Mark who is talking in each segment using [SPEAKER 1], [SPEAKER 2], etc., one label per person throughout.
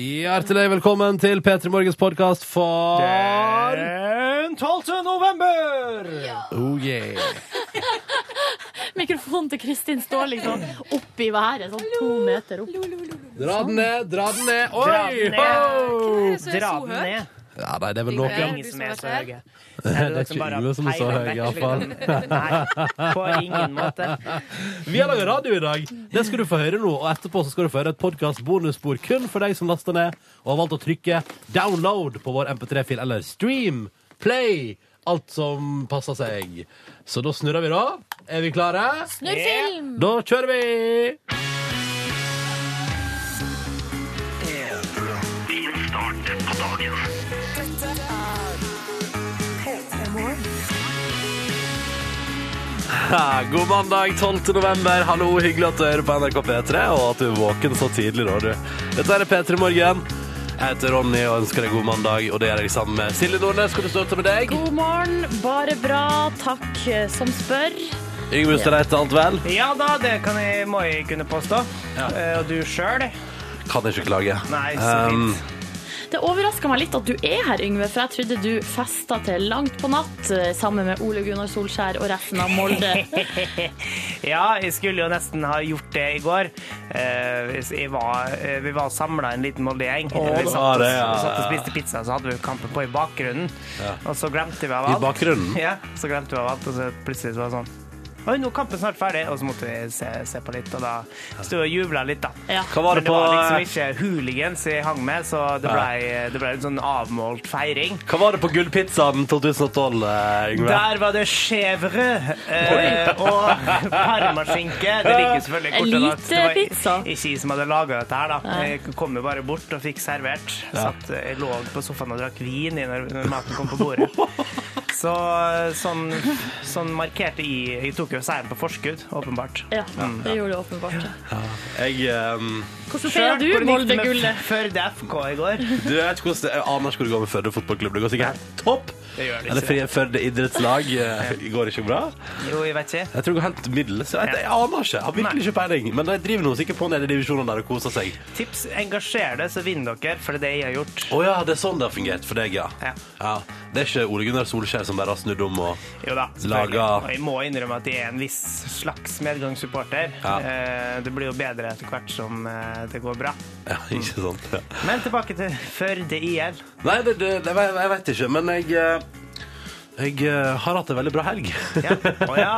[SPEAKER 1] Hjertelig velkommen til P3 Morgens podkast for
[SPEAKER 2] Den 12. november!
[SPEAKER 1] Oh yeah.
[SPEAKER 3] Mikrofonen til Kristin står liksom opp i været, sånn to meter opp.
[SPEAKER 1] Dra den ned, dra den ned.
[SPEAKER 2] Dra
[SPEAKER 1] Oi!
[SPEAKER 2] den ned. Dra
[SPEAKER 4] Dra
[SPEAKER 2] den ned.
[SPEAKER 1] Ja, nei, det er vel
[SPEAKER 2] Det er
[SPEAKER 1] noe.
[SPEAKER 4] Ingen
[SPEAKER 2] ingen som
[SPEAKER 4] som
[SPEAKER 2] er
[SPEAKER 4] har
[SPEAKER 2] så
[SPEAKER 4] vært
[SPEAKER 2] høye.
[SPEAKER 1] Det er ikke Yngve som er så høy, iallfall.
[SPEAKER 2] liksom. Nei, på ingen måte.
[SPEAKER 1] Vi har laget radio i dag. Det skal du få høre nå. Og etterpå så skal du få høre et podkast-bonusspor kun for deg som laster ned og har valgt å trykke 'download' på vår MP3-fil eller 'stream', 'play', alt som passer seg. Så da snurrer vi, da. Er vi klare?
[SPEAKER 3] Snurr film!
[SPEAKER 1] Da kjører vi! Ha, God mandag 12. november. Hallo, hyggelig at du hører på NRK P3, og at du er våken så tidlig nå, du. Dette er P3 Morgen. Jeg heter Ronny og ønsker deg god mandag, og det gjør jeg sammen med Silje Nordnes. Skal du stå til med deg?
[SPEAKER 3] God morgen, bare bra, takk eh, som spør.
[SPEAKER 1] Yngve Ustadreite, alt vel?
[SPEAKER 2] Ja da, det kan jeg, må jeg kunne påstå. Eh, Og du sjøl?
[SPEAKER 1] Kan ikke klage.
[SPEAKER 2] Nei, så
[SPEAKER 1] Um,
[SPEAKER 2] fint.
[SPEAKER 3] Det overraska meg litt at du er her, Yngve, for jeg trodde du festa til langt på natt eh, sammen med Ole Gunnar Solskjær og resten av Molde.
[SPEAKER 2] Ja, jeg skulle jo nesten ha gjort det i går. Eh, hvis jeg var, eh, vi var samla en liten Molde-gjeng.
[SPEAKER 1] Å,
[SPEAKER 2] Vi
[SPEAKER 1] det
[SPEAKER 2] satt,
[SPEAKER 1] var
[SPEAKER 2] og-
[SPEAKER 1] det, ja,
[SPEAKER 2] vi satt og
[SPEAKER 1] ja.
[SPEAKER 2] spiste pizza, så hadde vi kampen på i bakgrunnen. Og så glemte vi av
[SPEAKER 1] I
[SPEAKER 2] alt.
[SPEAKER 1] bakgrunnen.
[SPEAKER 2] Ja, så glemte vi av alt, og så plutselig så var det sånn Oi, nå er kampen snart ferdig, og så måtte vi se, se på litt, og da sto jeg og jubla litt, da.
[SPEAKER 3] Ja.
[SPEAKER 1] Hva var
[SPEAKER 2] Men
[SPEAKER 1] det
[SPEAKER 2] det
[SPEAKER 1] på
[SPEAKER 2] var liksom ikke hooligans jeg hang med, så det ble, det ble en sånn avmålt feiring.
[SPEAKER 1] Hva var det på gullpizzaen 2012, eh, Yngve?
[SPEAKER 2] Der var det chèvre eh, og parmaskinke. Det ligger selvfølgelig kort til at det var
[SPEAKER 3] Elitepizza.
[SPEAKER 2] ikke jeg som hadde laga dette her, da. Jeg kom jo bare bort og fikk servert. Satt, jeg lå på sofaen og drakk vin i når, når maten kom på bordet. Så sånn, sånn markerte jeg Jeg tok jo seieren på forskudd, åpenbart.
[SPEAKER 3] Ja,
[SPEAKER 2] Mm.
[SPEAKER 3] det gjorde du åpenbart.
[SPEAKER 1] Jeg, ehm,
[SPEAKER 3] Hvordan
[SPEAKER 2] Sjøl
[SPEAKER 3] feirer du
[SPEAKER 2] hvor det gikk med
[SPEAKER 3] Molde-gullet?
[SPEAKER 2] Førde FK i går.
[SPEAKER 1] du, jeg, vet ikke hvordan, det- jeg aner ikke hvor det går med Førde fotballklubb. Det går sikkert helt topp.
[SPEAKER 2] Det gjør det
[SPEAKER 1] Eller
[SPEAKER 2] ikke.
[SPEAKER 1] Frie Førde idrettslag eh, går ikke bra.
[SPEAKER 2] Jo, jeg vet ikke.
[SPEAKER 1] Jeg tror det går helt middels. Jeg, vet- jeg aner ikke. Jeg har virkelig ikke peiling. Men de driver nå sikkert på nede i divisjonene der og koser seg.
[SPEAKER 2] Tips engasjer det, så vinner dere, for det er det jeg har gjort.
[SPEAKER 1] Å ja, det er sånn det har fungert for deg, ja.
[SPEAKER 2] Ja.
[SPEAKER 1] ja. Det er ikke Ole Gunnar Solskjær som bare har snudd om og
[SPEAKER 2] Jo da, selvfølgelig.
[SPEAKER 1] Laga-
[SPEAKER 2] Og jeg må innrømme at jeg er en viss slags medgangssupporter.
[SPEAKER 1] Ja.
[SPEAKER 2] Eh, Det blir jo bedre etter hvert som eh, det går bra.
[SPEAKER 1] Ja,
[SPEAKER 2] Mm.
[SPEAKER 1] ikke sant? Ja.
[SPEAKER 2] Men tilbake til Førde IL.
[SPEAKER 1] Nei, det, det, det, jeg, jeg vet ikke. Men jeg, eh, jeg eh, har hatt en veldig bra helg.
[SPEAKER 2] Ja. Å ja.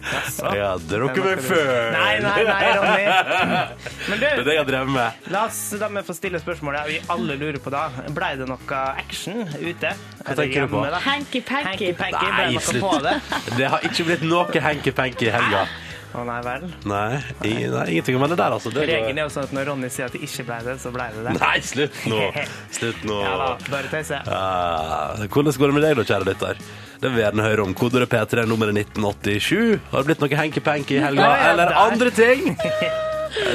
[SPEAKER 2] Jaså.
[SPEAKER 1] Jeg har drukket meg før.
[SPEAKER 2] Nei, nei, nei, Ronny.
[SPEAKER 1] Det er
[SPEAKER 2] Men du,
[SPEAKER 1] det jeg har drevet med.
[SPEAKER 2] la oss da med få stille spørsmålet vi alle lurer på da. Blei det noe action ute? Hva
[SPEAKER 1] tenker du på?
[SPEAKER 3] Hanky-panky.
[SPEAKER 2] Hanky-panky, ble
[SPEAKER 1] Nei,
[SPEAKER 2] det noe
[SPEAKER 1] slutt.
[SPEAKER 2] på det?
[SPEAKER 1] Det har ikke blitt noe henky-penky i helga.
[SPEAKER 2] Å nei vel.
[SPEAKER 1] Nei, i- nei, ingenting om det der, altså. Det
[SPEAKER 2] Regelen er jo sånn at når Ronny sier at det ikke blei det, så blei det det.
[SPEAKER 1] Nei, slutt nå! Slutt nå.
[SPEAKER 2] Ja da, bare tøyse.
[SPEAKER 1] Ah, hvordan går det med deg, da, kjære lytter? Det vil vi gjerne høre om. Kodeordet P3, nummeret 1987. Har det blitt noe hanky-panky i helga,
[SPEAKER 2] Ja, ja,
[SPEAKER 1] eller
[SPEAKER 2] der.
[SPEAKER 1] andre ting?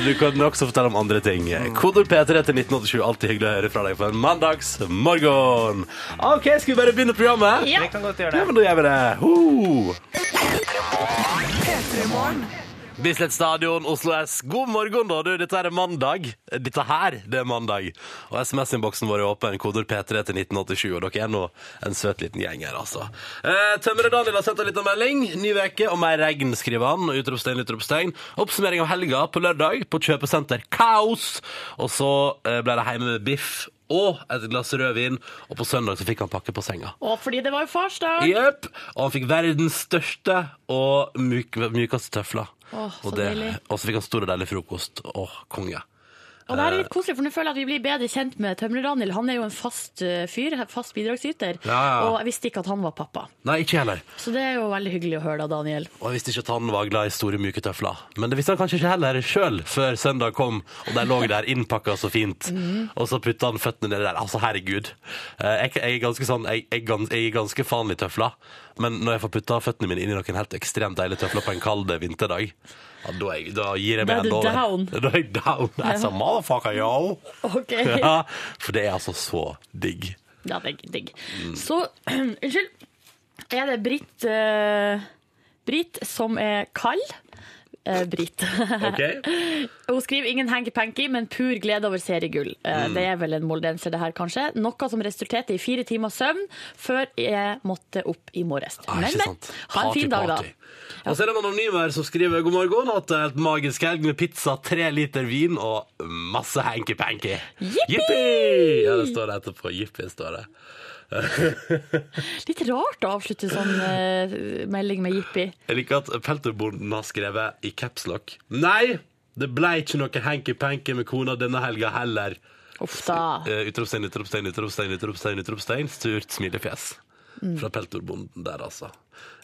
[SPEAKER 1] Du kan også fortelle om andre ting. Kodeord P3 til 1987. Alltid hyggelig å høre fra deg på en mandagsmorgen. OK, skal vi bare begynne programmet?
[SPEAKER 3] Ja.
[SPEAKER 2] Vi kan godt
[SPEAKER 1] Ja,
[SPEAKER 2] gjøre det.
[SPEAKER 1] men da gjør vi det. Ho! Bislett Stadion, Oslo S. God morgen, da, du. Dette er mandag. Dette her, det er mandag. Og SMS-innboksen vår er åpen. Kodord P3 til 1987. Og dere er nå en søt liten gjeng her, altså. Eh, Tømre Daniel har sendt en liten melding. Ny veke og mer regn, skriver han. Utropstegn, utropstegn. Oppsummering av helga på lørdag på kjøpesenter Kaos. Og så eh, ble det hjemme med biff og et glass rødvin. Og på søndag så fikk han pakke på senga.
[SPEAKER 3] Og fordi det var jo farsdag.
[SPEAKER 1] Jepp. Og han fikk verdens største og myk, mykeste tøfler.
[SPEAKER 3] Åh, så
[SPEAKER 1] og, det,
[SPEAKER 3] deilig.
[SPEAKER 1] og så fikk han stor og deilig frokost. Åh, konge.
[SPEAKER 3] Og det her er
[SPEAKER 1] Eh.
[SPEAKER 3] litt koselig, for nå føler jeg at vi blir bedre kjent med Tømrer-Daniel. Han er jo en fast eh, fyr, fast bidragsyter,
[SPEAKER 1] Ja, ja.
[SPEAKER 3] og jeg visste ikke at han var pappa.
[SPEAKER 1] Nei, ikke heller.
[SPEAKER 3] Så det er jo veldig hyggelig å høre da, Daniel.
[SPEAKER 1] Og jeg visste ikke at han var glad i store, myke tøfler. Men det visste han kanskje ikke heller sjøl, før søndag kom, og de lå der innpakka så fint.
[SPEAKER 3] Mhm.
[SPEAKER 1] Og så putta han føttene nedi der. Altså, herregud. Eh, Jeg, jeg er ganske sånn Jeg, jeg, er gans- jeg er ganske fan i tøfler, men når jeg får putta føttene mine inn i noen helt ekstremt deilige tøfler på en kald eh, vinterdag, ja, da, er jeg, da gir jeg
[SPEAKER 3] Da
[SPEAKER 1] meg
[SPEAKER 3] er du
[SPEAKER 1] enda over.
[SPEAKER 3] down.
[SPEAKER 1] Da er jeg down. Jeg sa motherfucker, yo!
[SPEAKER 3] Ok.
[SPEAKER 1] Ja, for det er altså så digg.
[SPEAKER 3] Ja, digg, digg. Så, unnskyld, er det Britt, eh, Britt som er kald?
[SPEAKER 5] eh, Britt.
[SPEAKER 1] OK?
[SPEAKER 5] Hun skriver ingen hanky-panky, men pur glede over seriegull.
[SPEAKER 1] Mm.
[SPEAKER 5] Eh, Det er vel en moldenser, det her, kanskje. Noe som resulterte i fire timers søvn før jeg måtte opp i morges.
[SPEAKER 1] Ah,
[SPEAKER 5] men,
[SPEAKER 1] ikke
[SPEAKER 5] men.
[SPEAKER 1] sant.
[SPEAKER 5] Ha en fin dag, da.
[SPEAKER 1] Party, party. Og så er det en anonym her som skriver god morgen. At det er et magisk helg med pizza, tre liter vin og masse hanky-panky.
[SPEAKER 5] Jippi!
[SPEAKER 1] Jippi! Ja, det står det etterpå. Jippi står det.
[SPEAKER 5] Litt rart å avslutte sånn eh, melding med jippi.
[SPEAKER 1] Jeg liker at Pelterbonden har skrevet i capslock. Nei! Det ble ikke noe hanky-panky med kona denne helga heller.
[SPEAKER 5] Uff da.
[SPEAKER 1] Eh, Utropstegn, utropstegn, utropstegn, utropstegn, utropstegn. Surt smilefjes. Fra pelterbonden der, altså.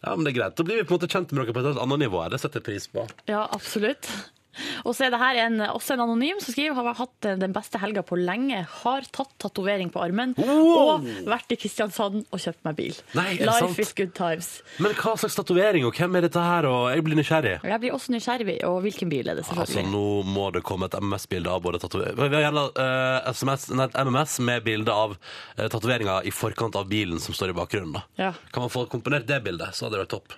[SPEAKER 1] Ja, men det er greit. Da blir vi på en måte kjent med dere på et helt annet nivå. her. Det setter jeg pris på.
[SPEAKER 5] Ja, absolutt. Og så er det her en, også en anonym som skriver har hatt eh, den beste helga på lenge. Har tatt tatovering på armen og vært i Kristiansand og kjøpt meg bil.
[SPEAKER 1] Nei, er det
[SPEAKER 5] Life
[SPEAKER 1] sant?
[SPEAKER 5] is good times.
[SPEAKER 1] Men hva slags tatovering, og hvem er dette her? Og jeg blir nysgjerrig.
[SPEAKER 5] Og Jeg blir også nysgjerrig, og hvilken bil er det
[SPEAKER 1] Altså,
[SPEAKER 5] selvfølgelig.
[SPEAKER 1] nå må det komme et MMS-bilde av både tatovering Vi har gjerne eh, SMS, nei, et MMS med bilde av uh, tatoveringa i forkant av bilen som står i bakgrunnen. da.
[SPEAKER 5] Ja.
[SPEAKER 1] Kan man få komponert det bildet, så hadde det vært topp.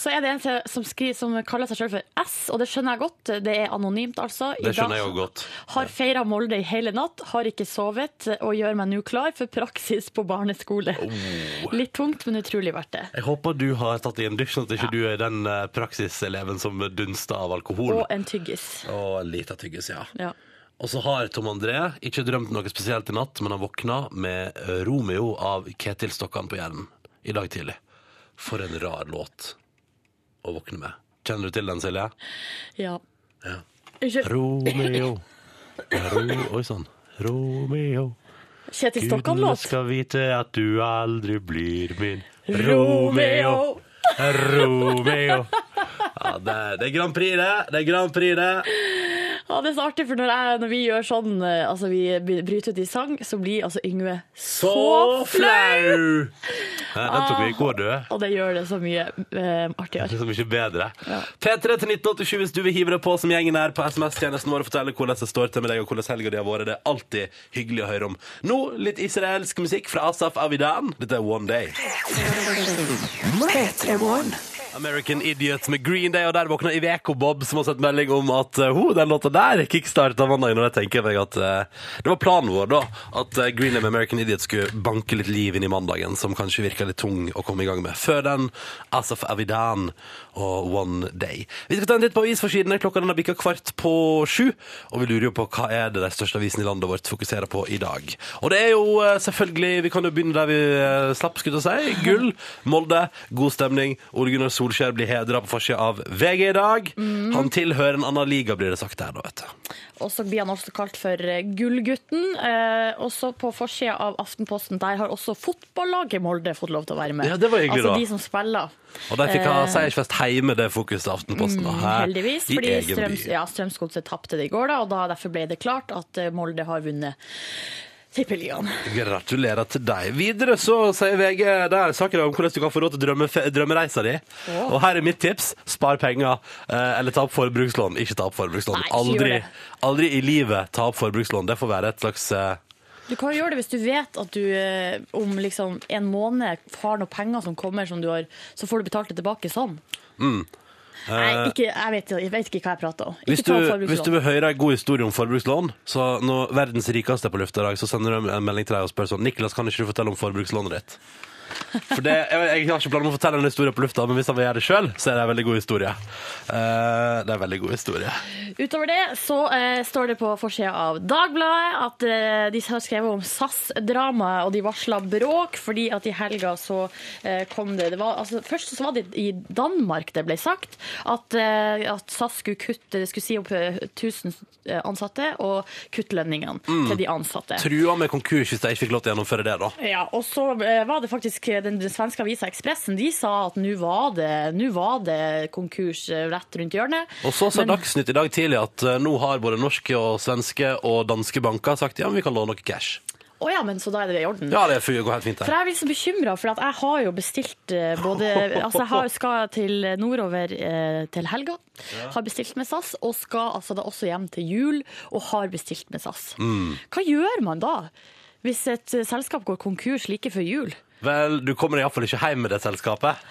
[SPEAKER 5] Så er det en til som, skriver, som kaller seg sjøl for S, og det skjønner jeg godt. Det er anonymt, altså. I
[SPEAKER 1] Det
[SPEAKER 5] dag-
[SPEAKER 1] skjønner jeg jo godt.
[SPEAKER 5] Har feira Molde i hele natt, har ikke sovet og gjør meg nå klar for praksis på barneskole.
[SPEAKER 1] Oh.
[SPEAKER 5] Litt tungt, men utrolig verdt det.
[SPEAKER 1] Jeg håper du har tatt i en dusj, sånn at ikke du er den eh, praksiseleven som dunster av alkohol.
[SPEAKER 5] Og en tyggis.
[SPEAKER 1] Og en liten tyggis, ja.
[SPEAKER 5] Ja.
[SPEAKER 1] Og så har Tom André ikke drømt noe spesielt i natt, men han våkna med eh, Romeo av Ketil Stokkan på hjernen i dag tidlig. For en rar låt å våkne med. Kjenner du til den, Silje?
[SPEAKER 5] ja.
[SPEAKER 1] Ja.
[SPEAKER 5] Unnskyld.
[SPEAKER 1] Romeo. Ro Oi sann. Romeo.
[SPEAKER 5] Kjetil
[SPEAKER 1] Gudene
[SPEAKER 5] Stokkan-låt.
[SPEAKER 1] skal vite at du aldri blir min Romeo.
[SPEAKER 5] Romeo.
[SPEAKER 1] Romeo. Ja, det er, det er Grand Prix, det. Det er Grand Prix, det.
[SPEAKER 5] Ja, det er så artig, for når, jeg, når vi gjør sånn, eh, altså vi by- bryter ut i sang, så blir altså Yngve så flau!
[SPEAKER 1] Ja, Den tok vi i går, du.
[SPEAKER 5] Og det gjør det så mye eh,
[SPEAKER 1] Det
[SPEAKER 5] artigere.
[SPEAKER 1] er så mye bedre. P3 til 1987 hvis du vil hive deg på som gjengen her på SMS-tjenesten vår og fortelle hvordan det står til med deg og hvordan helga di har vært. Det er alltid hyggelig å høre om. Nå litt israelsk musikk fra Asaf Avidan. Dette er One Day. American Idiot med Green Day, og der våkna Iveko Bob, som har sett melding om at eh, ho, den låta der kickstarta mandagen. Og jeg tenker meg at eh, det var planen vår, da, at eh, Green Day med American Idiot skulle banke litt liv inn i mandagen, som kanskje virka litt tung å komme i gang med. Før den Asaf Avidan og One Day. Vi skal ta en titt på avisforsidene. Klokka den har bikka kvart på sju, og vi lurer jo på hva er det de største avisene i landet vårt fokuserer på i dag. Og det er jo eh, selvfølgelig Vi kan jo begynne der vi eh, slapp, skulle jeg til å si. Gull, Molde, god stemning. Ole Gunnar Solskjær blir hedra på forsida av VG i dag.
[SPEAKER 5] Mhm.
[SPEAKER 1] Han tilhører en annen liga, blir det sagt der, da, vet du.
[SPEAKER 5] Og så blir han også kalt for eh, Gullgutten. Eh, også på forsida av Aftenposten, der har også fotballaget Molde fått lov til å være med.
[SPEAKER 1] Ja, det var hyggelig,
[SPEAKER 5] altså
[SPEAKER 1] da.
[SPEAKER 5] de som spiller.
[SPEAKER 1] Og de fikk ha seiersfest heime, det fokuset til Aftenposten. da, her
[SPEAKER 5] Eh. Mm, Heldigvis,
[SPEAKER 1] i
[SPEAKER 5] fordi
[SPEAKER 1] egen by.
[SPEAKER 5] Strøms, ja, Strømsgodset tapte det i går, da, og da, derfor ble det klart at eh, Molde har vunnet Tippeligaen.
[SPEAKER 1] Gratulerer til deg. Videre så sier VG der saker om hvordan du kan få råd til drømmefe- drømmereisa di.
[SPEAKER 5] Åh.
[SPEAKER 1] Og her er mitt tips. Spar penger, eh, eller ta opp forbrukslån. Ikke ta opp forbrukslån.
[SPEAKER 5] Nei, ikke gjør
[SPEAKER 1] aldri,
[SPEAKER 5] det.
[SPEAKER 1] aldri i livet ta opp forbrukslån. Det får være et slags eh,
[SPEAKER 5] Du kan jo gjøre det hvis du vet at du eh, om liksom en måned har noen penger som kommer, som du har, så får du betalt det tilbake sånn. Nei, ikke, jeg, vet, jeg vet ikke hva jeg prater om. Ikke
[SPEAKER 1] Mm. Eh, Hvis
[SPEAKER 5] ta
[SPEAKER 1] du,
[SPEAKER 5] forbrukslån.
[SPEAKER 1] hvis du vil høre en god historie om forbrukslån, så når verdens rikeste er på lufta i dag, så sender du en melding til deg og spør sånn Niklas, kan ikke du fortelle om forbrukslånet ditt? For det, jeg, jeg har ikke planer om å fortelle en historie på lufta, men hvis han vil gjøre det sjøl, så er det en veldig god historie. Eh, det er en veldig god historie.
[SPEAKER 5] Utover det så eh, står det på forsida av Dagbladet at eh, de har skrevet om SAS-dramaet, og de varsla bråk fordi at i helga så eh, kom det, det var, altså, Først så var det i Danmark det ble sagt at, eh, at SAS skulle kutte, skulle si opp eh, 1000 ansatte og kutte lønningene til de ansatte.
[SPEAKER 1] Trua med konkurs hvis de ikke fikk lov til å gjennomføre det, da.
[SPEAKER 5] Ja, og så eh, var det faktisk eh, den, den svenske avisa Expressen de sa at nå var, det- nå var det konkurs eh, rett rundt hjørnet.
[SPEAKER 1] Og så sa
[SPEAKER 5] Men-
[SPEAKER 1] Dagsnytt i dag tidlig at eh, nå har både norske og svenske og danske banker sagt ja, men vi kan låne noe cash.
[SPEAKER 5] Å ja, men så da er det i orden.
[SPEAKER 1] Ja, det går helt fint,
[SPEAKER 5] For
[SPEAKER 1] det.
[SPEAKER 5] jeg er liksom bekymra, for at jeg har jo bestilt eh, både Altså, jeg har, skal til nordover eh, til helga, har bestilt med SAS, og skal altså da også hjem til jul og har bestilt med SAS.
[SPEAKER 1] Mm.
[SPEAKER 5] Hva gjør man da, hvis et eh, selskap går konkurs like før jul?
[SPEAKER 1] Vel, du kommer iallfall ikke hjem med det selskapet.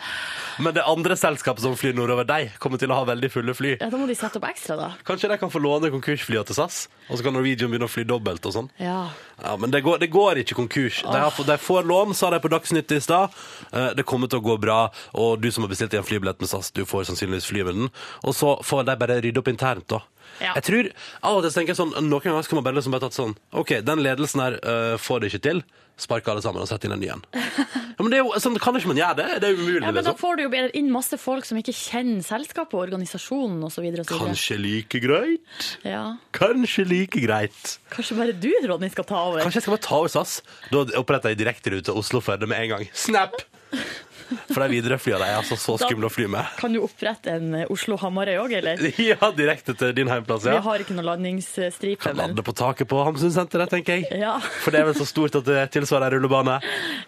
[SPEAKER 1] Men det andre selskapet som flyr nordover, de kommer til å ha veldig fulle fly.
[SPEAKER 5] Ja, Da må de sette opp ekstra, da.
[SPEAKER 1] Kanskje de kan få låne konkursflyene til SAS, og så kan Norwegian begynne å fly dobbelt og sånn.
[SPEAKER 5] Ja.
[SPEAKER 1] Ja, men det går, det går ikke konkurs. De,
[SPEAKER 5] Ah.
[SPEAKER 1] har, fått- de får lån, sa de på Dagsnytt i stad. Eh, Det kommer til å gå bra, og du som har bestilt en flybillett med SAS, du får sannsynligvis fly med den. Og så får de bare rydde opp internt, da.
[SPEAKER 5] Ja.
[SPEAKER 1] Jeg tror, av og til tenker jeg sånn, Noen ganger skal man bare liksom bare tatt sånn OK, den ledelsen her eh, får det ikke til. Sparke alle sammen og sette inn en ny en. Ja, men det er jo, sånn kan ikke man gjøre det. Det er jo umulig.
[SPEAKER 5] ja, Men da
[SPEAKER 1] liksom.
[SPEAKER 5] får du jo bare inn masse folk som ikke kjenner selskapet og organisasjonen osv.
[SPEAKER 1] Kanskje like greit.
[SPEAKER 5] Ja.
[SPEAKER 1] Kanskje like greit.
[SPEAKER 5] Kanskje bare du, Ronny, skal ta over?
[SPEAKER 1] Kanskje jeg skal bare ta over SAS? Da oppretter jeg direkterute Oslo-Førde med en gang. Snap! For de Widerøe-flyene er altså så skumle å fly med.
[SPEAKER 5] Kan du opprette en eh, Oslo-Hamarøy òg, eller?
[SPEAKER 1] Ja, direkte til din heimplass,
[SPEAKER 5] Vi
[SPEAKER 1] ja.
[SPEAKER 5] har ikke noen landingsstripe, men
[SPEAKER 1] Lande på taket på Hamsunsenteret, tenker jeg.
[SPEAKER 5] Ja.
[SPEAKER 1] For det er vel så stort at det tilsvarer en rullebane.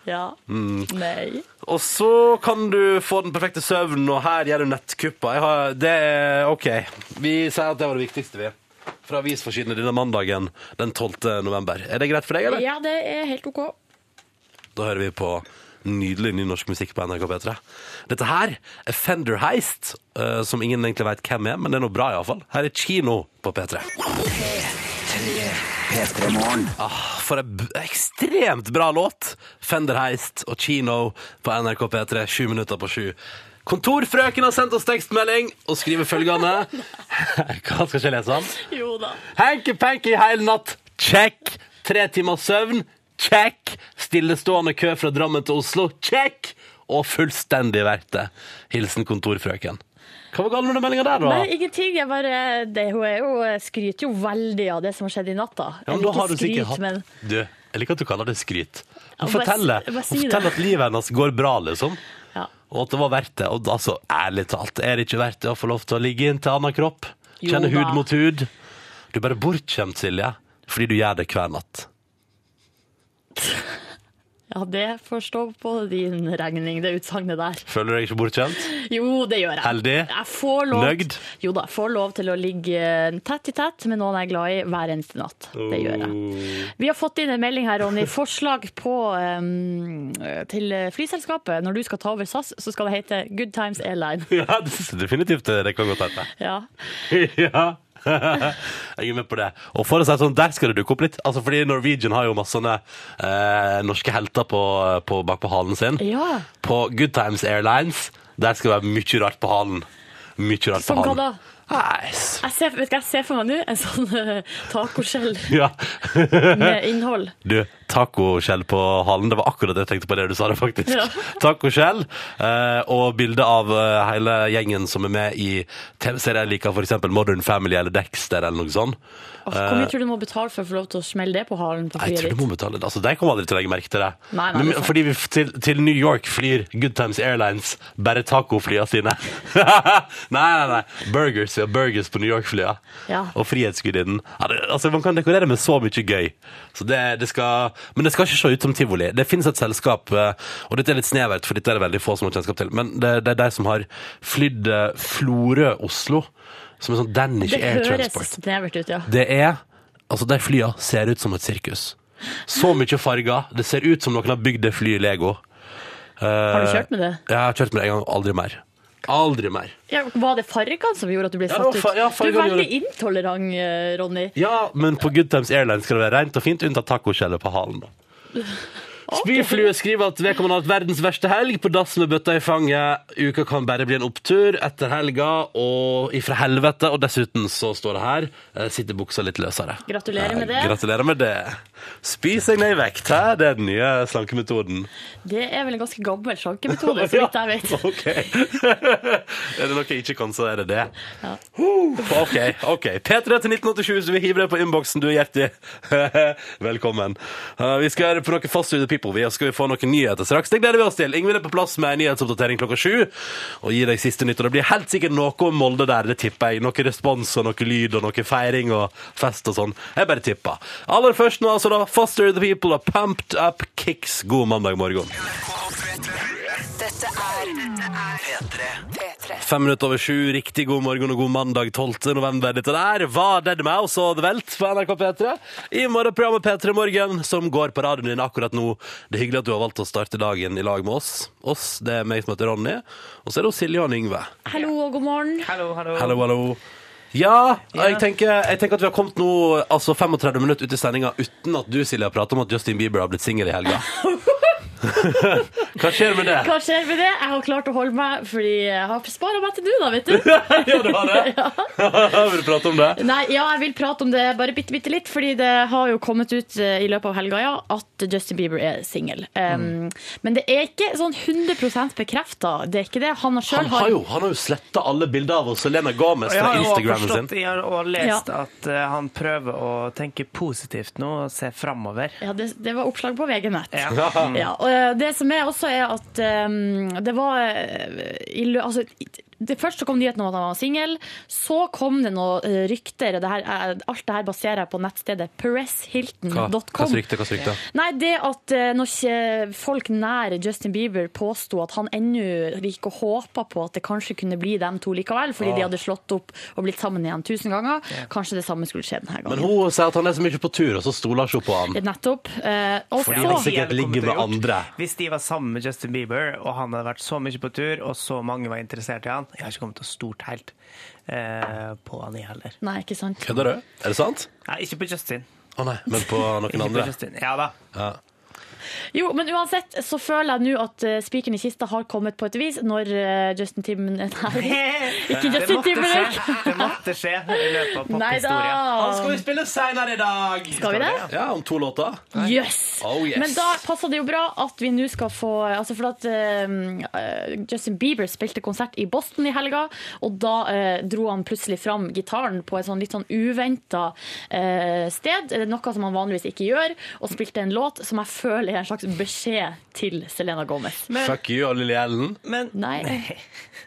[SPEAKER 5] Ja.
[SPEAKER 1] Mm.
[SPEAKER 5] Nei.
[SPEAKER 1] Og så kan du få den perfekte søvnen, og her gjør du nettkuppa. Jeg har, det er OK. Vi sier at det var det viktigste, vi. Fra avisforsidene denne mandagen den 12. november. Er det greit for deg, eller?
[SPEAKER 5] Ja, det er helt OK.
[SPEAKER 1] Da hører vi på nydelig ny norsk musikk på NRK P3. Dette her er Fender Heist, eh, som ingen egentlig veit hvem er, men det er noe bra iallfall. Her er Kino på P3. Ah, for en b- ekstremt bra låt! Fender Heist og Kino på NRK P3, sju minutter på sju. Kontorfrøken har sendt oss tekstmelding og skriver følgende Hva skal ikke jeg lese den?
[SPEAKER 5] Jo da.
[SPEAKER 1] Hanky-panky hele natt. Check. Tre timers søvn. Check. Stillestående kø fra Drammen til Oslo. Check. Og fullstendig verdt det. Hilsen kontorfrøken. Hva var galt med den meldinga der, da?
[SPEAKER 5] Nei, ingenting. Jeg bare, det, hun er jo, eh, skryter jo veldig av det som har skjedd i natt. da.
[SPEAKER 1] Ja, men
[SPEAKER 5] Eller
[SPEAKER 1] da
[SPEAKER 5] ikke
[SPEAKER 1] har du sikkert hatt-
[SPEAKER 5] men
[SPEAKER 1] Du, jeg liker at du kaller det skryt. Hun
[SPEAKER 5] bare
[SPEAKER 1] forteller,
[SPEAKER 5] si- bare si
[SPEAKER 1] hun
[SPEAKER 5] det.
[SPEAKER 1] forteller at livet hennes går bra, liksom.
[SPEAKER 5] ja.
[SPEAKER 1] Og at det var verdt det. Og altså, ærlig talt, er det ikke verdt det å få lov til å ligge inn til annen kropp?
[SPEAKER 5] Jo
[SPEAKER 1] Kjenne
[SPEAKER 5] da.
[SPEAKER 1] hud mot hud? Du er bare bortskjemt, Silje, fordi du gjør det hver natt.
[SPEAKER 5] ja, det får stå på din regning, det utsagnet der.
[SPEAKER 1] Føler du deg ikke bortskjemt?
[SPEAKER 5] Jo, det gjør jeg.
[SPEAKER 1] Heldig?
[SPEAKER 5] Jeg får lov,
[SPEAKER 1] Nøgd?
[SPEAKER 5] Jo da, jeg får lov til å ligge eh, tett i tett med noen jeg er glad i hver eneste natt. Det gjør
[SPEAKER 1] Oh.
[SPEAKER 5] jeg.
[SPEAKER 1] Mm.
[SPEAKER 5] Vi har fått inn en melding her, Ronny. Forslag på, eh, til flyselskapet. Når du skal ta over SAS, så skal det hete Good Times Airline.
[SPEAKER 1] Ja, det synes jeg definitivt eh, det kan godt hete.
[SPEAKER 5] Ja.
[SPEAKER 1] Ja. Jeg er med på det. Og for å si det sånn, der skal det dukke opp litt. Altså, fordi Norwegian har jo masse sånne eh, norske helter på, på, bak på halen sin.
[SPEAKER 5] ja.
[SPEAKER 1] På Good Times Airlines, der skal det være mye rart på halen. Mye rart
[SPEAKER 5] Som
[SPEAKER 1] på
[SPEAKER 5] hva
[SPEAKER 1] halen.
[SPEAKER 5] da?
[SPEAKER 1] Nei, s-
[SPEAKER 5] Jeg ser, vet du hva jeg ser for meg nå? En sånn uh, tacoskjell
[SPEAKER 1] Ja.
[SPEAKER 5] med innhold.
[SPEAKER 1] Du, tacoskjell på halen. Det var akkurat det jeg tenkte på det du sa det, faktisk.
[SPEAKER 5] Ja.
[SPEAKER 1] Tacoskjell eh, og bilde av eh, hele gjengen som er med i TV-serier jeg liker, for eksempel Modern Family eller Dexter eller noe sånt.
[SPEAKER 5] Åh, hvor mye tror du du må betale for å få lov til å smelle det på halen på
[SPEAKER 1] Eh. Jeg
[SPEAKER 5] flyet
[SPEAKER 1] tror du
[SPEAKER 5] ditt?
[SPEAKER 1] må betale det. Altså, De kommer aldri til å legge merke til det.
[SPEAKER 5] Nei, nei, det er sant.
[SPEAKER 1] fordi vi f- til, til New York flyr Good Times Airlines bare tacoflya sine. nei, nei, nei. Burgers ja, burgers på New York-flya.
[SPEAKER 5] Ja.
[SPEAKER 1] Og Frihetsgudinnen. Ja, det- altså, man kan dekorere med så mye gøy. Så det, det skal, men det skal ikke se ut som tivoli. Det finnes et selskap, eh, og dette er litt snevert, for dette er det veldig få som har kjennskap til, men det, det er de som har flydd eh, Florø-Oslo, som en sånn Danish
[SPEAKER 5] Det
[SPEAKER 1] Air
[SPEAKER 5] høres
[SPEAKER 1] Transport.
[SPEAKER 5] snevert ut, ja.
[SPEAKER 1] Det er Altså, de flya ser ut som et sirkus. Så mye farger. Det ser ut som noen har bygd det flyet i Lego. Eh,
[SPEAKER 5] Har du kjørt med det?
[SPEAKER 1] Jeg har kjørt med det en gang. Aldri mer. Aldri mer.
[SPEAKER 5] Ja, var det fargene som gjorde at du ble
[SPEAKER 1] Ja, det
[SPEAKER 5] satt
[SPEAKER 1] var
[SPEAKER 5] ut?
[SPEAKER 1] fa- ja,
[SPEAKER 5] du er
[SPEAKER 1] fargene
[SPEAKER 5] veldig intolerant, eh, Ronny.
[SPEAKER 1] Ja, men på Good Times Airlines skal det være rent og fint, unntatt tacoskjellet på halen, da. Spyflue skriver at vedkommende har hatt verdens verste helg på dass med bøtta i fanget. Uka kan bare bli en opptur etter helga og ifra helvete. Og dessuten så står det her eh, sitter buksa litt løsere.
[SPEAKER 5] Gratulerer med
[SPEAKER 1] Eh,
[SPEAKER 5] det.
[SPEAKER 1] Gratulerer med det. Spis deg ned i vekt. Hæ? Det er den nye slankemetoden.
[SPEAKER 5] Det er vel en ganske gammel slankemetode, så vidt jeg vet.
[SPEAKER 1] Ok. er det noe jeg ikke kan, så er det det. Huh, ok, ok. P3 til 1987, så vi hiver deg på innboksen, du er hjertelig. Velkommen. Uh, vi skal på noe fast ut people, vi, og skal vi få noen nyheter straks. Det gleder vi oss til. Ingvild er på plass med en nyhetsoppdatering klokka sju, og gir deg siste nytt. Og det blir helt sikkert noe om Molde der, det tipper jeg. Noe respons og noe lyd og noe feiring og fest og sånn. Jeg bare tipper. Aller først nå, altså da, Foster the People og Pumped Up Kicks. God mandag morgen.
[SPEAKER 6] Dette er P3. P3.
[SPEAKER 1] Fem minutter over sju, riktig god morgen og god mandag 12. november. Dette der var Dead Mouse og The Welt på NRK P3. I morgen programmet P3 Morgen, som går på radioen din akkurat nå. Det er hyggelig at du har valgt å starte dagen i lag med oss. Oss, det er meg som heter Ronny, og så er det Silje og Yngve.
[SPEAKER 5] Hallo og god morgen.
[SPEAKER 2] Hallo, hallo.
[SPEAKER 1] Hallo, hallo. Ja, jeg tenker, jeg tenker at vi har kommet nå altså 35 minutter ut i sendinga uten at du, Silje, har pratet om at Justin Bieber har blitt singel i helga. Hva skjer med det?
[SPEAKER 5] Hva skjer med det? Jeg har klart å holde meg, fordi jeg har spara meg til nå, da, vet du.
[SPEAKER 1] ja, du har det? Vil du prate om det?
[SPEAKER 5] Nei, ja, jeg vil prate om det bare bitte, bitte litt, fordi det har jo kommet ut eh, i løpet av helga ja, at Justin Bieber er singel. Um,
[SPEAKER 1] Mm.
[SPEAKER 5] Men det er ikke sånn 100 bekrefta. Det er ikke det. Han
[SPEAKER 1] Han
[SPEAKER 5] sjøl
[SPEAKER 1] har
[SPEAKER 5] har
[SPEAKER 1] jo, han har jo sletta alle bilder av oss Selena Gomez
[SPEAKER 2] Og Jeg
[SPEAKER 1] fra
[SPEAKER 2] har jo også
[SPEAKER 1] Instagramen sin.
[SPEAKER 2] forstått, jeg har også lest at eh, han prøver å tenke positivt nå og se framover.
[SPEAKER 5] ja, det, det var oppslag på VG Nett.
[SPEAKER 2] Ja.
[SPEAKER 5] Ja, og eh, det som er også er at eh, det var eh, i lø- altså, i- det Først så kom nyheten om at han var singel. Så kom det noen eh, rykter. og Det her, er- alt det her baserer jeg på nettstedet
[SPEAKER 1] Hva, hva
[SPEAKER 5] presshilton.com.
[SPEAKER 1] rykte, hva rykte?
[SPEAKER 5] Nei, det at eh, når ikke folk nær Justin Bieber påsto at han ennå gikk og håpa på at det kanskje kunne bli dem to likevel, fordi
[SPEAKER 1] Ah.
[SPEAKER 5] de hadde slått opp og blitt sammen igjen tusen ganger, kanskje det samme skulle skje denne gangen.
[SPEAKER 1] Men hun sier at han er så mye på tur, og så stoler hun ikke på han.
[SPEAKER 5] Nettopp. Eh, og
[SPEAKER 1] Fordi
[SPEAKER 5] så-
[SPEAKER 1] han sikkert ligger med andre.
[SPEAKER 2] Hvis de var sammen med Justin Bieber, og han hadde vært så mye på tur, og så mange var interessert i han Jeg har ikke kommet til å stort helt eh, på han, jeg heller.
[SPEAKER 5] Nei, ikke sant.
[SPEAKER 1] Kødder du? Er det sant?
[SPEAKER 2] Nei, ikke på Justin.
[SPEAKER 1] Å nei, men på noen
[SPEAKER 2] Ikke på
[SPEAKER 1] andre.
[SPEAKER 2] Justin. Ja da.
[SPEAKER 1] Ja.
[SPEAKER 5] Jo, men uansett så føler jeg nå at eh, spikeren i kista har kommet på et vis når eh, Justin Timon Nei, ikke
[SPEAKER 2] Eh, Det
[SPEAKER 5] Justin
[SPEAKER 2] måtte skje.
[SPEAKER 5] Timberlake.
[SPEAKER 2] Det måtte skje i løpet av
[SPEAKER 5] Nei
[SPEAKER 2] pophistorien.
[SPEAKER 1] Han
[SPEAKER 5] da!
[SPEAKER 1] skal vi spille seinere i dag!
[SPEAKER 5] Skal vi det?
[SPEAKER 1] Ja, om to låter.
[SPEAKER 5] Jøss! Yes.
[SPEAKER 1] Oh, yes.
[SPEAKER 5] Men da passer det jo bra at vi nå skal få altså For at eh, Justin Bieber spilte konsert i Boston i helga, og da eh, dro han plutselig fram gitaren på et sånn litt sånn uventa sted, eh, noe som han vanligvis ikke gjør, og spilte en låt som jeg føler er en slags beskjed til Selena Gomez.
[SPEAKER 1] Fuck you og Lille Ellen.
[SPEAKER 2] Men
[SPEAKER 5] Nei.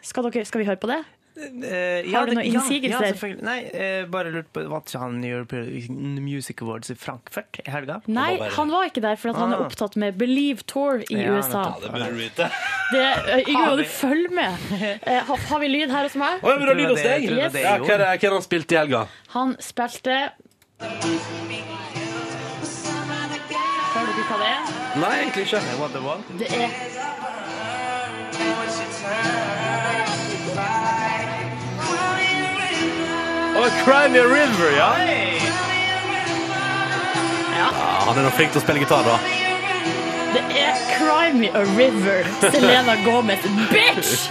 [SPEAKER 5] Skal, dere, skal vi høre på det?
[SPEAKER 2] Eh,
[SPEAKER 5] Har du
[SPEAKER 2] det-
[SPEAKER 5] noen innsigelser?
[SPEAKER 2] Ja, selvfølgelig. Nei, eh, bare lurt på Vant ikke han European Music Awards i Frankfurt i helga?
[SPEAKER 5] Nei,
[SPEAKER 1] var bare-
[SPEAKER 5] han var ikke der, for at han er
[SPEAKER 2] Ah.
[SPEAKER 5] opptatt med Believe Tour i
[SPEAKER 2] Ja,
[SPEAKER 5] USA.
[SPEAKER 1] Ja, det burde du vite.
[SPEAKER 5] Det, eh, Yngve,
[SPEAKER 2] Har
[SPEAKER 5] må
[SPEAKER 2] vi-
[SPEAKER 5] du følge med. Eh, har, har vi lyd her hos meg?
[SPEAKER 1] Å, ja, men du har lyd hos deg?
[SPEAKER 2] Jeg
[SPEAKER 5] tror det var det
[SPEAKER 1] Ja,
[SPEAKER 2] jeg
[SPEAKER 1] hva er det hva er det han spilte i helga?
[SPEAKER 5] Han spilte Hører dere hva det er?
[SPEAKER 1] Nei, egentlig ikke.
[SPEAKER 2] What the one?
[SPEAKER 5] Det er
[SPEAKER 1] Å, Cry Me a River, ja. ja. Han er nå flink til å spille gitar, da.
[SPEAKER 5] Det er Cry Me A River. Selena Gomez. Bitch!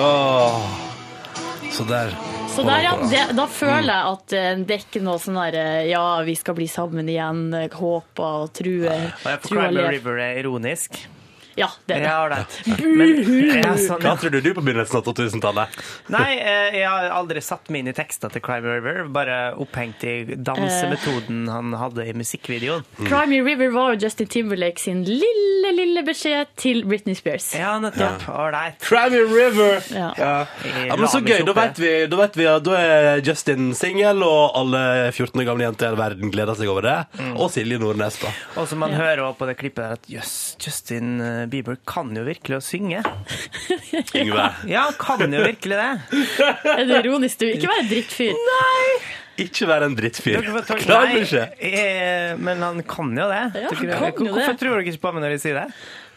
[SPEAKER 1] Åh. Så der.
[SPEAKER 5] Så der, ja. Det, da føler jeg at eh, det er ikke noe sånn der eh, Ja, vi skal bli sammen igjen. eh, Håper og truer.
[SPEAKER 2] Og jeg
[SPEAKER 5] truer
[SPEAKER 2] forklarer med
[SPEAKER 5] lever.
[SPEAKER 2] River er ironisk.
[SPEAKER 5] Ja, det er det.
[SPEAKER 2] Ja, ålreit. Men ja, sånn,
[SPEAKER 1] Hva
[SPEAKER 2] ja.
[SPEAKER 1] trodde du på begynnelsen av 2000-tallet?
[SPEAKER 2] Nei, eh, jeg har aldri satt meg inn i tekster til Crime River. Bare opphengt i
[SPEAKER 5] Eh.
[SPEAKER 2] dansemetoden han hadde i musikkvideoen.
[SPEAKER 5] Cry Me River var jo Justin Timberlake sin lille, lille beskjed til Britney Spears.
[SPEAKER 2] Ja, nettopp. Ålreit.
[SPEAKER 1] Crimey River!
[SPEAKER 5] Ja.
[SPEAKER 1] Ja, men Så gøy. Da vet vi, da vet vi at da er Justin singel, og alle 14 år gamle jenter i hele verden gleder seg over det. Og Silje Nordnes, da.
[SPEAKER 2] Og som man hører også på det klippet der, at jøss, Justin eh, Bieber kan jo virkelig å synge.
[SPEAKER 1] Yngve.
[SPEAKER 2] Ja, han kan jo virkelig det.
[SPEAKER 5] Er det ironisk? Du ikke være drittfyr.
[SPEAKER 1] Ikke vær en drittfyr.
[SPEAKER 2] Dere får ta-
[SPEAKER 1] Klarer du ikke?
[SPEAKER 2] Nei, eh, Men han kan jo det.
[SPEAKER 5] Ja,
[SPEAKER 2] Dere-
[SPEAKER 5] han kan jo
[SPEAKER 2] Hvorfor
[SPEAKER 5] det.
[SPEAKER 2] tror dere ikke på meg når jeg sier det?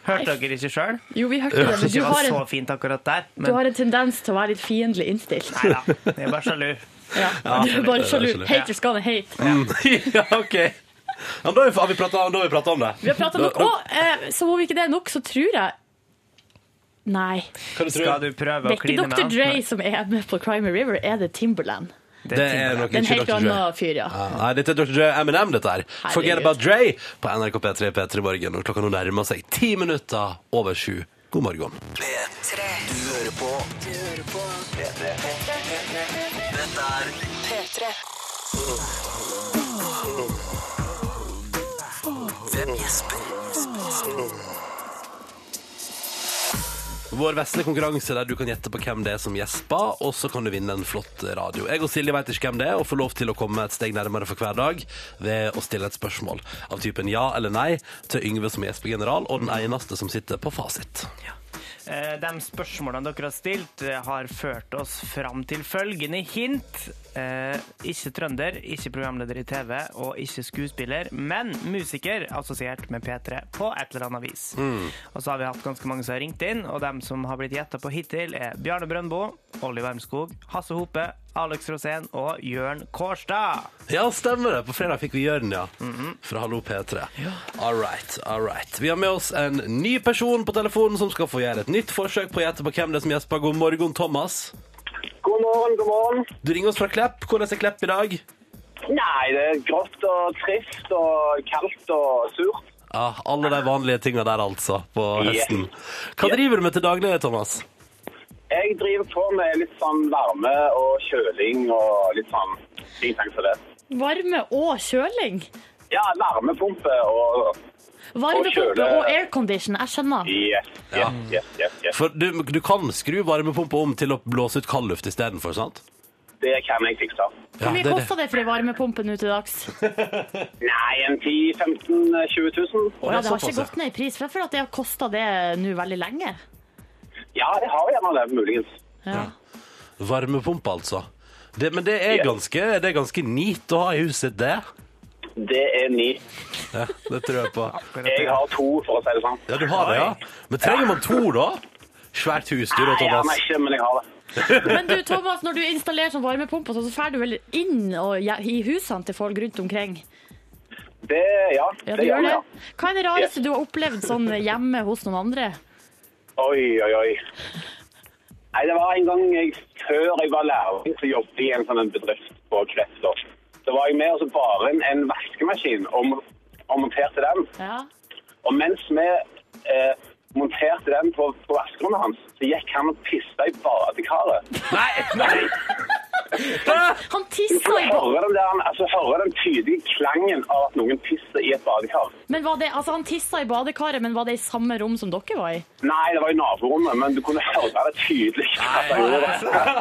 [SPEAKER 2] Hørte dere ikke sjøl?
[SPEAKER 5] Jo, vi hørte det,
[SPEAKER 2] Kanskje
[SPEAKER 5] men du
[SPEAKER 2] ikke var
[SPEAKER 5] har,
[SPEAKER 2] så
[SPEAKER 5] en,
[SPEAKER 2] fint akkurat der,
[SPEAKER 5] du
[SPEAKER 2] men
[SPEAKER 5] har en tendens til å være litt fiendtlig innstilt.
[SPEAKER 2] nei da. Jeg er bare sjalu.
[SPEAKER 5] Ja. Du er bare
[SPEAKER 1] det er
[SPEAKER 5] sjalu.
[SPEAKER 1] sjalu.
[SPEAKER 5] Haters gonna hate.
[SPEAKER 1] Mm. Ja, OK. Ja, men da har vi- har vi prata- da har vi prata om det.
[SPEAKER 5] Vi har pratet nok. Og eh, som om ikke det er nok, så tror jeg Nei.
[SPEAKER 1] Hva du tror
[SPEAKER 2] Skal du prøve
[SPEAKER 5] Det
[SPEAKER 2] å
[SPEAKER 5] er ikke
[SPEAKER 2] kline med
[SPEAKER 5] Dr.
[SPEAKER 2] han?
[SPEAKER 5] Dre som er med på Cry Me River, er det Timberland?
[SPEAKER 2] Nei, det
[SPEAKER 1] Det er
[SPEAKER 2] er Timberland.
[SPEAKER 1] nok
[SPEAKER 5] Det er en
[SPEAKER 1] ikke
[SPEAKER 5] helt
[SPEAKER 1] Dr. Dre.
[SPEAKER 5] annen fyr, ja.
[SPEAKER 1] Ja, Nei, dette er Dr. Dre Eminem, dette her. Forget
[SPEAKER 5] Herregud.
[SPEAKER 1] about Dre på NRK P3 P3 Morgen. Og klokka nå nærmer seg ti minutter over sju. God morgen.
[SPEAKER 6] P3. Du hører på. Du hører på. P3. Dette er P3. Hvem gjesper?
[SPEAKER 1] Vår vesle konkurranse der du kan gjette på hvem det er som gjesper, og så kan du vinne en flott radio. Jeg og Silje vet ikke hvem det er, og får lov til å komme et steg nærmere for hver dag ved å stille et spørsmål av typen ja eller nei til Yngve som er gjespegeneral, og den eneste som sitter på fasit.
[SPEAKER 2] Eh, De spørsmålene dere har stilt, eh, har ført oss fram til følgende hint. Eh, Ikke trønder, ikke programleder i TV og ikke skuespiller, men musiker assosiert med P3 på et eller annet vis. Og så har vi hatt ganske mange som har ringt inn, og dem som har blitt gjetta på hittil, er Bjarne Brøndbo, Olli Wermskog, Hasse Hope, Alex Rosén og Jørn Kårstad.
[SPEAKER 1] Ja, stemmer det. På fredag fikk vi Jørn, ja. Fra Hallo P3. All right, all right. Vi har med oss en ny person på telefonen som skal få gjøre et nytt forsøk på å gjette på hvem det er som gjesper. God morgen, Thomas.
[SPEAKER 7] God morgen, god morgen.
[SPEAKER 1] Du ringer oss fra Klepp. Hvordan er Klepp i dag?
[SPEAKER 7] Nei, det er grått og trist og kaldt og surt.
[SPEAKER 1] Ja, alle de vanlige tinga der, altså, på
[SPEAKER 7] Yeah.
[SPEAKER 1] høsten. Hva
[SPEAKER 7] Yeah.
[SPEAKER 1] driver du med til daglig, Thomas?
[SPEAKER 7] Jeg driver på med litt sånn varme og kjøling og litt sånn ting som det.
[SPEAKER 3] Varme og kjøling.
[SPEAKER 7] Ja, varmepumpe og
[SPEAKER 3] Varmepumpe
[SPEAKER 7] kjøle.
[SPEAKER 3] og aircondition. Jeg skjønner.
[SPEAKER 7] yes, yes,
[SPEAKER 1] Ja.
[SPEAKER 7] yes, yes, yes.
[SPEAKER 1] For du, du kan skru varmepumpa om til å blåse ut kaldluft istedenfor, sant?
[SPEAKER 7] Det kan jeg fikse.
[SPEAKER 1] Ja,
[SPEAKER 3] Hvor mye
[SPEAKER 1] det er det.
[SPEAKER 3] kosta det for ei varmepumpe nå til dags?
[SPEAKER 7] Nei, en 10 15 20 000?
[SPEAKER 1] Å,
[SPEAKER 3] Ja, det har ikke
[SPEAKER 1] såpass,
[SPEAKER 3] gått ned i pris. Hvorfor at det har kosta det nå veldig lenge?
[SPEAKER 7] Ja, jeg har gjerne det, muligens.
[SPEAKER 3] Ja.
[SPEAKER 1] ja. Varmepumpe, altså. Det, men det er,
[SPEAKER 7] Yeah.
[SPEAKER 1] ganske, det er ganske neat å ha i huset, det.
[SPEAKER 7] Det er ni.
[SPEAKER 1] Ja, det tror jeg på.
[SPEAKER 7] Jeg har to, for å si det sånn.
[SPEAKER 1] Ja, du har det, ja. Men trenger man to, da? Svært husdyr og
[SPEAKER 7] Nei, jeg har
[SPEAKER 1] Thomas.
[SPEAKER 7] meg ikke, men jeg har det.
[SPEAKER 3] Men du, Thomas, når du installerer sånn varmepumpe, så drar du vel inn og, ja, i husene til folk rundt omkring?
[SPEAKER 7] Det, ja,
[SPEAKER 3] Ja,
[SPEAKER 7] det
[SPEAKER 3] du gjør
[SPEAKER 7] vi,
[SPEAKER 3] det.
[SPEAKER 7] ja.
[SPEAKER 3] Hva er det rareste du har opplevd sånn hjemme hos noen andre?
[SPEAKER 7] Oi, oi, oi. Nei, det var en gang jeg, før jeg var lærling, så jobbet jeg i en sånn en bedrift på Krefter. Så var jeg med og så bar inn en vaskemaskin og, mon- og monterte den.
[SPEAKER 3] Ja.
[SPEAKER 7] Og mens vi eh, monterte den på, på vaskerommet hans, så gikk han og pissa i badekaret.
[SPEAKER 1] Nei, nei!
[SPEAKER 3] Han tissa i
[SPEAKER 7] Jeg
[SPEAKER 3] ba-
[SPEAKER 7] hører den, der, altså, hører den tydelige klangen av at noen pisser i et badekar.
[SPEAKER 3] Men var det, altså, han tissa i badekaret, men var det i samme rom som dere var i?
[SPEAKER 7] Nei, det var i naborommet, men du kunne høre det tydelig. at han gjorde det.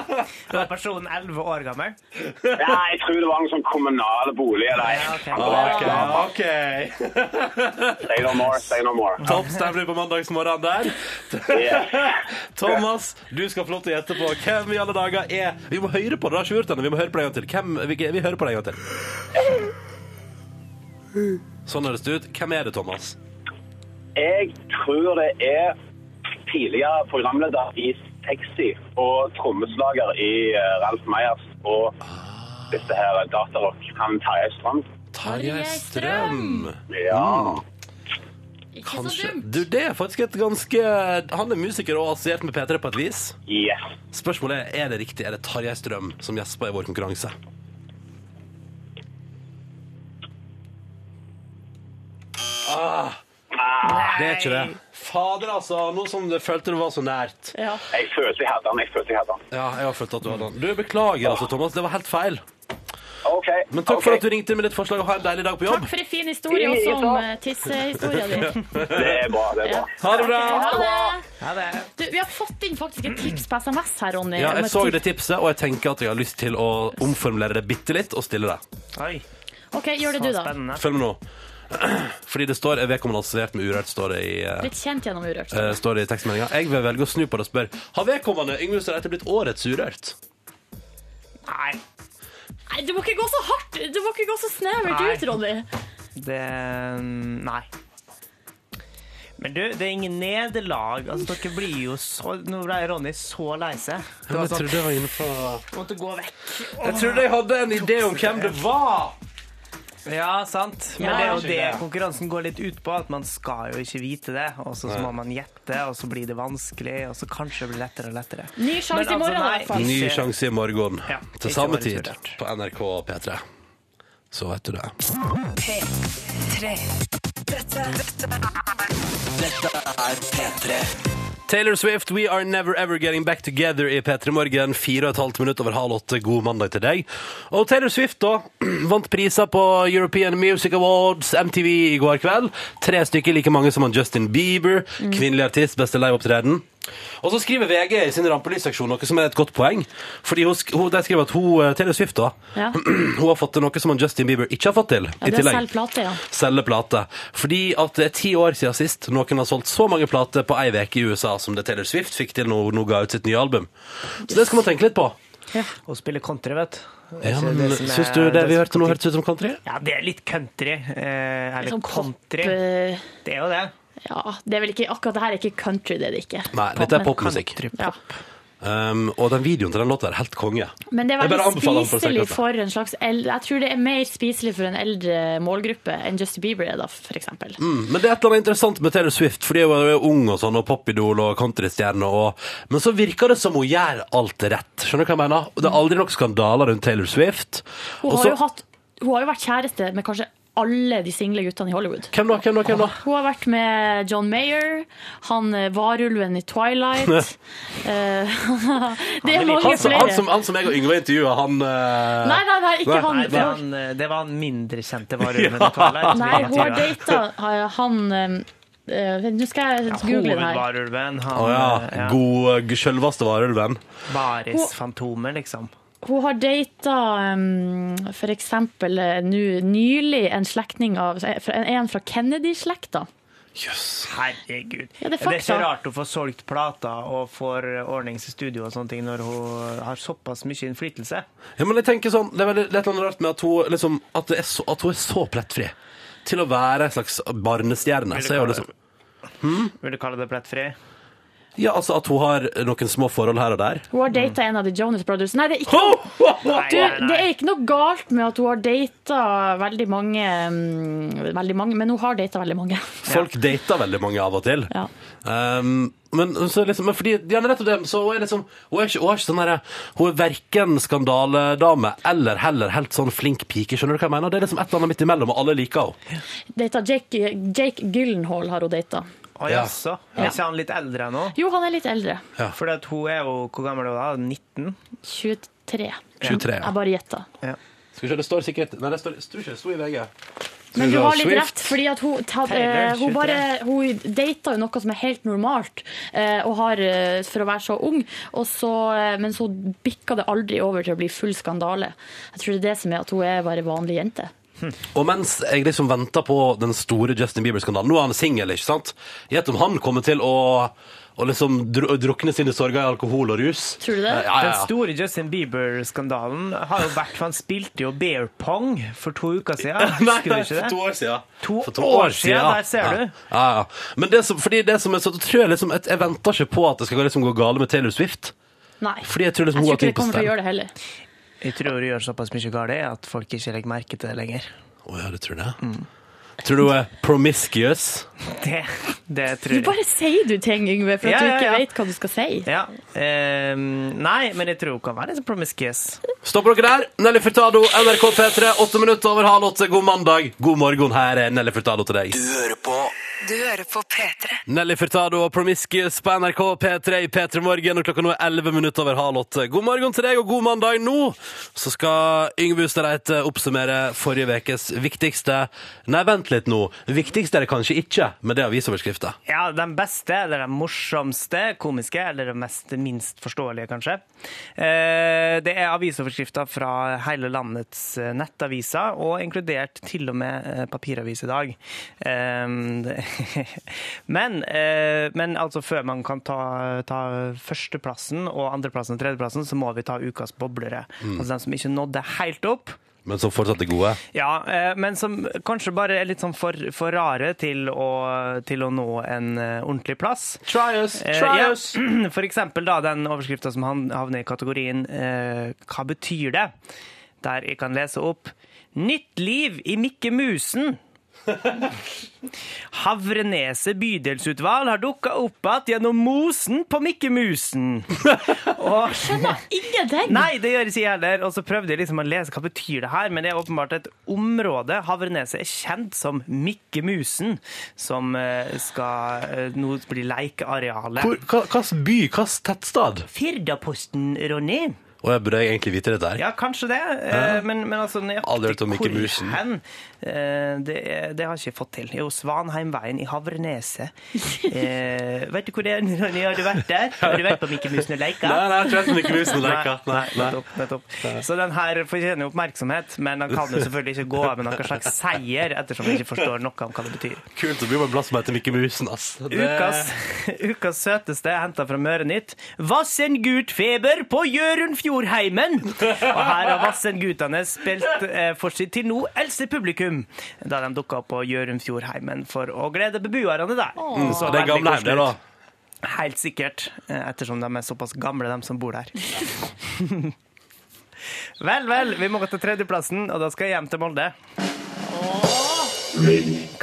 [SPEAKER 2] Da er personen 11 år gammel.
[SPEAKER 7] Nei, jeg tror det var en sånn kommunal bolig. Eller,
[SPEAKER 2] Ja, ok.
[SPEAKER 7] Han var-
[SPEAKER 1] OK.
[SPEAKER 7] Say no more, say no more.
[SPEAKER 1] Topp stemning på mandagsmorgenen der.
[SPEAKER 7] Yeah.
[SPEAKER 1] Thomas, du skal få lov til å gjette på hvem i alle dager er Vi må høre på det, det har ikke vi gjort ennå. Vi må høre på det en gang til. Hvem, vi, vi hører på det en gang til. Sånn høres det ut. Hvem er det, Thomas?
[SPEAKER 7] Jeg tror det er tidligere programleder i Sexy og trommeslager i eh, Ralf Meyers og disse her datarock. Han Terje Strand.
[SPEAKER 1] Tarjei
[SPEAKER 3] Strøm.
[SPEAKER 1] Strøm.
[SPEAKER 7] Ja.
[SPEAKER 3] Ikke så
[SPEAKER 1] Kanskje.
[SPEAKER 3] dumt.
[SPEAKER 1] Du, det er faktisk et ganske Han er musiker og assosiert med P3 på et vis.
[SPEAKER 7] Yes.
[SPEAKER 1] Spørsmålet er er det riktig. Er det Tarjei Strøm som gjesper i vår konkurranse? Ah, det er ikke det. Fader, altså. Nå som du følte det var så nært.
[SPEAKER 3] Ja.
[SPEAKER 7] Jeg følte jeg hadde han. jeg følte jeg hadde han.
[SPEAKER 1] Ja, jeg har følt at du hadde den. Du, beklager, altså, Thomas. Det var helt feil.
[SPEAKER 7] OK.
[SPEAKER 1] Men takk for at du ringte med ditt forslag, og ha en deilig dag på jobb.
[SPEAKER 3] Takk for en fin historie også om eh, tissehistoria di.
[SPEAKER 7] Det er bra. det er bra.
[SPEAKER 1] Ha det bra.
[SPEAKER 3] Ha det!
[SPEAKER 2] Ja, det er
[SPEAKER 3] Du, vi har fått inn faktisk et tips på SMS her, Ronny.
[SPEAKER 1] Ja,
[SPEAKER 3] om
[SPEAKER 1] jeg
[SPEAKER 3] et
[SPEAKER 1] så
[SPEAKER 3] tips.
[SPEAKER 1] det tipset, og jeg tenker at jeg har lyst til å omformulere det bitte litt og stille det.
[SPEAKER 2] Oi,
[SPEAKER 3] OK, gjør det du,
[SPEAKER 2] så
[SPEAKER 3] da.
[SPEAKER 2] spennende.
[SPEAKER 1] Følg med nå. Fordi det står er vedkommende assosiert med urørt, står det i eh,
[SPEAKER 3] Blitt kjent gjennom Urørt.
[SPEAKER 1] eh, står det i tekstmeldinga. Jeg vil velge å snu på det og spørre Har vedkommende Yngve Søreite blitt årets urørt?
[SPEAKER 2] Nei,
[SPEAKER 3] Nei, du må ikke gå så hardt! Du må ikke gå så snevert
[SPEAKER 2] Nei.
[SPEAKER 3] ut, Ronny.
[SPEAKER 2] det Nei. Men du, det er ingen nederlag. Altså, dere blir jo så Nå ble Ronny så lei seg. Det var sånn,
[SPEAKER 1] jeg var inne på
[SPEAKER 2] måtte gå vekk.
[SPEAKER 1] Jeg trodde jeg hadde en idé om hvem det var!
[SPEAKER 2] Ja, sant. Men
[SPEAKER 3] Ja.
[SPEAKER 2] det er jo det konkurransen går litt ut på. At man skal jo ikke vite det. Og så så må man gjette, og så blir det vanskelig, og så kanskje det blir lettere og lettere.
[SPEAKER 3] Ny sjanse i
[SPEAKER 2] Men altså,
[SPEAKER 3] morgen, i
[SPEAKER 2] nei.
[SPEAKER 3] hvert fall.
[SPEAKER 1] Ny
[SPEAKER 2] Ikke-
[SPEAKER 1] sjanse i morgen
[SPEAKER 2] Ja,
[SPEAKER 1] til
[SPEAKER 2] ikke
[SPEAKER 1] samme
[SPEAKER 2] årets
[SPEAKER 1] tid
[SPEAKER 2] Urørt.
[SPEAKER 1] på NRK P3. Så vet du det.
[SPEAKER 8] P3. Dette, dette
[SPEAKER 1] Taylor Swift, We Are Never Ever Getting Back Together i P3 Morgen. Fire og et halvt minutt over halv åtte. God mandag til deg. Og Taylor Swift da, vant priser på European Music Awards, MTV,
[SPEAKER 5] Mm.
[SPEAKER 1] i går kveld. Tre stykker, like mange som han Justin Bieber. Kvinnelig artist, beste liveopptreden. Og så skriver VG i sin rampelysseksjon noe som er et godt poeng. Fordi hun, sk- hun, De skriver at hun, eh, Taylor Swift da,
[SPEAKER 5] Ja.
[SPEAKER 1] hun har fått til noe som han Justin Bieber ikke har fått til.
[SPEAKER 5] Ja,
[SPEAKER 1] i
[SPEAKER 5] det er
[SPEAKER 1] tillegg.
[SPEAKER 5] selv plate, ja.
[SPEAKER 1] Selge plate. Fordi at det er ti år siden sist noen har solgt så mange plater på ei uke i USA som det Taylor Swift fikk til når hun nå ga ut sitt nye album. Så det skal man tenke litt på.
[SPEAKER 2] Hun spiller country, vet du.
[SPEAKER 1] Ja,
[SPEAKER 2] Ikke
[SPEAKER 1] men
[SPEAKER 2] som er-
[SPEAKER 1] Syns du det vi
[SPEAKER 2] som
[SPEAKER 1] hørte nå,
[SPEAKER 2] country-
[SPEAKER 1] hørtes ut som country?
[SPEAKER 2] Ja, det er litt country. Eh, eller
[SPEAKER 5] Sånn
[SPEAKER 2] country.
[SPEAKER 5] pop, eh,
[SPEAKER 2] Det er jo det.
[SPEAKER 5] Ja, det er vel ikke, akkurat det her er ikke country, det er det ikke.
[SPEAKER 1] Nei, dette er
[SPEAKER 5] men-
[SPEAKER 1] popmusikk.
[SPEAKER 5] Ja.
[SPEAKER 1] Um, og den videoen til den låta er helt konge.
[SPEAKER 5] Men det er
[SPEAKER 1] Jeg bare
[SPEAKER 5] veldig
[SPEAKER 1] anbefaler den for å sjekke
[SPEAKER 5] spiselig
[SPEAKER 1] ut det.
[SPEAKER 5] for en slags el- Jeg tror det er mer spiselig for en eldre målgruppe enn Justin Bieber er, da, for eksempel.
[SPEAKER 1] Mm, Men det er et eller annet interessant med Taylor Swift, fordi hun er jo ung og sånn, og popidol og countrystjerne. Og... Men så virker det som hun gjør alt rett. Skjønner du hva jeg mener? Og Det er aldri nok skandaler rundt Taylor Swift.
[SPEAKER 5] Hun,
[SPEAKER 1] Og
[SPEAKER 5] har
[SPEAKER 1] så-
[SPEAKER 5] jo hatt, hun har jo vært kjæreste med kanskje alle de single guttene i Hollywood.
[SPEAKER 1] Hvem da? Hvem da? Hvem da?
[SPEAKER 5] Hun har vært med John Mayer, han eh, varulven i Twilight Eh, Det er mange
[SPEAKER 1] Han som, han,
[SPEAKER 5] flere.
[SPEAKER 1] som, han som jeg og Yngve intervjua, han eh,
[SPEAKER 5] Nei, nei, nei, ikke han.
[SPEAKER 2] Nei, det var
[SPEAKER 5] Nei,
[SPEAKER 2] en, eh, det var en mindre kjente varulven. Twilight.
[SPEAKER 5] hun har data eh, han eh, eh, Vent, nå skal jeg google det her.
[SPEAKER 2] Hovedvarulven. Han,
[SPEAKER 1] Å
[SPEAKER 2] eh,
[SPEAKER 1] ja.
[SPEAKER 2] ja.
[SPEAKER 1] God, sjølveste varulven.
[SPEAKER 2] Barisfantomet, liksom.
[SPEAKER 5] Hun har data um, for eksempel eh, nu, nylig en slektning av en, en fra Kennedy-slekta.
[SPEAKER 1] Jøss.
[SPEAKER 2] Herregud.
[SPEAKER 5] Ja,
[SPEAKER 2] det,
[SPEAKER 5] det
[SPEAKER 2] er
[SPEAKER 5] er fakta.
[SPEAKER 2] så rart hun får solgt plater og får ordnings i studio og sånne ting når hun har såpass mye innflytelse.
[SPEAKER 1] Ja, men jeg tenker sånn, Det er veldig det er et eller annet rart med at hun, liksom, at, det er så, at hun er så plettfri. Til å være en slags barnestjerne. Så er hun liksom,
[SPEAKER 2] Vil du kalle det plettfri?
[SPEAKER 1] ja, altså At hun har noen små forhold her og der.
[SPEAKER 5] Hun har data en av de Jonas Brothers. Nei, det er ikke
[SPEAKER 1] Ho, ho, ho!
[SPEAKER 2] Nei,
[SPEAKER 5] Du,
[SPEAKER 2] nei, nei.
[SPEAKER 5] det er ikke noe galt med at hun har data veldig mange, mm, veldig mange men hun har data veldig mange.
[SPEAKER 1] Folk dater veldig mange av og til.
[SPEAKER 5] Ja.
[SPEAKER 1] Um, men, så liksom, men fordi ja, nettopp det, så hun er liksom Hun er ikke, hun er ikke sånn derre Hun er verken skandaledame eller heller helt sånn flink pike. Skjønner du hva jeg mener? Det er liksom et eller annet midt imellom, og alle liker henne.
[SPEAKER 5] Data Jake, Jake Gyllenhaal har hun data.
[SPEAKER 2] Å
[SPEAKER 1] Ja.
[SPEAKER 2] jaså? Er ikke han litt eldre nå?
[SPEAKER 5] Jo, han er litt eldre.
[SPEAKER 2] For at hun er jo Hvor gammel er hun da? 19?
[SPEAKER 5] 23.
[SPEAKER 1] 23.
[SPEAKER 5] Jeg bare gjetta.
[SPEAKER 1] Skal vi se, det står sikkert Nei, det står, jeg tror ikke det sto i VG.
[SPEAKER 5] Men du
[SPEAKER 1] Taylor
[SPEAKER 5] har litt
[SPEAKER 1] Swift.
[SPEAKER 5] rett, fordi at hun, ta,
[SPEAKER 2] Taylor,
[SPEAKER 5] eh, hun,
[SPEAKER 2] 23.
[SPEAKER 5] bare, hun data jo noe som er helt normalt, eh, og har, eh, for å være så ung, og så, eh, men så bikka det aldri over til å bli full skandale. Jeg tror det er det som er at hun er bare vanlig jente.
[SPEAKER 1] Og mens jeg liksom venter på den store Justin Bieber-skandalen Nå er han singel, ikke sant? Gjett om han kommer til å, å liksom dru- drukne sine sorger i alkohol og rus.
[SPEAKER 5] Tror du det?
[SPEAKER 1] Eh, Ja, ja,
[SPEAKER 2] Den
[SPEAKER 1] ja.
[SPEAKER 2] store Justin Bieber-skandalen har jo vært for han spilte jo bear pong for to uker siden.
[SPEAKER 1] Nei,
[SPEAKER 2] Husker du
[SPEAKER 1] nei,
[SPEAKER 2] ikke
[SPEAKER 1] for to
[SPEAKER 2] det?
[SPEAKER 1] år siden.
[SPEAKER 2] To
[SPEAKER 1] For
[SPEAKER 2] år siden, der ser
[SPEAKER 1] ja.
[SPEAKER 2] du.
[SPEAKER 1] Ja, ja. Men det som, fordi det som er så, da tror jeg liksom at jeg venter ikke på at det skal liksom gå gale med Taylor Swift.
[SPEAKER 5] Nei.
[SPEAKER 1] Fordi jeg tror liksom hun
[SPEAKER 5] jeg
[SPEAKER 1] har
[SPEAKER 5] tror ikke det
[SPEAKER 1] ting på
[SPEAKER 5] kommer til å
[SPEAKER 1] stell.
[SPEAKER 5] gjøre det heller.
[SPEAKER 2] Jeg tror du gjør såpass mye galt at folk ikke legger merke til det lenger.
[SPEAKER 1] Å ja, du tror det? Tror du hun er promiscuous?
[SPEAKER 2] Det, det
[SPEAKER 5] Du
[SPEAKER 2] tror jeg.
[SPEAKER 5] bare sier du ting, Yngve, for at
[SPEAKER 2] Ja, ja,
[SPEAKER 5] du ikke
[SPEAKER 2] ja.
[SPEAKER 5] vet hva du skal si.
[SPEAKER 2] Ja. ehm, nei, men jeg tror hun kan være litt promiscuous.
[SPEAKER 1] Stopper dere der? Nelly Furtado, NRK P3, åtte minutter over halv åtte. God mandag, god morgen. Her er Nelly Furtado til deg.
[SPEAKER 9] Du hører på
[SPEAKER 6] Du hører på P3.
[SPEAKER 1] Nelly Furtado og Promiscuous på NRK P3 i P3 Morgen, og klokka nå er 11 minutter over halv åtte. God morgen til deg, og god mandag nå! Så skal Yngve Ustadreite oppsummere forrige ukes viktigste Nei, vent litt nå. Viktigste er det kanskje ikke, men det er avisoverskrifta.
[SPEAKER 2] Ja, den beste, eller den morsomste, komiske, eller den mest minst forståelige, kanskje. Eh, Det er avisoverskrifter fra hele landets eh, nettaviser, og inkludert til og med eh, papiravis i dag. Eh, det- Men, eh, men altså, før man kan ta, ta førsteplassen og andreplassen og tredjeplassen, så må vi ta ukas boblere. Altså den som ikke nådde helt opp.
[SPEAKER 1] Men som fortsatt er gode.
[SPEAKER 2] Ja, eh, men som kanskje bare er litt sånn for, for rare til å, til å nå en eh, ordentlig plass.
[SPEAKER 1] Try us!
[SPEAKER 2] Eh, ja. For eksempel da, den overskriften som han- havner i kategorien eh, Hva betyr det? Der jeg kan lese opp Nytt liv i Mikke Musen! Havreneset bydelsutvalg har dukka opp igjen gjennom mosen på Mikke Musen. Og
[SPEAKER 5] Ingenting!
[SPEAKER 2] Nei, det gjør ikke jeg heller. Og så prøvde jeg liksom å lese hva betyr det her, men det er åpenbart et område. Havreneset er kjent som Mikkemusen, som eh, skal eh, nå bli lekearealet.
[SPEAKER 1] Hvilken by, hvilken tettsted?
[SPEAKER 2] Firdaposten, Ronny.
[SPEAKER 1] Å Og jeg burde egentlig vite dette her.
[SPEAKER 2] Ja, kanskje det, eh, men, men altså
[SPEAKER 1] Aldri hørt om Mikke
[SPEAKER 2] hvor
[SPEAKER 1] Musen.
[SPEAKER 2] hen, eh, det, det har jeg ikke fått til. Jo, Svanheimveien i Havreneset. Eh, vet du hvor det er? Ronny? Har du vært der? Har du vært på Mikke Musen og leika?
[SPEAKER 1] Nei, nei, jeg tror ikke Mikke Musen og leika. Nei, nei.
[SPEAKER 2] Nettopp, nettopp. Så den her fortjener jo oppmerksomhet, men han kan jo selvfølgelig ikke gå av med noen slags seier, ettersom han ikke forstår noe om hva det betyr.
[SPEAKER 1] Kult å bli med en plass som heter Mikke Musen, ass. Det-
[SPEAKER 2] Ukas, ukas søteste er henta fra Mørenytt. Vassen Gutfeber på Hjørundfjordheimen! Og her har Vassen Gutane spilt eh, for sitt til nå eldste publikum da de dukka opp på Hjørundfjordheimen for å glede beboerne der.
[SPEAKER 1] Så det er gamle hjem,
[SPEAKER 2] veldig
[SPEAKER 1] det, da.
[SPEAKER 2] koselig ut. Helt sikkert, eh, ettersom de er såpass gamle, de som bor der. vel, vel, vi må gå til tredjeplassen, og da skal jeg hjem til Molde.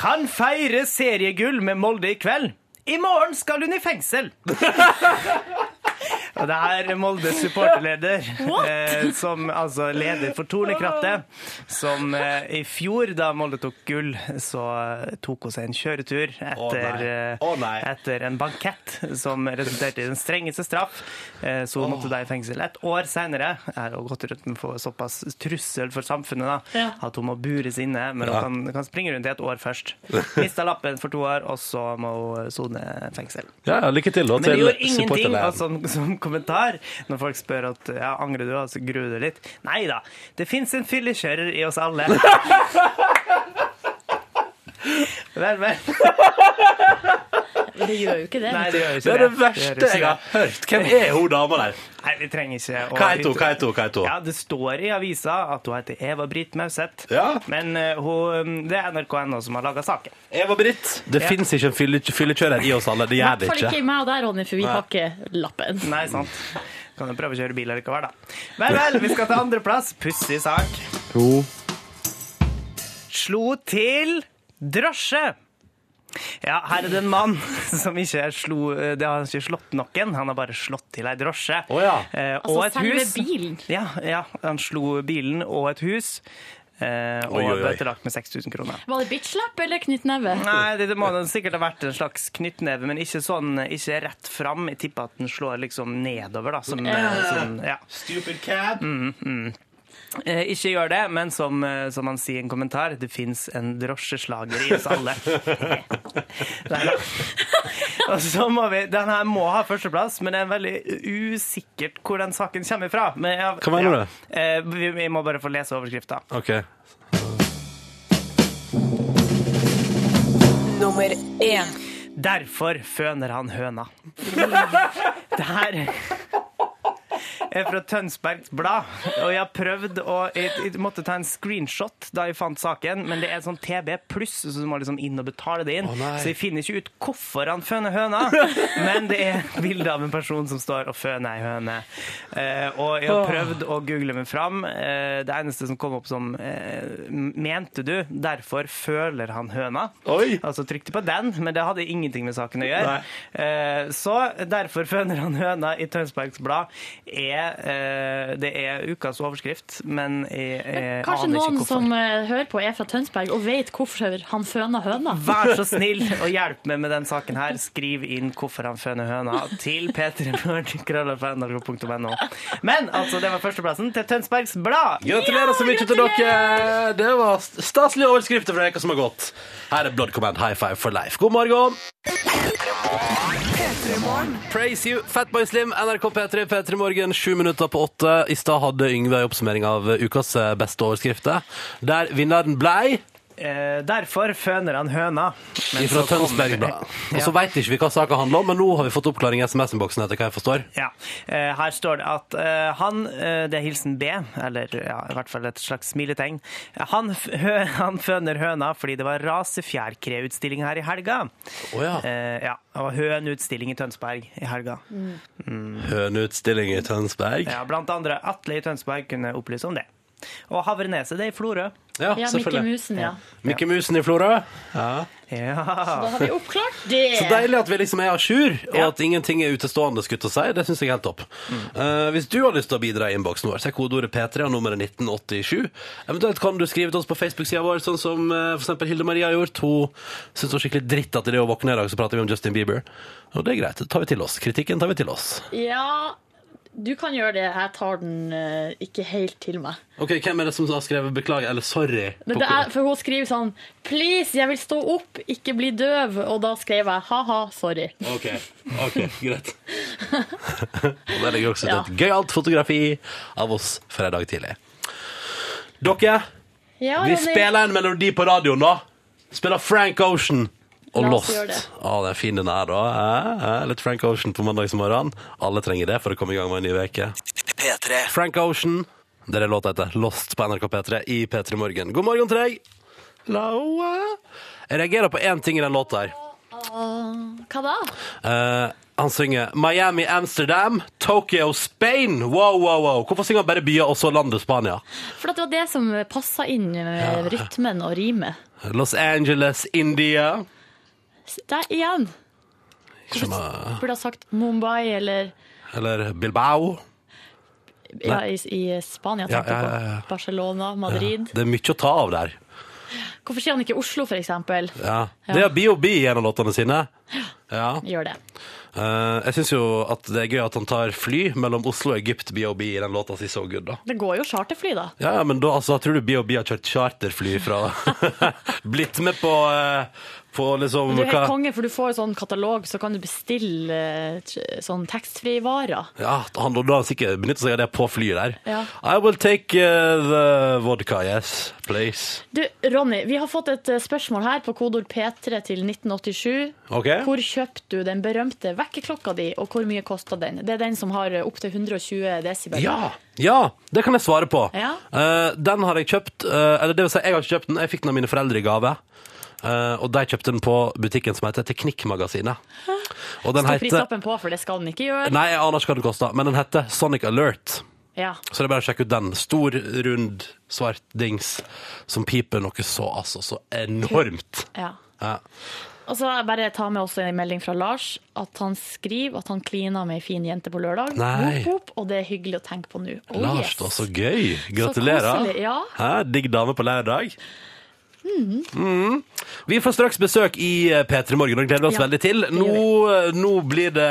[SPEAKER 2] Kan feire seriegull med Molde i kveld. I morgen skal hun i fengsel. Og det her er Moldes supporterleder, eh, som altså leder for Tornekrattet, som eh, i fjor, da Molde tok gull, så eh, tok hun seg en kjøretur etter,
[SPEAKER 1] nei.
[SPEAKER 2] eh,
[SPEAKER 1] Å, nei.
[SPEAKER 2] etter en bankett som resulterte i den strengeste straff. Eh, så hun måtte da i fengsel. Et år senere er hun gått rundt med for såpass trussel for samfunnet da,
[SPEAKER 3] Ja.
[SPEAKER 2] at hun må bures inne, men
[SPEAKER 1] Ja.
[SPEAKER 2] hun kan, kan springe rundt i et år først. Mista lappen for to år, og så må hun sone fengsel.
[SPEAKER 1] Ja, ja, lykke til, da.
[SPEAKER 2] Men det
[SPEAKER 1] til
[SPEAKER 2] gjorde ingenting
[SPEAKER 1] supporterleiren.
[SPEAKER 2] altså, som, som kommentar når folk spør at ja, angrer du, altså gruer du deg litt. Nei da. Det fins en fyllekjører i oss alle. Vel, vel.
[SPEAKER 3] Det gjør jo ikke det.
[SPEAKER 2] Nei, det gjør
[SPEAKER 1] Det
[SPEAKER 2] jo ikke
[SPEAKER 1] er
[SPEAKER 2] det.
[SPEAKER 1] det verste jeg har hørt. Hvem er hun dama der?
[SPEAKER 2] Nei, vi trenger ikke å
[SPEAKER 1] Hva heter hun? Hva heter hun? Hva heter hun?
[SPEAKER 2] Ja, Det står i avisa at hun heter Eva-Britt Mauseth.
[SPEAKER 1] Ja.
[SPEAKER 2] Men eh, hun, det er NRK.no som har laga saken.
[SPEAKER 1] Eva-Britt. Det
[SPEAKER 2] Ja.
[SPEAKER 1] fins ikke en fylle- fyllekjører i oss alle. Det
[SPEAKER 3] I
[SPEAKER 1] gjør
[SPEAKER 3] hvert
[SPEAKER 1] det
[SPEAKER 3] fall ikke
[SPEAKER 1] ikke.
[SPEAKER 3] i meg og deg, Ronny, for vi
[SPEAKER 1] Nei.
[SPEAKER 3] har ikke lappen.
[SPEAKER 2] Nei, sant. Kan jo prøve å kjøre bil likevel, da. Vel, vel, vi skal til andreplass. Pussig sak. Slo til drosje. Ja, her er det en mann som ikke er slo Det har han ikke slått noen, han har bare slått til ei drosje.
[SPEAKER 1] Å ja.
[SPEAKER 2] Eh,
[SPEAKER 3] Altså
[SPEAKER 2] og et
[SPEAKER 3] selve
[SPEAKER 2] hus.
[SPEAKER 3] bilen.
[SPEAKER 2] Ja, ja, han slo bilen og et hus. Eh,
[SPEAKER 1] Oi, oi, oi.
[SPEAKER 2] og bøtelagt med 6000 kroner.
[SPEAKER 3] Var det bitchlap eller knyttneve?
[SPEAKER 2] Nei, det, det må da sikkert ha vært en slags knyttneve, men ikke sånn, ikke rett fram. Jeg tipper at den slår liksom nedover, da. Som, eh, sånn, ja. Mm,
[SPEAKER 1] Stupid cab.
[SPEAKER 2] eh, ikke gjør det, men som, eh, som han sier i en kommentar, det fins en drosjeslager i oss alle. Nei da. Og så må vi, Den her må ha førsteplass, men det er veldig usikkert hvor den saken kommer fra. Men jeg,
[SPEAKER 1] Hva mener du?
[SPEAKER 2] Eh, vi, vi må bare få lese overskrifta.
[SPEAKER 1] OK.
[SPEAKER 8] Nummer én.
[SPEAKER 2] Derfor føner han høna. Det her er fra Tønsbergs Blad, og jeg har prøvd å jeg, jeg måtte ta en screenshot da jeg fant saken, men det er sånn TB pluss, så du må liksom inn og betale det inn.
[SPEAKER 1] nei.
[SPEAKER 2] så jeg finner ikke ut hvorfor han føner høna, men det er bilde av en person som står og føner ei høne. Eh, og jeg har prøvd å google meg fram. Eh, det eneste som kom opp som eh, Mente du, derfor føler han høna?
[SPEAKER 1] Oi.
[SPEAKER 2] Altså trykte på den, men det hadde ingenting med saken å gjøre.
[SPEAKER 1] Nei.
[SPEAKER 2] Eh, så derfor føner han høna i Tønsbergs Blad er eh, Det er ukas overskrift, men jeg, jeg
[SPEAKER 3] Kanskje
[SPEAKER 2] aner
[SPEAKER 3] noen
[SPEAKER 2] ikke
[SPEAKER 3] som
[SPEAKER 2] hvorfor.
[SPEAKER 3] eh, hører på, er fra Tønsberg og vet hvorfor han føna høna.
[SPEAKER 2] Vær så snill og hjelp meg med den saken her. Skriv inn hvorfor han føner høna til p3morgen.nrk.no. Men altså, det var førsteplassen til Tønsbergs Blad.
[SPEAKER 1] Gratulerer så mye til dere! Det var st- staselige overskrifter fra veka som har gått. Her er Blood Command High Five for Life. God morgen! Praise you, Fatboy Slim, NRK P3, P3 Morgen, sju minutter på åtte. I stad hadde Yngve en oppsummering av ukas eh, beste overskrifter, der vinneren blei
[SPEAKER 2] Eh, derfor føner han høna. Men
[SPEAKER 1] Fra
[SPEAKER 2] så kom-
[SPEAKER 1] Tønsberg Blad. Og så veit ikke vi hva saka handler om, men nå har vi fått oppklaring i SMS-innboksen, etter hva jeg forstår.
[SPEAKER 2] Ja. eh, Her står det at eh, han eh, Det er hilsen B, eller ja, i hvert fall et slags smiletegn. Han, f- hø, han føner høna fordi det var rasefjærkreutstilling her i helga.
[SPEAKER 1] Å ja.
[SPEAKER 2] Eh, ja, Og høneutstilling i Tønsberg i helga.
[SPEAKER 1] Høneutstilling i Tønsberg.
[SPEAKER 2] Ja, blant andre Atle i Tønsberg kunne opplyse om det. Og Havreneset, det er i Florø.
[SPEAKER 1] Ja,
[SPEAKER 3] Ja, Mikke
[SPEAKER 1] selvfølgelig.
[SPEAKER 3] Musen, ja.
[SPEAKER 1] Mikke Musen i Florø.
[SPEAKER 2] Ja.
[SPEAKER 3] Da har vi oppklart det.
[SPEAKER 1] Så deilig at vi liksom er à jour, og
[SPEAKER 2] Ja.
[SPEAKER 1] at ingenting er utestående. skutt å si. Det syns jeg er helt topp. Eh, hvis du har lyst til å bidra i innboksen vår, så er kodeordet P3 og nummeret 1987. Eventuelt kan du skrive til oss på Facebook-sida vår, sånn som eh, for eksempel Hilde Maria har gjort. Hun syns det var skikkelig dritt at i det å våkne i dag, så prater vi om Justin Bieber. Og det er greit. Det tar vi til oss. Kritikken tar vi til oss.
[SPEAKER 3] Ja,
[SPEAKER 5] Du kan gjøre det, jeg tar den eh, ikke helt til meg.
[SPEAKER 1] Ok, Hvem er det som har skrevet 'beklager' eller 'sorry'?
[SPEAKER 5] Men
[SPEAKER 1] på
[SPEAKER 5] det er,
[SPEAKER 1] kor-
[SPEAKER 5] for hun skriver sånn Please, jeg vil stå opp, ikke bli døv. Og da skrev jeg ha-ha, sorry.
[SPEAKER 1] Ok, ok, greit. Og der ligger også
[SPEAKER 5] Ja.
[SPEAKER 1] et gøyalt fotografi av oss fredag tidlig. Dere,
[SPEAKER 5] Ja,
[SPEAKER 1] vi
[SPEAKER 5] Ah, Ronny.
[SPEAKER 1] spiller en melodi på radioen, da. Spiller Frank Ocean og
[SPEAKER 5] La oss
[SPEAKER 1] Lost.
[SPEAKER 5] gjøre det.
[SPEAKER 1] Ja, den er fin den er, da. Eh, eh, Litt Frank Ocean på mandagsmorgenen. Alle trenger det for å komme i gang med en ny uke.
[SPEAKER 10] P3.
[SPEAKER 1] Frank Ocean. Det er det låta heter. Lost på NRK P3 i P3 Morgen. God morgen til deg. Laua. Jeg reagerer på én ting i den låta her.
[SPEAKER 5] Hva da?
[SPEAKER 1] Eh, han synger Miami, Amsterdam, Tokyo, Spain. Wow, wow, wow. Hvorfor synger han bare byer og så landet Spania?
[SPEAKER 5] For at det var det som passa inn med rytmen og rimet.
[SPEAKER 1] Los Angeles, India.
[SPEAKER 5] Der igjen.
[SPEAKER 1] Skjønner,
[SPEAKER 5] Burde ha sagt Mumbai eller
[SPEAKER 1] Eller Bilbao.
[SPEAKER 5] ja, i, i Spania,
[SPEAKER 1] Ja,
[SPEAKER 5] tenkte jeg
[SPEAKER 1] ja, ja, ja.
[SPEAKER 5] på. Barcelona, Madrid.
[SPEAKER 1] Det er mye å ta av der.
[SPEAKER 5] Hvorfor sier han ikke Oslo, for eksempel?
[SPEAKER 1] Ja. Det er BOB i en av låtene sine. Ja.
[SPEAKER 5] Gjør det.
[SPEAKER 1] Eh, jeg syns jo at det er gøy at han tar fly mellom Oslo og Egypt, BOB, i den låta si So Good, da.
[SPEAKER 5] Det går jo charterfly, da.
[SPEAKER 1] Ja, ja, men da altså, tror du BOB har kjørt charterfly fra Blitt med på, eh, på liksom
[SPEAKER 5] Du er helt
[SPEAKER 1] hva-
[SPEAKER 5] konge, for du får jo sånn katalog, så kan du bestille eh, t- sånn taxfree-varer.
[SPEAKER 1] Ja, han da har han sikkert benyttet seg av det på flyet der.
[SPEAKER 5] Ja.
[SPEAKER 1] I will take uh, the vodka, yes, please.
[SPEAKER 5] Du, Ronny, vi har fått et eh, spørsmål her på kodord P3 til 1987.
[SPEAKER 1] Ok?
[SPEAKER 5] Hvor kjøpte du den berømte vekkerklokka di, og hvor mye kosta den? Det er den som har eh, opptil 120 desibel.
[SPEAKER 1] Ja, ja, det kan jeg svare på.
[SPEAKER 5] Ja.
[SPEAKER 1] Eh, den har jeg kjøpt, eh, eller det vil si, jeg har ikke kjøpt den, jeg fikk den av mine foreldre i gave. Eh, og de kjøpte den på butikken som heter Teknikkmagasinet. Og den
[SPEAKER 5] Står
[SPEAKER 1] heter...
[SPEAKER 5] prislappen på, for det skal den ikke gjøre.
[SPEAKER 1] Nei, jeg aner ikke hva den kostet, men den heter Sonic Alert.
[SPEAKER 5] Ja.
[SPEAKER 1] Så det er bare å sjekke ut den. Stor, rund, svart dings som piper noe så, altså, så enormt.
[SPEAKER 5] ja.
[SPEAKER 1] Ja.
[SPEAKER 5] Og så bare ta med også en melding fra Lars at han skriver at han klina med ei fin jente på lørdag.
[SPEAKER 1] Nei.
[SPEAKER 5] Whoop, whoop, og det er hyggelig å tenke på nå. Oh,
[SPEAKER 1] Lars,
[SPEAKER 5] yes.
[SPEAKER 1] da, så gøy! Gratulerer.
[SPEAKER 5] koselig, ja. Mm-hmm.
[SPEAKER 1] Hæ? Digg dame på lørdag. Mm. Vi får straks besøk i eh, P3 Morgen og gleder oss
[SPEAKER 5] Ja,
[SPEAKER 1] veldig til. Nå, eh, nå blir det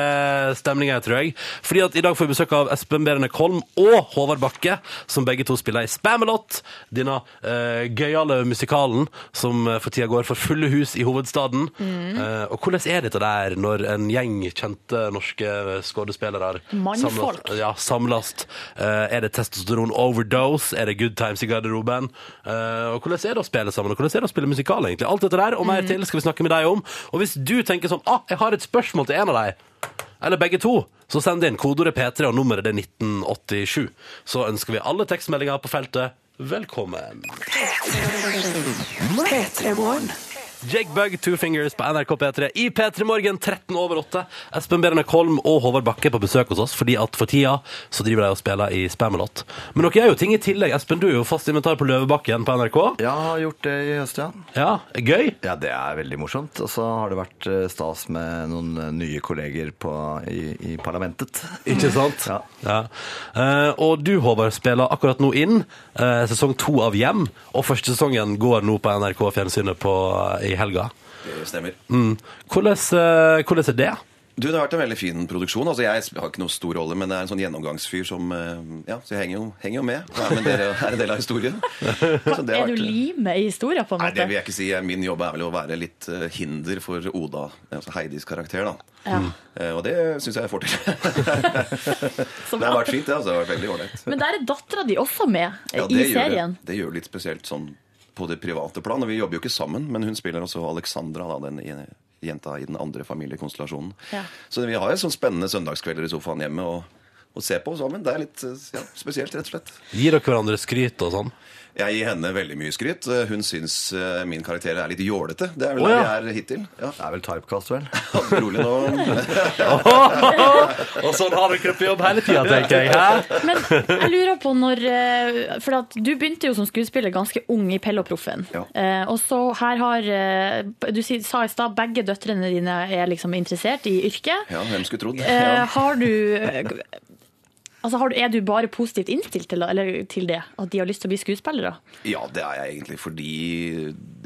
[SPEAKER 1] stemning her, tror jeg. Fordi at I dag får vi besøk av Espen Berenek Holm og Håvard Bakke, som begge to spiller i Spamalot. Denne uh, gøyale musikalen som eh, for tida går for fulle hus i hovedstaden.
[SPEAKER 5] Mm.
[SPEAKER 1] Eh, og hvordan er dette der, når en gjeng kjente norske eh, skuespillere
[SPEAKER 5] Mannfolk.
[SPEAKER 1] samles- ja, samlast. Eh, er det testosteron overdose? Er det good times i garderoben? Eh, og hvordan er det å spille sammen? Og hvordan er det å spille musikal, egentlig? Alt dette der og mer til skal vi snakke med deg om. Og hvis du tenker sånn ah, jeg har et spørsmål til en av deg, eller begge to, så send inn kodeordet P3 og nummeret det er 1987. Så ønsker vi alle tekstmeldinger på feltet velkommen. Jake Bug, Two Fingers på NRK P3 i P3 Morgen 13 over 8. Espen Berenek Holm og Håvard Bakke er på besøk hos oss, fordi at for tida så driver de og spiller i Spamalot. Men dere gjør jo ting i tillegg. Espen, du er jo fast inventar på Løvebakken på NRK.
[SPEAKER 11] Ja, har gjort det i høst, ja.
[SPEAKER 1] Ja, gøy.
[SPEAKER 11] Ja, det er veldig morsomt. Og så har det vært eh, stas med noen eh, nye kolleger på, i, i parlamentet.
[SPEAKER 1] Ikke sant?
[SPEAKER 11] Ja.
[SPEAKER 1] Ja. Eh, og du, Håvard, spiller akkurat nå inn eh, sesong to av Hjem, og første sesongen går nå på NRK Fjernsynet på, eh, i helga.
[SPEAKER 12] Det stemmer.
[SPEAKER 1] Mm. Hvordan, eh, hvordan er det?
[SPEAKER 12] Du, Det har vært en veldig fin produksjon. Altså, Jeg har ikke noe stor rolle, men det er en sånn gjennomgangsfyr som eh, Ja, så jeg henger jo, henger jo med. Ja, men dere er en del av historien. Så det
[SPEAKER 5] Er
[SPEAKER 12] har
[SPEAKER 5] du
[SPEAKER 12] vært-
[SPEAKER 5] limet i historien, på en
[SPEAKER 12] Nei, det
[SPEAKER 5] måte?
[SPEAKER 12] vil jeg ikke si. Min jobb er vel å være litt eh, hinder for Oda, altså Heidis karakter, da.
[SPEAKER 5] Ja.
[SPEAKER 12] Eh, Og det syns jeg jeg får til.
[SPEAKER 5] Så
[SPEAKER 12] Det har
[SPEAKER 5] bra.
[SPEAKER 12] vært fint, det. altså. Det har vært veldig ålreit.
[SPEAKER 5] Men der er dattera di også med eh,
[SPEAKER 12] Ja,
[SPEAKER 5] i
[SPEAKER 12] det gjør det.
[SPEAKER 5] serien.
[SPEAKER 12] det gjør det litt spesielt sånn på det private plan. Og vi jobber jo ikke sammen, men hun spiller også Alexandra, da, den ene jenta i den andre familiekonstellasjonen.
[SPEAKER 5] Ja.
[SPEAKER 12] Så vi har jo sånne spennende søndagskvelder i sofaen hjemme og, og se på sammen. Det er litt eh, ja, spesielt, rett og slett.
[SPEAKER 1] Gir dere hverandre skryt og sånn?
[SPEAKER 12] Jeg gir henne veldig mye skryt. Hun syns eh, min karakter er litt jålete. Det er vel
[SPEAKER 1] Å,
[SPEAKER 12] der
[SPEAKER 1] ja.
[SPEAKER 12] vi er hittil. Ja,
[SPEAKER 11] Det er vel typecast, vel?
[SPEAKER 12] rolig nå.
[SPEAKER 1] Og sånn har dere på jobb hele tida, tenker jeg. Hæ?
[SPEAKER 5] Men jeg lurer på når eh, For at du begynte jo som skuespiller ganske ung i Pelle og Proffen.
[SPEAKER 12] Ja.
[SPEAKER 5] Eh, Og så her har eh, Du si- sa i stad begge døtrene dine er liksom interessert i yrket.
[SPEAKER 12] Ja, hvem skulle trodd?
[SPEAKER 5] Eh,
[SPEAKER 12] Ja.
[SPEAKER 5] Har du eh,
[SPEAKER 3] Altså, har du, er du bare positivt innstilt til, eller, til det? At de har lyst til å bli skuespillere?
[SPEAKER 12] Ja, det er jeg egentlig, fordi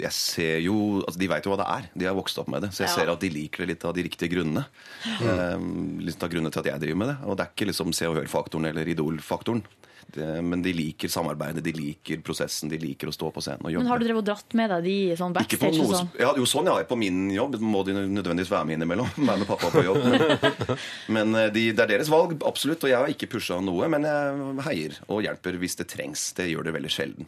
[SPEAKER 12] jeg ser jo altså De veit jo hva det er. De har vokst opp med det. Så jeg
[SPEAKER 3] Ja. Mm.
[SPEAKER 12] ser at de liker det litt av de riktige grunnene. Eh, litt av grunnene til at jeg driver med det. Og det er ikke liksom Se og Hør-faktoren eller Idol-faktoren. Det- Men de liker samarbeidet, de liker prosessen, de liker å stå på scenen og jobbe.
[SPEAKER 3] Men har du drevet og dratt med deg de sånn
[SPEAKER 12] Ikke på
[SPEAKER 3] backstage og
[SPEAKER 12] noe,
[SPEAKER 3] sånn?
[SPEAKER 12] ja, jo, sånn, ja. På min jobb må de nødvendigvis være med innimellom. Meg med pappa på jobb. Men, men eh, de, det er deres valg, absolutt. Og jeg har ikke pusha noe. Men jeg heier og hjelper hvis det trengs. Det gjør det veldig sjelden.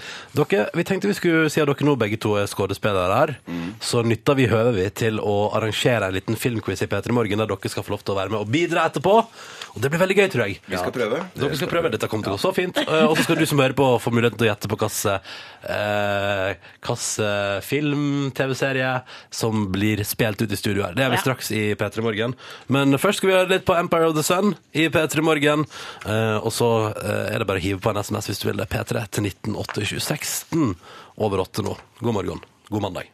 [SPEAKER 1] Dere, vi tenkte vi skulle, siden dere nå begge to er skuespillere her, så nytter vi høvet vi til å arrangere en liten filmquiz i P3 Morgen, der dere skal få lov til å være med og bidra etterpå. Og det blir veldig gøy, tror jeg.
[SPEAKER 12] Vi skal prøve.
[SPEAKER 1] Dere skal prøve. Dette kommer til å gå så fint. Eh, Og så skal du som hører på få muligheten til å gjette på hvilken eh, hvilken film, TV-serie, som blir spilt ut i studio her. Det er vi
[SPEAKER 3] Ja.
[SPEAKER 1] straks i P3 Morgen. Men først skal vi gjøre litt på Empire of the Sun i P3 Morgen. Eh, og så eh, er det bare å hive på en SMS hvis du vil. Det er P3 til 1987. 16 over 8 nå. God morgen. God mandag.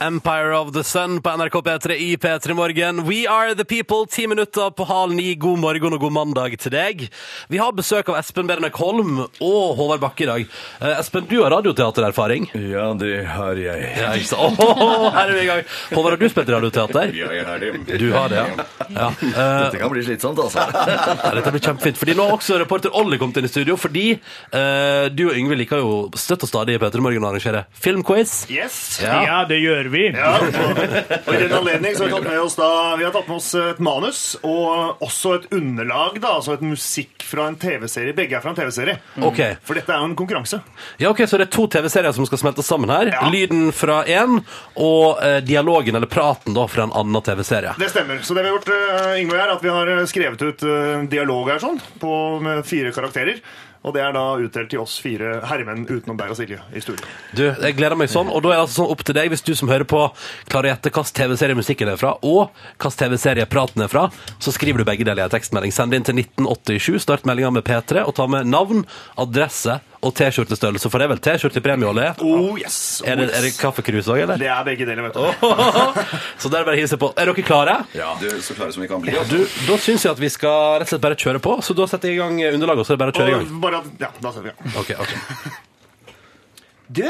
[SPEAKER 1] Empire of the Sun på NRK P3 i P3 Morgen. We are the people, ti minutter på halv ni. God morgen og god mandag til deg. Vi har besøk av Espen Bernek Holm og Håvard Bakke i dag. Eh, Espen, du har radioteatererfaring.
[SPEAKER 11] Ja, det har jeg.
[SPEAKER 1] Ja, ikke sant? Åh, her er vi i gang. Håvard, har du spilt radioteater?
[SPEAKER 12] Ja, jeg har det.
[SPEAKER 1] Du har det, ja. ja. eh,
[SPEAKER 11] Dette kan bli slitsomt, altså.
[SPEAKER 1] ja, dette blir kjempefint. Fordi Nå har også reporter Olli kommet inn i studio, fordi eh, du og Yngve liker jo støtt og stadig i P3 Morgen å arrangere filmquiz.
[SPEAKER 13] Yes.
[SPEAKER 1] Ja.
[SPEAKER 2] det gjør vi.
[SPEAKER 13] Ja, og, og i den anledning så har vi tatt med oss da Vi har tatt med oss eh, et manus og også et underlag, da, altså et musikk fra en TV-serie. Begge er fra en TV-serie.
[SPEAKER 11] Mm.
[SPEAKER 1] Ok.
[SPEAKER 13] For dette er jo en konkurranse.
[SPEAKER 1] Ja, ok, Så det er to TV-serier som skal smelte sammen her.
[SPEAKER 13] Ja.
[SPEAKER 1] Lyden fra én og eh, dialogen, eller praten, da, fra en annen TV-serie.
[SPEAKER 13] Det stemmer. Så det vi har gjort, eh, Yngve og jeg, er at vi har eh, skrevet ut eh, en dialog her sånn, på, med fire karakterer. Og det er da utdelt til oss fire herremenn utenom deg og Silje i studio.
[SPEAKER 1] Du, Jeg gleder meg sånn, og da er det altså sånn opp til deg, hvis du som hører på, klarer å gjette hvilken TV-serie musikken er fra, og hvilken TV-serie praten er fra, så skriver du begge deler i en tekstmelding. Send det inn til 1987, start meldinga med P3, og ta med navn, adresse og T-skjortestørrelse, for det er vel T-skjortepremie, Olli?
[SPEAKER 13] Oh, yes.
[SPEAKER 1] Er det, er det kaffekrus òg, eller?
[SPEAKER 13] det er begge deler, vet du.
[SPEAKER 1] så der er det bare å hive seg på. Er dere klare?
[SPEAKER 12] Ja, du, så klare som vi kan bli.
[SPEAKER 1] Du, da syns jeg at vi skal rett og slett bare kjøre på, så da setter jeg i gang underlaget, og så er det bare å kjøre i gang.
[SPEAKER 13] Og bare at, ja, da setter vi i gang.
[SPEAKER 1] Ok, ok.
[SPEAKER 13] Du,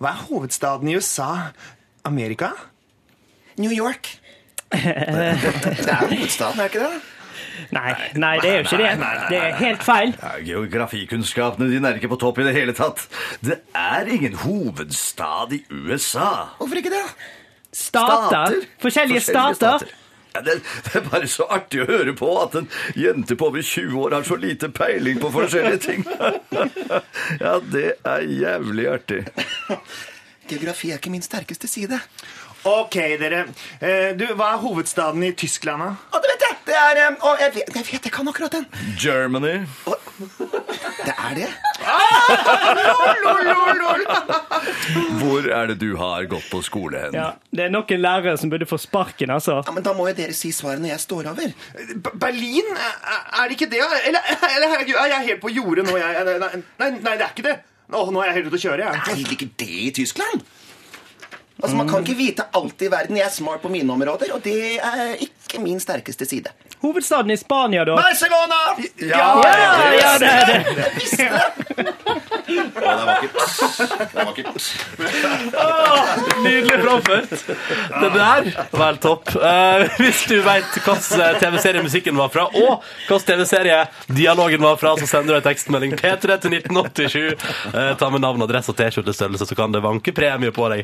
[SPEAKER 13] hva er hovedstaden i USA? Amerika?
[SPEAKER 12] New York. det er jo hovedstaden, er ikke det?
[SPEAKER 2] Nei, nei, det er jo ikke det. Det er helt feil.
[SPEAKER 11] Ja, Geografikunnskapene dine er ikke på topp i det hele tatt. Det er ingen hovedstad i USA.
[SPEAKER 12] Hvorfor ikke det?
[SPEAKER 2] Stater. Forskjellige stater.
[SPEAKER 11] Ja, det, det er bare så artig å høre på at en jente på over 20 år har så lite peiling på forskjellige ting. Ja, det er jævlig artig.
[SPEAKER 12] Geografi er ikke min sterkeste side.
[SPEAKER 13] Ok, dere. Eh, du, hva er hovedstaden i Tyskland, da?
[SPEAKER 12] Å, det vet jeg! Det er um, å, jeg, vet, jeg vet, jeg kan akkurat den.
[SPEAKER 11] Germany.
[SPEAKER 12] Det er det.
[SPEAKER 13] Ah!
[SPEAKER 11] Hvor er det du har gått på skole hen?
[SPEAKER 2] Ja, det er noen lærere som burde få sparken, altså.
[SPEAKER 12] Ja, men da må jo dere si svaret når jeg står over.
[SPEAKER 13] B Berlin? Er er det ikke det? Eller, eller herregud, er jeg helt på jordet nå? Jeg, nei, nei, nei, nei, det er ikke det. Nå, nå er jeg helt ute å kjøre, jeg.
[SPEAKER 12] Er det ikke det i Tyskland? Altså, Man kan ikke vite alt i verden. Jeg er smart på mine områder, og det er ikke min sterkeste side.
[SPEAKER 2] Hovedstaden i Spania, da?
[SPEAKER 13] Barcelona!
[SPEAKER 11] Ja,
[SPEAKER 2] Ja, ja, det er det.
[SPEAKER 12] Det er vakkert. Det er vakkert.
[SPEAKER 1] Nydelig framført. Det der var helt topp. Eh, hvis du veit hvilken TV-serie musikken var fra, og hvilken TV-serie dialogen var fra, så sender du en tekstmelding P3 til 1987. Eh, ta med navn, adresse og T-skjortestørrelse, så kan det vanke premie på deg.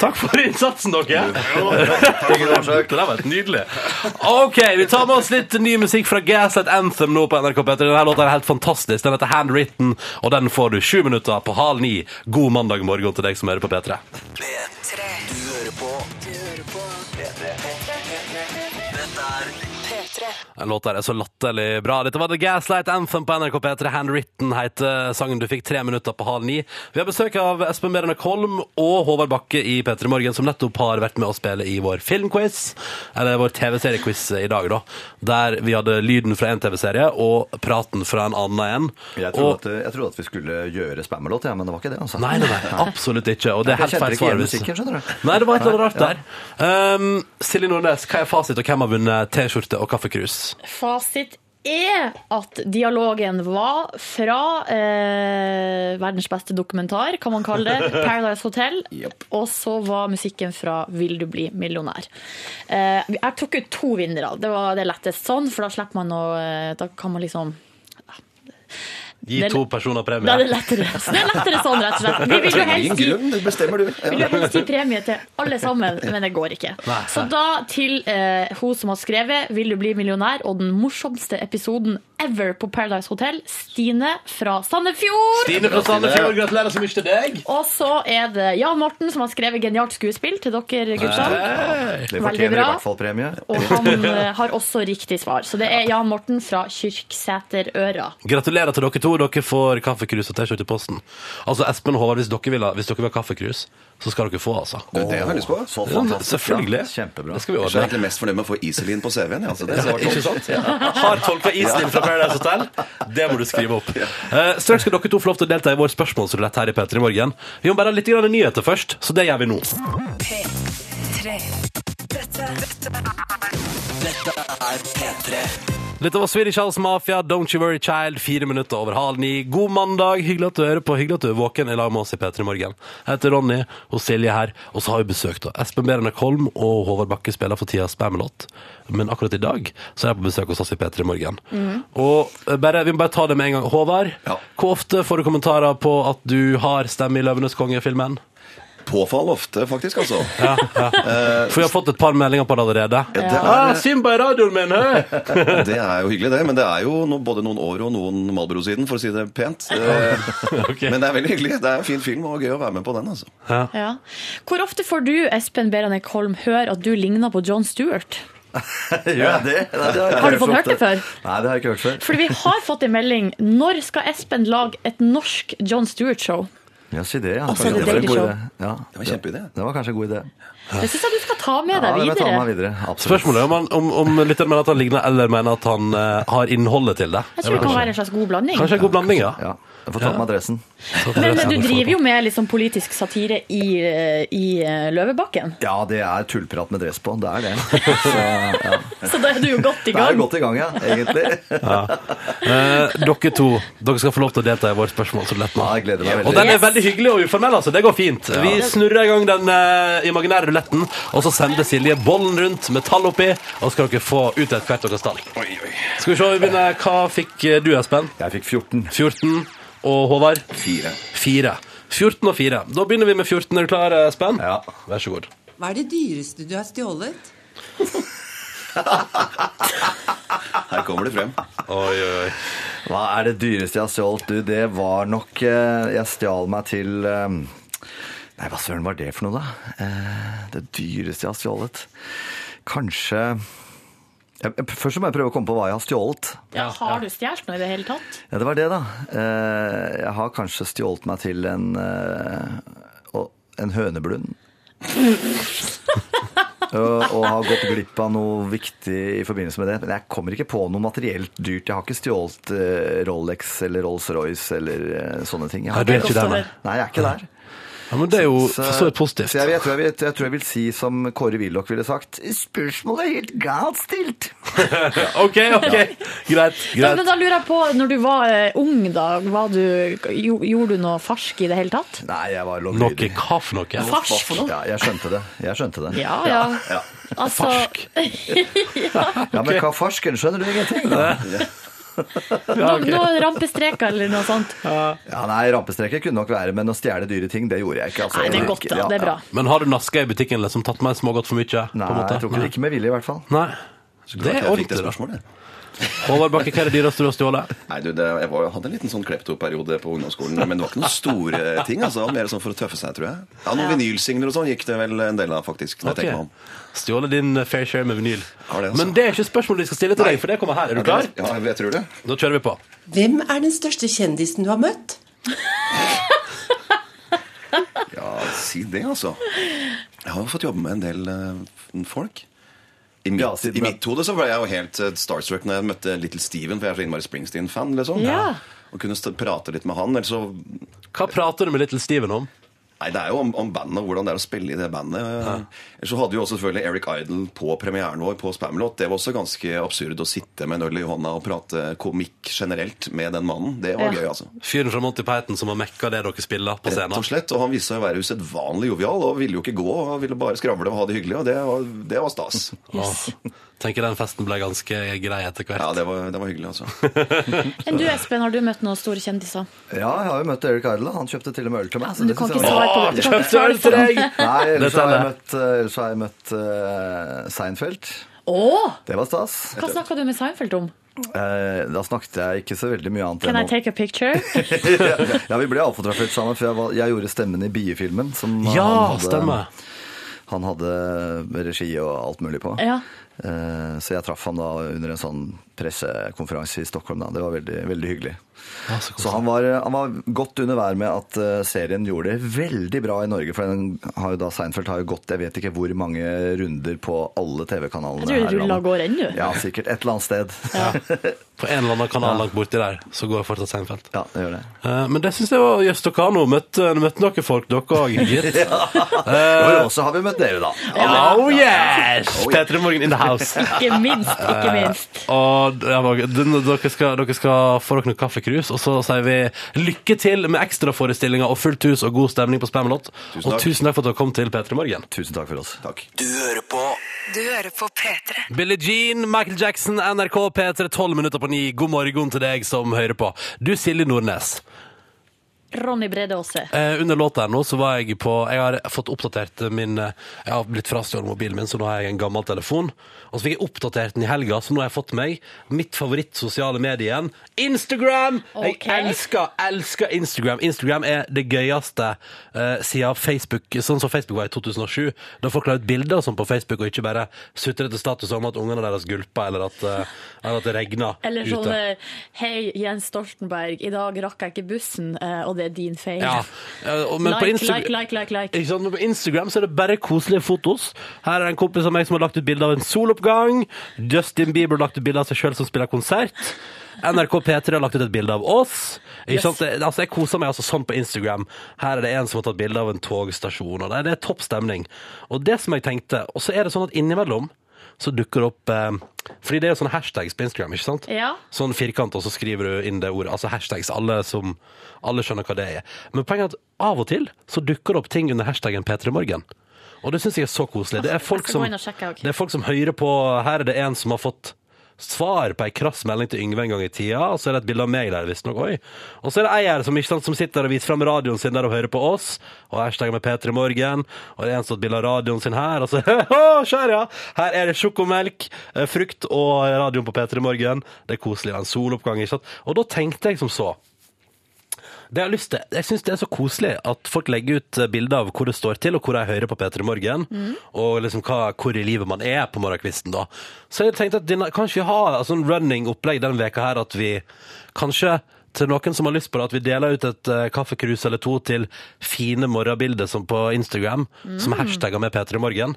[SPEAKER 1] Takk for innsatsen, dere. Det der var helt nydelig. OK, vi tar med oss litt ny musikk fra Gaslight Anthem nå på NRK P3. Denne låta er helt fantastisk. Den heter Handwritten, og den får du sju minutter på halv ni. God mandag morgen til deg som hører på P3.
[SPEAKER 8] P3.
[SPEAKER 4] Du hører på Du hører på P3. Dette er
[SPEAKER 8] P3.
[SPEAKER 1] Den låta er så latterlig bra. Dette var The Gaslight Anthem på NRK P3. Handwritten heter sangen du fikk tre minutter på halv ni. Vi har besøk av Espen Berenek Holm og Håvard Bakke i P3 Morgen, som nettopp har vært med å spille i vår filmquiz, eller vår TV-seriequiz i dag, da. Der vi hadde lyden fra en TV-serie og praten fra en annen en.
[SPEAKER 11] Jeg trodde, at, jeg trodde at vi skulle gjøre spammerlåt, ja, men det var ikke det. altså.
[SPEAKER 1] Nei, nei, nei, absolutt ikke. Og det er
[SPEAKER 11] Jeg
[SPEAKER 1] helt
[SPEAKER 11] kjente
[SPEAKER 1] feil
[SPEAKER 11] ikke
[SPEAKER 1] svar.
[SPEAKER 11] igjen
[SPEAKER 1] hvis-
[SPEAKER 11] musikken, skjønner du.
[SPEAKER 1] Nei, det var et eller annet rart der. Um, Silje Nordnes, hva er fasit, og hvem har vunnet T-skjorte og kaffekrus?
[SPEAKER 5] Fasit er at dialogen var fra eh, verdens beste dokumentar, kan man kalle det, Paradise Hotel, og så var musikken fra Vil du bli millionær. Eh, jeg tok ut to vinnere, det var det lettest sånn, for da slipper man å eh, Da kan man liksom
[SPEAKER 1] Gi
[SPEAKER 5] Det-
[SPEAKER 1] to personer premie.
[SPEAKER 5] Da er det lettere. Så det er lettere sånn, rett og slett. Vi vil jo
[SPEAKER 12] Ingen
[SPEAKER 5] helst gi
[SPEAKER 12] grunn, det bestemmer du.
[SPEAKER 5] vil jo helst gi premie til alle sammen, men det går ikke. Så da til eh, hun som har skrevet 'Vil du bli millionær?' og den morsomste episoden ever på Paradise Hotel, Stine fra Sandefjord.
[SPEAKER 1] Stine fra Sandefjord, gratulerer så mye til deg.
[SPEAKER 5] Og så er det Jan Morten som har skrevet 'Genialt skuespill' til dere gutta.
[SPEAKER 1] Eh.
[SPEAKER 5] Veldig
[SPEAKER 11] Det fortjener i
[SPEAKER 5] bra.
[SPEAKER 11] hvert fall premie.
[SPEAKER 5] Og han eh, har også riktig svar. Så det er Jan Morten fra Kyrksæterøra.
[SPEAKER 1] Gratulerer til dere to. Dere får kaffekrus og T-skjorte i posten. Altså, Espen og Håvard, hvis dere, vil ha, hvis dere vil ha kaffekrus, så skal dere få, altså.
[SPEAKER 12] Du, det har jeg lyst på.
[SPEAKER 11] Så
[SPEAKER 1] Ja, men
[SPEAKER 11] fantastisk.
[SPEAKER 1] selvfølgelig.
[SPEAKER 11] Ja, kjempebra.
[SPEAKER 1] Det skal vi
[SPEAKER 12] Jeg er
[SPEAKER 1] ordne.
[SPEAKER 12] egentlig mest fornøyd med å få Iselin på CV-en. ja, Altså, det
[SPEAKER 11] sånn.
[SPEAKER 12] var
[SPEAKER 1] Ikke sant? Har tolka isen din fra Paradise Hotel? Det må du skrive opp. Eh, straks skal dere to få lov til å delta i vår spørsmålsrulett her i P3 Morgen. Vi må bare ha litt grann nyheter først, så det gjør vi nå.
[SPEAKER 14] P3. Dette, dette er
[SPEAKER 1] Dette var Swedish House Mafia, Don't You Worry Child, fire minutter over halv ni. God mandag, hyggelig at du hører på, hyggelig at du er våken i lag med oss i P3 Morgen. Jeg heter Ronny, og Silje her, og så har vi besøk da. Espen Berenek Holm og Håvard Bakke spiller for tida Spamelot, men akkurat i dag så er jeg på besøk hos oss i P3 Morgen. Og eh, bare, vi må bare ta det med en gang. Håvard,
[SPEAKER 12] Ja.
[SPEAKER 1] hvor ofte får du kommentarer på at du har stemme i Løvenes konge-filmen?
[SPEAKER 12] påfall ofte, faktisk. altså.
[SPEAKER 1] For vi har fått et par meldinger på det allerede.
[SPEAKER 12] Ja, det er-
[SPEAKER 1] Ah, Simba i radioen min, høy!
[SPEAKER 12] Det er jo hyggelig, det. Men det er jo no, både noen år og noen Malbro-siden, for å si det pent. Eh, Men det er veldig hyggelig. Det er en fin film og gøy å være med på den. altså.
[SPEAKER 5] Ja. Hvor ofte får du, Espen Beranek Holm, høre at du ligner på John Stewart?
[SPEAKER 11] Gjør jeg det? Nei, det jeg ikke
[SPEAKER 5] Har du fått hørt det før?
[SPEAKER 11] Nei, det har jeg ikke hørt før.
[SPEAKER 5] Fordi vi har fått en melding. Når skal Espen lage et norsk John Stewart-show?
[SPEAKER 11] Ja, si det, ja.
[SPEAKER 5] Og så er Altså, det
[SPEAKER 11] Kanskje var en
[SPEAKER 5] Daily
[SPEAKER 11] god
[SPEAKER 5] Show.
[SPEAKER 11] idé. Ja,
[SPEAKER 12] Det var en kjempeidé.
[SPEAKER 11] Det var kanskje en god idé.
[SPEAKER 5] Det syns jeg du skal ta med
[SPEAKER 11] Ja,
[SPEAKER 5] deg
[SPEAKER 11] det må jeg ta
[SPEAKER 5] videre.
[SPEAKER 11] meg videre. Absolutt.
[SPEAKER 1] Spørsmålet er om, han, om, om lytteren mener at han ligner, eller mener at han eh, har innholdet til det.
[SPEAKER 5] Jeg tror det kan være en slags god blanding.
[SPEAKER 1] Kanskje en god blanding, ja.
[SPEAKER 11] Ja, jeg får ta med adressen.
[SPEAKER 5] Men du driver jo med liksom politisk satire i, eh, i eh, Løvebakken,
[SPEAKER 11] Ja, det er tullprat med dress på. Det er det. Så, ja.
[SPEAKER 5] så da er du jo godt i
[SPEAKER 11] Det er
[SPEAKER 5] gang.
[SPEAKER 11] godt i gang, ja, egentlig.
[SPEAKER 1] Eh, dere to dere skal få lov til å delta i vårt spørsmål. Så lett nå.
[SPEAKER 11] Ja, jeg gleder meg
[SPEAKER 1] Og
[SPEAKER 11] veldig.
[SPEAKER 1] den er
[SPEAKER 5] Yes.
[SPEAKER 1] veldig hyggelig og uformell, altså. Det går fint. Vi snurrer i gang den eh, imaginære ruletten, og så sender Silje bollen rundt med tall oppi, og så skal dere få utdelt hvert deres tall. Skal vi se, vi begynner. Hva fikk eh, du, Espen?
[SPEAKER 11] Jeg fikk 14.
[SPEAKER 1] 14. Og Håvard?
[SPEAKER 12] Fire.
[SPEAKER 1] 4. 14 og 4. Da begynner vi med 14. Er du klar, Espen?
[SPEAKER 11] Ja.
[SPEAKER 1] Vær så god.
[SPEAKER 6] Hva er det dyreste du har stjålet?
[SPEAKER 12] Her kommer det frem.
[SPEAKER 1] Oi, oi, oi.
[SPEAKER 11] Hva er det dyreste jeg har stjålet? Du, det var nok eh, Jeg stjal meg til eh, Nei, hva søren var det for noe, da? Eh, Det dyreste jeg har stjålet? Kanskje jeg, jeg- Først så må jeg prøve å komme på hva jeg har stjålet.
[SPEAKER 5] Ja, har du stjålet noe i det hele tatt?
[SPEAKER 11] Ja, det var det, da. Eh, Jeg har kanskje stjålet meg til en eh, å- en høneblund. og, og har gått glipp av noe viktig i forbindelse med det. Men jeg kommer ikke på noe materielt dyrt. Jeg har ikke stjålet eh, Rolex eller Rolls-Royce eller eh, sånne ting.
[SPEAKER 1] Nei,
[SPEAKER 11] Jeg har
[SPEAKER 1] du er ikke der, nei.
[SPEAKER 11] Nei, jeg er ikke der.
[SPEAKER 1] Ja, men det er jo for så vidt positivt.
[SPEAKER 11] Så jeg, jeg, tror jeg, vil- jeg tror jeg vil si som Kåre Willoch ville sagt Spørsmålet er helt galt stilt!
[SPEAKER 1] OK, ok. Greit.
[SPEAKER 5] Ja,
[SPEAKER 1] greit.
[SPEAKER 5] men da lurer jeg på, når du var eh, ung, da, var du, jo, gjorde du noe farsk i det hele tatt?
[SPEAKER 11] Nei, jeg var
[SPEAKER 1] Noe
[SPEAKER 11] lovlydig.
[SPEAKER 1] hva for noe?
[SPEAKER 5] Farsk?
[SPEAKER 11] Ja, jeg skjønte det. Jeg skjønte det.
[SPEAKER 5] Ja, ja.
[SPEAKER 11] ja.
[SPEAKER 5] Altså,
[SPEAKER 11] Ja, men hva farsken skjønner du ingenting? Da?
[SPEAKER 5] noen noe rampestreker eller noe sånt.
[SPEAKER 11] Ja, nei, rampestreker kunne nok være, men å stjele dyre ting, det gjorde jeg ikke. Altså.
[SPEAKER 5] Nei, det er godt, da.
[SPEAKER 11] Ja,
[SPEAKER 5] Det er bra.
[SPEAKER 11] ja.
[SPEAKER 1] Men har du naska i butikken liksom tatt med smågodt for mye? på en
[SPEAKER 11] Nei,
[SPEAKER 1] måte?
[SPEAKER 11] jeg tror ikke, ikke med vilje i hvert fall.
[SPEAKER 1] Nei. Det
[SPEAKER 12] Jeg
[SPEAKER 1] er
[SPEAKER 12] fikk
[SPEAKER 1] ordentlig,
[SPEAKER 12] det
[SPEAKER 1] da.
[SPEAKER 12] spørsmålet.
[SPEAKER 1] Håvard Bakke, hva er det dyreste du har stjålet?
[SPEAKER 12] Nei, du, det, jeg var, hadde en liten sånn kleptoperiode på ungdomsskolen, men det var ikke noen store ting. altså, Mer sånn for å tøffe seg, tror jeg. Ja, Noen vinylsingler og sånn gikk det vel en del av, faktisk. når jeg tenker meg om.
[SPEAKER 1] Stjålet din eh, fair share med vinyl.
[SPEAKER 12] Har det, altså.
[SPEAKER 1] Men det er ikke spørsmålet vi skal stille til deg, for det kommer her. Er du klar?
[SPEAKER 12] Ja, jeg tror det.
[SPEAKER 1] Da kjører vi på.
[SPEAKER 6] Hvem er den største kjendisen du har møtt?
[SPEAKER 12] Ja, si det, altså. Jeg har jo fått jobbe med en del eh, folk. I mitt,
[SPEAKER 11] Ja, siden
[SPEAKER 12] I
[SPEAKER 11] det-
[SPEAKER 12] mitt hode så var jeg jo helt eh, starstruck når jeg møtte Little Steven, for jeg er så innmari Springsteen-fan. liksom.
[SPEAKER 5] Ja.
[SPEAKER 12] Og kunne st prate litt med han. Eller så
[SPEAKER 1] Hva prater du med Little Steven om?
[SPEAKER 12] Nei, Det er jo om, om bandet og hvordan det er å spille i det bandet. Så hadde vi også selvfølgelig Eric Idle på premieren vår på Spamelot. Det var også ganske absurd å sitte med en øl i hånda og prate komikk generelt med den mannen. Det var
[SPEAKER 1] Ja.
[SPEAKER 12] gøy, altså.
[SPEAKER 1] Fyren fra Monty Python som har mekka det dere spiller på
[SPEAKER 12] Rett
[SPEAKER 1] scenen.
[SPEAKER 12] og slett. Og han viste seg å være usedvanlig jovial og ville jo ikke gå. og ville bare skravle og ha det hyggelig, og det var, det var stas.
[SPEAKER 1] Yes. Tenker den festen ble ganske grei etter hvert.
[SPEAKER 12] Ja, det var, det var hyggelig, altså.
[SPEAKER 3] Enn du, Espen, har du møtt noen store kjendiser?
[SPEAKER 11] Ja, jeg har jo møtt Eric Idle. Han kjøpte til og med øl til meg.
[SPEAKER 3] men Altså, du
[SPEAKER 11] det
[SPEAKER 3] kan
[SPEAKER 11] synes
[SPEAKER 3] ikke
[SPEAKER 11] jeg var-
[SPEAKER 3] svare på det. Du kan ikke svare på det.
[SPEAKER 11] Nei, ellers
[SPEAKER 1] Dette
[SPEAKER 11] har jeg
[SPEAKER 1] er
[SPEAKER 11] møtt, eh, ellers har jeg møtt eh, Seinfeld.
[SPEAKER 3] Åh!
[SPEAKER 11] Det var stas.
[SPEAKER 3] Hva snakka du med Seinfeld om?
[SPEAKER 11] Eh, da snakket jeg ikke så veldig mye annet
[SPEAKER 3] Can I
[SPEAKER 11] enn
[SPEAKER 3] take a picture?
[SPEAKER 11] om Ja, vi ble avfotografert sammen, for jeg, var, jeg gjorde stemmen i biefilmen. Som
[SPEAKER 1] Ja,
[SPEAKER 11] han hadde,
[SPEAKER 1] stemmer.
[SPEAKER 11] Han hadde regi og alt mulig på.
[SPEAKER 3] Ja.
[SPEAKER 11] Eh, Så jeg traff han da under en sånn pressekonferanse i Stockholm. Da. Det var veldig, veldig hyggelig.
[SPEAKER 1] så
[SPEAKER 11] så han var, han var godt under vær med at eh, serien gjorde det veldig bra i Norge. For den har jo da, Seinfeld har jo gått jeg vet ikke hvor mange runder på alle
[SPEAKER 3] Jeg
[SPEAKER 11] TV-kanalene.
[SPEAKER 3] tror det
[SPEAKER 11] her i
[SPEAKER 3] ruller
[SPEAKER 11] landet.
[SPEAKER 3] og går ennå.
[SPEAKER 11] Ja, sikkert. Et eller annet sted.
[SPEAKER 1] På en eller annen kanal langt borti der, så går fortsatt Seinfeld.
[SPEAKER 11] Ja, det gjør det.
[SPEAKER 1] Eh, Men det syns jeg var jøss, dere har nå møtt, eh, møtt noen folk, dere òg, gitt. Eh,
[SPEAKER 11] Og så har vi møtt dere, da.
[SPEAKER 1] Oh yes! P3 Morgen in the house.
[SPEAKER 3] Ikke minst, ikke minst.
[SPEAKER 1] Og ja, dere- dere, skal, dere skal få dere noen kaffekrus, og så sier vi lykke til med ekstraforestillinger og fullt hus og god stemning på Spamelot. Og
[SPEAKER 12] takk.
[SPEAKER 1] tusen takk for at dere kom til P3 Morgen.
[SPEAKER 11] Tusen takk for oss.
[SPEAKER 12] Takk.
[SPEAKER 4] Du hører på
[SPEAKER 8] Du hører på P3.
[SPEAKER 1] Billie Jean, Michael Jackson, NRK P3, 12 minutter på 9. God morgen til deg som hører på. Du, Silje Nordnes.
[SPEAKER 3] Ronny Brede Aase.
[SPEAKER 1] Eh, under låta her nå så var jeg på Jeg har fått oppdatert min eh, Jeg har blitt frastjålet mobilen min, så nå har jeg en gammel telefon. Og så fikk jeg oppdatert den i helga, så nå har jeg fått meg mitt favoritt sosiale medie igjen. Instagram!
[SPEAKER 3] Ok.
[SPEAKER 1] Jeg elsker, elsker Instagram. Instagram er det gøyeste eh, siden Facebook, sånn som Facebook var i 2007. Da folk la ut bilder og sånn på Facebook, og ikke bare sutrete status om at ungene deres gulper, eller at, eh, eller at det regner
[SPEAKER 3] Eller sånn
[SPEAKER 1] ute.
[SPEAKER 3] eh, Hei, Jens Stoltenberg, i dag rakk jeg ikke bussen, eh, og det er din feil.
[SPEAKER 1] Ja. eh, og- Men på
[SPEAKER 3] Like,
[SPEAKER 1] Insta-
[SPEAKER 3] like, like, like, like.
[SPEAKER 1] Ikke sant? Men På Instagram så er det bare koselige fotos. Her er en kompis av meg som har lagt ut bilde av en soloppgang. Justin Bieber har lagt ut bilde av seg sjøl som spiller konsert. NRK P3 har lagt ut et bilde av oss. Ikke
[SPEAKER 3] Yes.
[SPEAKER 1] sant? Det- Altså, jeg koser meg altså sånn på Instagram. Her er det en som har tatt bilde av en togstasjon. Og det er- det er topp stemning. Og det som jeg tenkte Og så er det sånn at innimellom så dukker det opp eh, Fordi det er jo sånne hashtags på Instagram, ikke sant?
[SPEAKER 3] Ja.
[SPEAKER 1] Sånn firkant, og så skriver du inn det ordet. Altså hashtags. Alle, som, alle skjønner hva det er. Men poenget er at av og til så dukker det opp ting under hashtaggen P3morgen. Og det syns jeg er så koselig. Det er, folk
[SPEAKER 3] skal
[SPEAKER 1] som,
[SPEAKER 3] gå inn og sjekke, ok.
[SPEAKER 1] det er folk som hører på Her er det en som har fått svar på ei krass melding til Yngve en gang i tida, og så er det et bilde av meg der, visstnok. Oi. Og så er det ei her som, ikke sant, som sitter og viser fram radioen sin der og hører på oss, og hashtagger med P3 Morgen, og det er en som har et bilde av radioen sin her, og så Å, skjær, ja! Her er det sjokomelk, eh, frukt og radioen på P3 Morgen. Det er koselig, det er en soloppgang, ikke sant. Og da tenkte jeg som så. Det jeg har lyst til. Jeg syns det er så koselig at folk legger ut eh, bilder av hvor det står til, og hvor de hører på P3 Morgen, og liksom hva, hvor i livet man er på morgenkvisten, da. Så jeg tenkte at denne, kanskje vi har altså, en running opplegg denne veka her, at vi kanskje til noen som har lyst på det, at vi deler ut et eh, kaffekrus eller to til fine morgenbilder som på Instagram, som er hashtagger med P3 Morgen.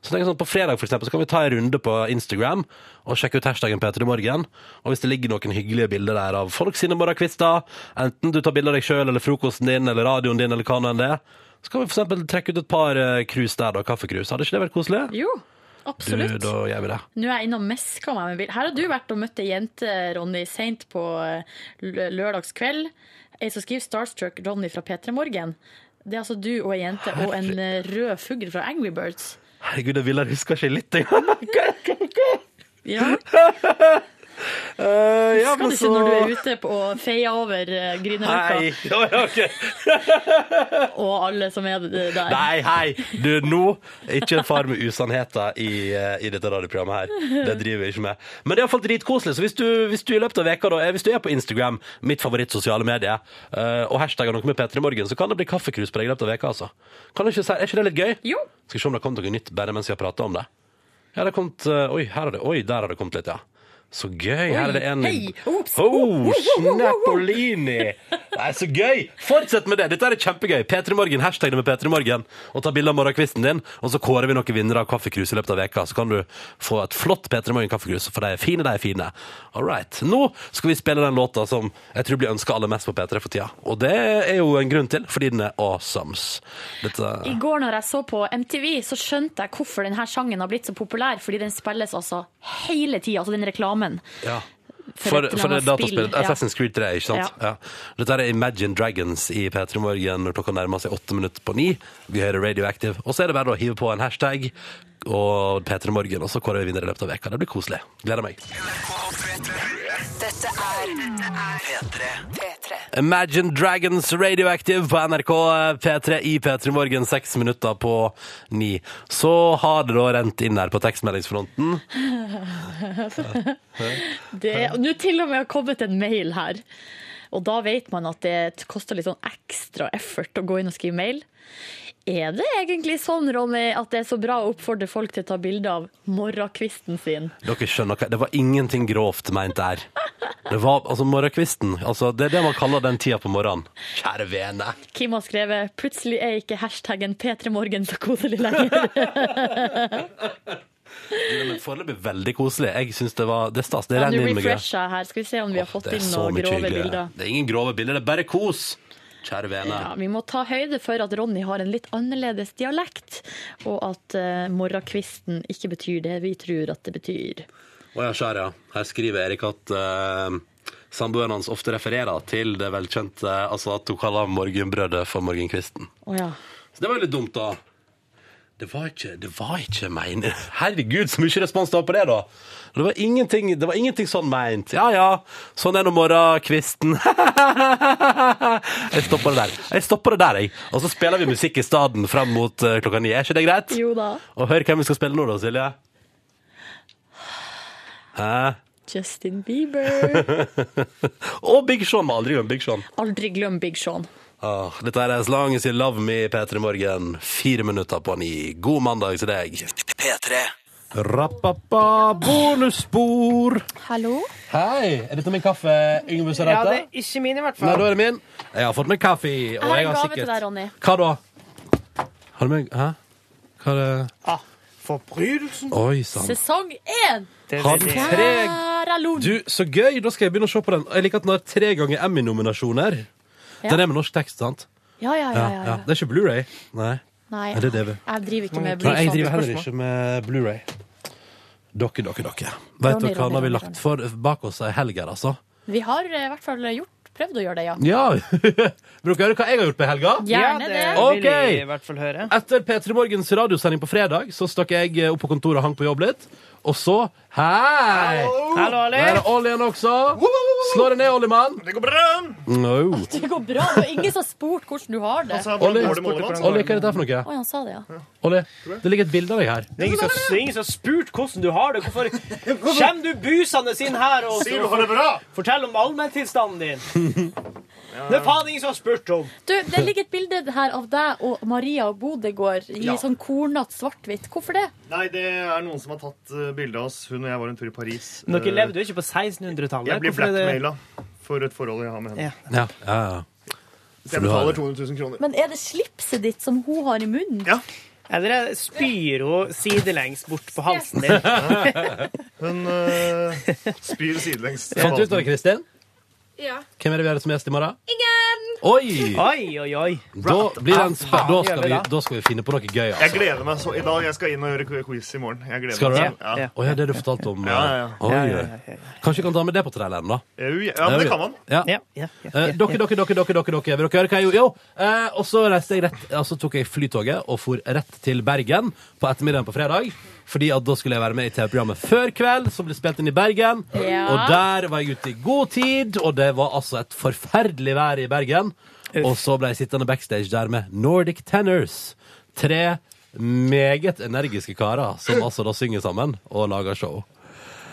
[SPEAKER 1] Så tenker jeg sånn, På fredag for eksempel, så kan vi ta en runde på Instagram og sjekke ut hashtaggen P3morgen. Og hvis det ligger noen hyggelige bilder der av folk sine morgenkvister, enten du tar bilde av deg sjøl eller frokosten din eller radioen din, eller hva nå enn det er, så kan vi for eksempel trekke ut et par eh, krus der, da, kaffekrus. Hadde ikke det vært koselig?
[SPEAKER 3] Jo, absolutt.
[SPEAKER 1] Du, da gjør vi det.
[SPEAKER 3] Nå er jeg inne og mesker meg med bil. Her har du vært og møtt ei jente, Ronny, seint på eh, lø- lørdagskveld. Ei som skriver 'Starstruck Ronny fra P3 Morgen'. Det er altså du og ei jente og en eh, rød fugl fra Angry Birds.
[SPEAKER 1] Herregud, jeg ville huska ikke litt engang.
[SPEAKER 3] Ja,
[SPEAKER 1] Uh, ja,
[SPEAKER 3] Skal du ikke når du er ute på, og feier over eh,
[SPEAKER 1] Hei.
[SPEAKER 3] Grünerløkka
[SPEAKER 1] Ja, ja, ok.
[SPEAKER 3] og alle som er eh, der?
[SPEAKER 1] Nei, hei! Du, nå Ikke far med usannheter i, eh, i dette radioprogrammet her. Det driver vi ikke med. Men det er iallfall dritkoselig. Så hvis du, hvis du i løpet av veka da, eh, hvis du er på Instagram, mitt favorittsosiale medie, eh, og hashtagger noe med P3 Morgen, så kan det bli kaffekrus på deg i løpet av veka, altså. Kan du ikke si, Er ikke det litt gøy?
[SPEAKER 3] Jo.
[SPEAKER 1] Skal vi se om det har kommet noe nytt bare mens vi har prata om det. Ja, det har kommet eh, Oi, her har det, oi der har det kommet litt, ja. Så gøy. Her er det en
[SPEAKER 3] hei, ops.
[SPEAKER 1] Oh, Snappolini! Nei, så gøy! Fortsett med det! Dette er kjempegøy. P3morgen, hashtag det med P3morgen. Og ta bilde av morgenkvisten din, og så kårer vi noen vinnere av kaffekrus i løpet av veka. Så kan du få et flott P3morgen-kaffekrus, for de er fine, de er fine. All right. Nå skal vi spille den låta som jeg tror blir ønska aller mest på P3 for tida. Og det er jo en grunn til, fordi den er awesomes. Dette
[SPEAKER 5] I går når jeg så på MTV, så skjønte jeg hvorfor denne sangen har blitt så populær. Fordi den spilles altså hele tida, altså den reklamen.
[SPEAKER 1] ja.
[SPEAKER 5] For
[SPEAKER 1] For,
[SPEAKER 5] et eller
[SPEAKER 1] for det
[SPEAKER 5] annet
[SPEAKER 1] dataspillet
[SPEAKER 5] spill, ja.
[SPEAKER 1] Assassin's Creed 3, ikke sant? Ja. Dette er Imagine Dragons i P3 Morgen når klokka nærmer seg åtte minutter på ni. Vi hører Radioactive. Og så er det bare å hive på en hashtag og P3 Morgen, og så kårer vi vinner i løpet av veka. Det blir koselig. Gleder meg.
[SPEAKER 6] Dette er P3. P3.
[SPEAKER 1] Imagine Dragons Radioactive på NRK P3 i P3 Morgen, seks minutter på ni. Så har det da rent inn her på tekstmeldingsfronten.
[SPEAKER 5] Det, nå til og med har kommet en mail her. Og da vet man at det koster litt sånn ekstra effort å gå inn og skrive mail. Er det egentlig sånn, Ronny, at det er så bra å oppfordre folk til å ta bilde av morgenkvisten sin?
[SPEAKER 1] Dere skjønner hva Det var ingenting grovt meint der. Det var altså morgenkvisten. Altså, det er det man kaller den tida på morgenen. Kjære vene.
[SPEAKER 5] Kim har skrevet 'Plutselig er ikke hashtaggen P3morgen så koselig lenger'.
[SPEAKER 1] Det er Foreløpig veldig koselig. Jeg synes det var Det er stas. Det
[SPEAKER 5] Ja,
[SPEAKER 1] renner
[SPEAKER 5] Nå
[SPEAKER 1] inn med greier.
[SPEAKER 5] refresher jeg her. Skal vi se om vi har fått
[SPEAKER 1] Det er
[SPEAKER 5] inn
[SPEAKER 1] så
[SPEAKER 5] noen
[SPEAKER 1] mye
[SPEAKER 5] grove
[SPEAKER 1] hyggeligere.
[SPEAKER 5] bilder.
[SPEAKER 1] Det er ingen grove bilder, det er bare kos. Kjære vene.
[SPEAKER 5] Ja, vi må ta høyde for at Ronny har en litt annerledes dialekt, og at eh, morgenkvisten ikke betyr det vi tror at det betyr.
[SPEAKER 1] Å ja, kjære. ja. Her skriver Erik at eh, samboeren hans ofte refererer til det velkjente altså at hun kaller morgenbrødet for morgenkvisten.
[SPEAKER 5] Å ja.
[SPEAKER 1] Så det var jo litt dumt, da. Det var ikke Det var ikke meningen Herregud, så mye respons det var på det, da! Det var ingenting, det var ingenting sånn meint. Ja ja, sånn er nå morgenkvisten. jeg stopper det der, Jeg stopper det der, jeg. Og så spiller vi musikk i stedet fram mot eh, klokka ni. Er ikke det greit?
[SPEAKER 5] Jo da.
[SPEAKER 1] Og hør hvem vi skal spille nå, da, Silje. Hæ?
[SPEAKER 5] Justin Bieber.
[SPEAKER 1] Og Big Sean. Må aldri glemme Big Sean.
[SPEAKER 5] Aldri glem Big Sean.
[SPEAKER 1] Ah, dette er As Long As You Love Me, P3 Morgen. Fire minutter på ni. God mandag til deg.
[SPEAKER 6] P3.
[SPEAKER 1] Rappappa, bonusspor.
[SPEAKER 2] Hallo?
[SPEAKER 1] Hei, er dette min kaffe, Yngve
[SPEAKER 2] Ja,
[SPEAKER 1] Sarata?
[SPEAKER 2] det er ikke min i hvert
[SPEAKER 1] Nei,
[SPEAKER 2] fall.
[SPEAKER 1] da er det min. Jeg har fått meg kaffe.
[SPEAKER 2] Jeg
[SPEAKER 1] Og
[SPEAKER 2] har en
[SPEAKER 1] jeg har
[SPEAKER 2] gave
[SPEAKER 1] sikkert...
[SPEAKER 2] til deg, Ronny.
[SPEAKER 1] Hva da? Har du meg Hæ? Hva er det
[SPEAKER 2] Ah, forbrytelsen.
[SPEAKER 1] Oi sann.
[SPEAKER 5] Sesong én!
[SPEAKER 1] Har den tre
[SPEAKER 5] Kjære Lord.
[SPEAKER 1] Du, så gøy! Da skal jeg begynne å se på den. Jeg liker at den har tre ganger Emmy-nominasjoner.
[SPEAKER 5] Ja.
[SPEAKER 1] Den er med norsk tekst, sant?
[SPEAKER 5] Ja, ja, ja. ja, ja.
[SPEAKER 1] Det er ikke Blu-ray. Nei.
[SPEAKER 5] Nei,
[SPEAKER 1] Er det DV?
[SPEAKER 5] jeg driver ikke med
[SPEAKER 1] Nei, jeg
[SPEAKER 5] Bluesoft.
[SPEAKER 1] driver heller ikke med Blu-ray. Dere, dere, dere.
[SPEAKER 5] Ronny,
[SPEAKER 1] Vet dere hva
[SPEAKER 5] Ronny,
[SPEAKER 1] nå har vi
[SPEAKER 5] Ronny,
[SPEAKER 1] lagt for bak oss ei helg her, altså?
[SPEAKER 5] Vi har eh, i hvert fall gjort, prøvd å gjøre det, ja.
[SPEAKER 1] Ja! Vil dere høre hva jeg har gjort på helga?
[SPEAKER 5] Gjerne det.
[SPEAKER 2] Ja, det vil jeg i
[SPEAKER 1] hvert fall høre. Etter P3 Morgens radiosending på fredag så stakk jeg eh, opp på kontoret og hang på jobb litt. Og så Hei!
[SPEAKER 2] Hallo, Ali.
[SPEAKER 1] Der er Olli igjen også. Slå deg ned, Ollimann.
[SPEAKER 13] Det går bra!
[SPEAKER 1] No.
[SPEAKER 5] Det går bra. Det var ingen som har spurt hvordan du har det.
[SPEAKER 1] Olli, Olli, hva er dette for noe?
[SPEAKER 5] Oi, han sa det, ja.
[SPEAKER 1] Olli, det ligger et bilde av deg her.
[SPEAKER 2] Det er ingen som, det er ingen som har spurt hvordan du har det. Hvorfor kommer du busende inn her og
[SPEAKER 13] Sier du har det bra?
[SPEAKER 2] forteller om allmenntilstanden din? Det er faen ingen som har spurt om.
[SPEAKER 5] Du, Det ligger et bilde her av deg og Maria og Bodegård i
[SPEAKER 13] Ja.
[SPEAKER 5] sånn kornete svart-hvitt. Hvorfor det?
[SPEAKER 13] Nei, det er noen som har tatt eh, bilde av oss. Hun og jeg var en tur i Paris.
[SPEAKER 2] Dere
[SPEAKER 13] Eh,
[SPEAKER 2] levde jo ikke på 1600-tallet.
[SPEAKER 13] Jeg blir
[SPEAKER 2] Hvorfor er det-
[SPEAKER 13] blackmaila for et forhold jeg har med henne.
[SPEAKER 1] Ja, ja, ja.
[SPEAKER 13] Så jeg betaler 200 000 kroner.
[SPEAKER 5] Men er det slipset ditt som hun har i munnen?
[SPEAKER 13] Ja.
[SPEAKER 2] Eller jeg spyr henne sidelengs bort på halsen din.
[SPEAKER 13] Hun eh, spyr sidelengs.
[SPEAKER 1] Fant du ut av det, Kristin?
[SPEAKER 15] Ja.
[SPEAKER 1] Hvem er det vi har som gjest i morgen?
[SPEAKER 15] Ingen!
[SPEAKER 1] Oi!
[SPEAKER 2] Oi, oi, oi.
[SPEAKER 1] Da, blir det en spe-
[SPEAKER 13] Faen,
[SPEAKER 1] da,
[SPEAKER 13] gjør
[SPEAKER 1] skal
[SPEAKER 13] vi
[SPEAKER 1] vi,
[SPEAKER 13] det.
[SPEAKER 1] da skal vi finne på noe gøy,
[SPEAKER 13] Jeg
[SPEAKER 1] altså.
[SPEAKER 13] gleder meg så i dag. Jeg skal inn og gjøre quiz i morgen. Jeg gleder
[SPEAKER 1] Skal du det?
[SPEAKER 13] meg sånn. Ja.
[SPEAKER 1] Å ja, det du fortalte om
[SPEAKER 13] Ja, ja, ja.
[SPEAKER 1] Oi,
[SPEAKER 13] Ja,
[SPEAKER 1] oi.
[SPEAKER 13] ja,
[SPEAKER 1] Kanskje vi kan ta med det på traileren, da?
[SPEAKER 13] Jo, ja, men det kan man.
[SPEAKER 1] Ja. Eh, dere, dere, dere, dere, dere, dere. Vil dere høre hva jeg gjorde? Jo, eh, og så reiste jeg rett, altså tok jeg flytoget og for rett til Bergen på ettermiddagen på fredag. Fordi at da skulle jeg være med i TV-programmet Før kveld, som ble spilt inn i Bergen.
[SPEAKER 2] Ja.
[SPEAKER 1] Og der var jeg ute i god tid, og det var altså et forferdelig vær i Bergen. Og så ble jeg sittende backstage der med Nordic Tenors. Tre meget energiske karer som altså da synger sammen og lager show.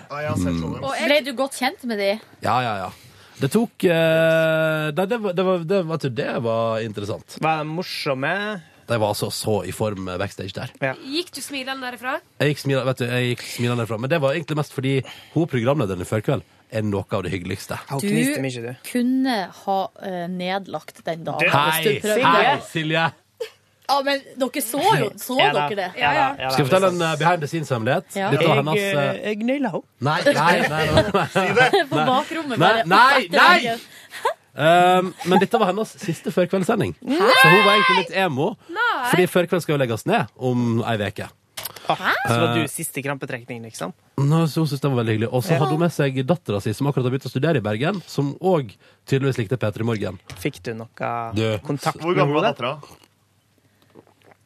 [SPEAKER 1] Mm.
[SPEAKER 5] Ble du godt kjent med de?
[SPEAKER 1] Ja, ja, ja. Det tok eh, Nei, det var, det, var, det, var, det var interessant.
[SPEAKER 2] Var de morsomme?
[SPEAKER 1] De var altså så i form eh, backstage der.
[SPEAKER 15] Gikk du smilende derifra?
[SPEAKER 1] Jeg gikk smilende, vet du, jeg gikk smilende derfra. Men det var egentlig mest fordi hun programlederen i Førkveld er noe av det hyggeligste.
[SPEAKER 5] Du kunne ha eh, nedlagt den dagen.
[SPEAKER 1] Hei,
[SPEAKER 5] hvis du prøvde.
[SPEAKER 1] hei, Silje!
[SPEAKER 5] Ja, men dere så jo så
[SPEAKER 1] Ja da,
[SPEAKER 5] dere det.
[SPEAKER 1] ja da, Skal jeg fortelle en eh, behind the scenes-hemmelighet?
[SPEAKER 5] Ja.
[SPEAKER 1] Dette var
[SPEAKER 5] Jeg,
[SPEAKER 1] hennes eh,
[SPEAKER 2] Jeg naila henne.
[SPEAKER 1] Nei, nei, nei. nei, nei.
[SPEAKER 5] På bakrommet
[SPEAKER 1] Nei,
[SPEAKER 5] bare.
[SPEAKER 1] nei,
[SPEAKER 5] opp etter
[SPEAKER 1] nei!
[SPEAKER 5] veggen.
[SPEAKER 1] Um, men dette var hennes siste førkveldssending. Så hun var egentlig litt emo.
[SPEAKER 16] Nei.
[SPEAKER 1] Fordi førkveld skal jo legges ned om ei uke.
[SPEAKER 16] Så var
[SPEAKER 1] Eh.
[SPEAKER 16] du siste krampetrekning, liksom?
[SPEAKER 1] Nå, så Hun syntes det var veldig hyggelig. Og så
[SPEAKER 16] Ja.
[SPEAKER 1] hadde hun med seg dattera si, som akkurat har begynt å studere i Bergen, som òg tydeligvis likte P3 Morgen.
[SPEAKER 16] Fikk du noe
[SPEAKER 1] Du.
[SPEAKER 16] kontakt
[SPEAKER 1] Hvor gammel var
[SPEAKER 16] dattera?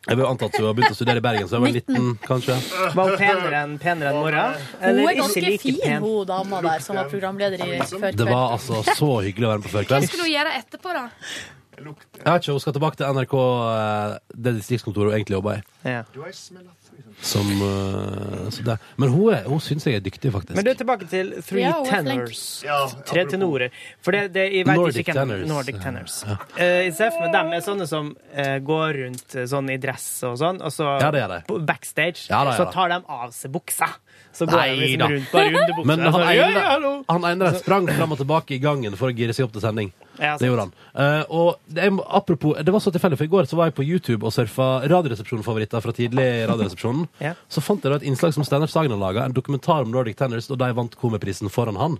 [SPEAKER 1] Jeg vil jo anta at hun har begynt å studere i Bergen, så jeg var liten, kanskje.
[SPEAKER 16] Var hun penere enn penere enn mora?
[SPEAKER 5] Hun
[SPEAKER 16] Eller
[SPEAKER 5] er
[SPEAKER 16] ikke
[SPEAKER 5] ganske
[SPEAKER 16] like
[SPEAKER 5] fin,
[SPEAKER 16] pen?
[SPEAKER 5] hun dama der som var programleder i Før
[SPEAKER 1] Det var altså så hyggelig å være med på
[SPEAKER 15] Hva
[SPEAKER 1] førkveld.
[SPEAKER 15] skulle du gjøre etterpå, da?
[SPEAKER 1] Jeg vet ikke, Hun skal tilbake til NRK, eh, det distriktskontoret hun egentlig jobber i. Som, eh, så det. Men hun, er- hun syns jeg er dyktig, faktisk.
[SPEAKER 2] Men du er tilbake til three
[SPEAKER 16] Ja, hun er flink.
[SPEAKER 2] tenors.
[SPEAKER 16] Ja,
[SPEAKER 2] Tre tenorer. For det, det, jeg vet
[SPEAKER 1] Nordic
[SPEAKER 2] ikke hvem-
[SPEAKER 1] tenors.
[SPEAKER 2] Nordic tenors. Eh, jeg ser for meg dem er sånne som eh, går rundt eh, sånn i dress og sånn, og så
[SPEAKER 1] Ja, det er det.
[SPEAKER 2] på backstage,
[SPEAKER 1] Ja, det er
[SPEAKER 2] så
[SPEAKER 1] det.
[SPEAKER 2] tar de av seg buksa. Så går de liksom rundt bare underbuksa.
[SPEAKER 1] Men han
[SPEAKER 2] Så, ja, ja,
[SPEAKER 1] ene,
[SPEAKER 2] hallo.
[SPEAKER 1] han ene der sprang fram og tilbake i gangen for å gire seg opp til sending.
[SPEAKER 2] Ja, sant.
[SPEAKER 1] det gjorde han. Eh, og det, jeg må- apropos, det var så tilfeldig, for i går så var jeg på YouTube og surfa Radioresepsjonen-favoritter fra tidlig i Radioresepsjonen. Så fant jeg da et innslag som Steinar Sagen laga, en dokumentar om Nordic Tenders, og de vant Komiprisen foran han.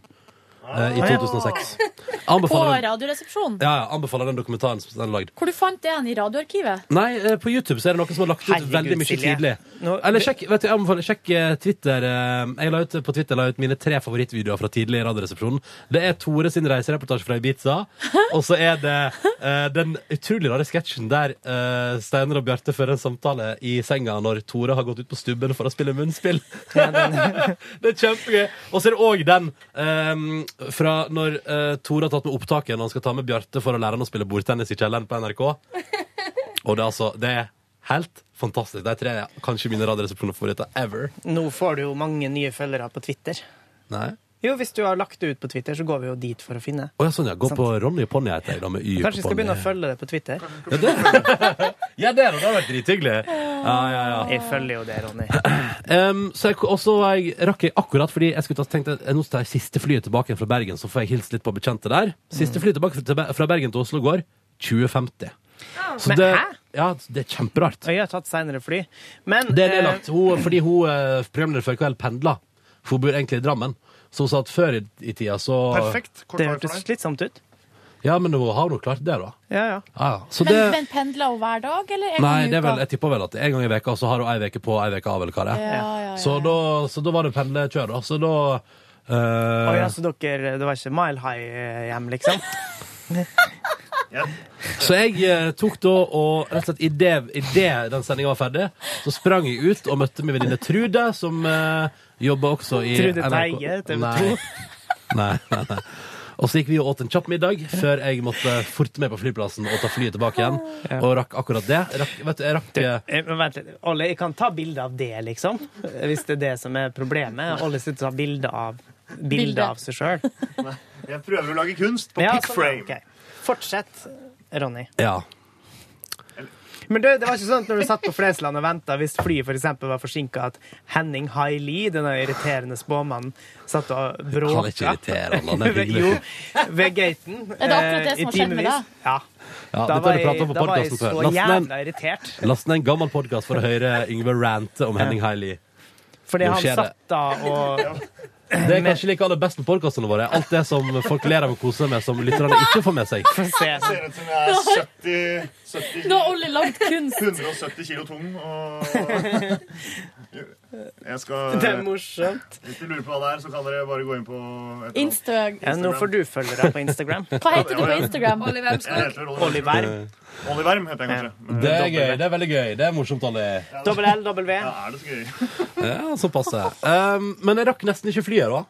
[SPEAKER 2] Ah,
[SPEAKER 1] eh, I 2006.
[SPEAKER 5] På
[SPEAKER 1] Anbefaler den,
[SPEAKER 5] Radioresepsjonen.
[SPEAKER 1] ja, ja, anbefaler den dokumentaren som Steinar lagde.
[SPEAKER 5] Hvor du fant det hen i Radioarkivet?
[SPEAKER 1] Nei, eh, på YouTube så er det noen som har lagt ut
[SPEAKER 2] Herregud,
[SPEAKER 1] veldig mye
[SPEAKER 2] Silje.
[SPEAKER 1] tidlig. Eller sjekk, vet du, jeg anbefaler, sjekk eh, Twitter. eh, Jeg la ut på Twitter la ut mine tre favorittvideoer fra tidlig i Radioresepsjonen. Det er Tore sin reisereportasje fra Ibiza, og så er det eh, den utrolig rare sketsjen der eh, Steinar og Bjarte fører en samtale i senga når Tore har gått ut på stubben for å spille munnspill. det er kjempegøy. Og så er det òg den eh, fra når eh, Tore har tatt med opptaket når han skal ta med Bjarte for å lære han å spille bordtennis i kjelleren på NRK. Og det er altså Det er helt fantastisk. De tre er kanskje mine radioresepsjoner-favoritter ever.
[SPEAKER 2] Nå får du jo mange nye følgere på Twitter.
[SPEAKER 1] Nei.
[SPEAKER 2] Jo, hvis du har lagt det ut på Twitter, så går vi jo dit for å finne.
[SPEAKER 1] Å ja, sånn ja. Gå
[SPEAKER 2] Sant.
[SPEAKER 1] på Ronny Ponni heter jeg, da, med Y på
[SPEAKER 2] Kanskje vi skal
[SPEAKER 1] Ponni.
[SPEAKER 2] begynne å følge det på
[SPEAKER 1] Ja, det,
[SPEAKER 2] Twitter?
[SPEAKER 1] er det. det har vært drithyggelig. Ja, ja, ja.
[SPEAKER 2] Jeg følger jo det, Ronny.
[SPEAKER 1] Um, så jeg, og så var jeg, rakk jeg akkurat fordi jeg skulle ta, tenkte at nå tar jeg siste flyet tilbake fra Bergen, så får jeg hilse litt på bekjente der. Siste flyet tilbake fra, fra Bergen til Oslo går 2050. Så
[SPEAKER 2] Ah, Men
[SPEAKER 1] det,
[SPEAKER 2] hæ?
[SPEAKER 1] ja, det er kjemperart.
[SPEAKER 2] Og jeg har tatt senere fly. Men
[SPEAKER 1] Det er
[SPEAKER 2] eh,
[SPEAKER 1] nedlagt. Hun, fordi hun eh, programleder for kveld pendler. For hun bor egentlig i Drammen. Så hun sa at før i, i tida så
[SPEAKER 2] Det hørtes slitsomt ut.
[SPEAKER 1] Ja, men hun har nå klart det, da.
[SPEAKER 2] Ja, ja.
[SPEAKER 1] Ja, ja. Så
[SPEAKER 5] men,
[SPEAKER 1] det
[SPEAKER 5] men pendler hun hver dag, eller en
[SPEAKER 1] Nei,
[SPEAKER 5] gang i
[SPEAKER 1] det er
[SPEAKER 5] uka?
[SPEAKER 1] vel, jeg tipper vel at en gang i veka, og så har hun ei veke på, ei veke av, eller hva det er.
[SPEAKER 5] Ja, ja, ja, ja.
[SPEAKER 1] Så, da, så da var det pendlekjør, da. Så da
[SPEAKER 2] Oi,
[SPEAKER 1] eh,
[SPEAKER 2] altså, dere, det var ikke mile high eh, hjem, liksom?
[SPEAKER 1] Så jeg eh, tok da og rett og slett idet ide den sendinga var ferdig, så sprang jeg ut og møtte min venninne Trude, som eh, jobber også i
[SPEAKER 2] Trude
[SPEAKER 1] NRK.
[SPEAKER 2] Teige, TV 2.
[SPEAKER 1] Nei. Nei, nei, nei. Og så gikk vi og åt en kjapp middag før jeg måtte forte meg på flyplassen og ta flyet tilbake igjen. Og rakk akkurat det. Rakk, vet du, jeg rakk eh,
[SPEAKER 2] Eh, Men vent litt. Olle, jeg kan ta bilde av det, liksom. Hvis det er det som er problemet. Olle sitter og tar bilde av, bilde
[SPEAKER 13] Bilde.
[SPEAKER 2] av seg sjøl.
[SPEAKER 13] Jeg prøver å lage kunst på
[SPEAKER 2] Ja,
[SPEAKER 13] pick
[SPEAKER 2] sånn,
[SPEAKER 13] frame.
[SPEAKER 2] ja, ok. Fortsett, Ronny.
[SPEAKER 1] Ja.
[SPEAKER 2] Men du, det var ikke sånn at når du satt på Flesland og venta hvis flyet for eksempel var forsinka, at Henning Haili, denne irriterende spåmannen, satt og bråka
[SPEAKER 1] Han er ikke irriterende, han er hyggelig.
[SPEAKER 2] Jo, ved gaten.
[SPEAKER 5] Er det akkurat det
[SPEAKER 2] eh, i
[SPEAKER 5] som har skjedd med
[SPEAKER 2] timevis.
[SPEAKER 5] deg?
[SPEAKER 2] Ja.
[SPEAKER 1] Ja,
[SPEAKER 2] Da
[SPEAKER 1] dette har
[SPEAKER 2] var
[SPEAKER 1] vi pratet om på
[SPEAKER 2] jeg- da var jeg
[SPEAKER 1] podcasten før.
[SPEAKER 2] så
[SPEAKER 1] Last ned-
[SPEAKER 2] jævla irritert.
[SPEAKER 1] Last ned en gammel podkast for å høre Yngve rante om Henning Haili.
[SPEAKER 2] Fordi
[SPEAKER 1] Nå
[SPEAKER 2] han
[SPEAKER 1] skjer det.
[SPEAKER 2] satt da og
[SPEAKER 1] Det er kanskje like aller best med podkastene våre. Alt det som folk ler av og koser med, som lytterne ikke får med seg.
[SPEAKER 13] Ser ut som jeg er 70, 70
[SPEAKER 5] Nå har Olli lagd kunst.
[SPEAKER 13] 170 kilo tung. Og jeg skal
[SPEAKER 2] Det er morsomt.
[SPEAKER 13] Hvis du lurer på hva det er, så kan dere bare gå inn på et eller annet.
[SPEAKER 5] Insta-
[SPEAKER 2] Ja, nå får du følgere på Instagram.
[SPEAKER 5] Hva heter du på Instagram?
[SPEAKER 13] Jeg heter Olli
[SPEAKER 2] Olli Werm.
[SPEAKER 13] Olli Werm heter jeg kanskje.
[SPEAKER 1] Det er gøy. Det er veldig gøy. Det er morsomt, Olli.
[SPEAKER 2] Dobbel L, dobbel V.
[SPEAKER 13] Ja, er det så gøy?
[SPEAKER 1] Ja, så passe. Um, men jeg rakk nesten ikke flyet, da.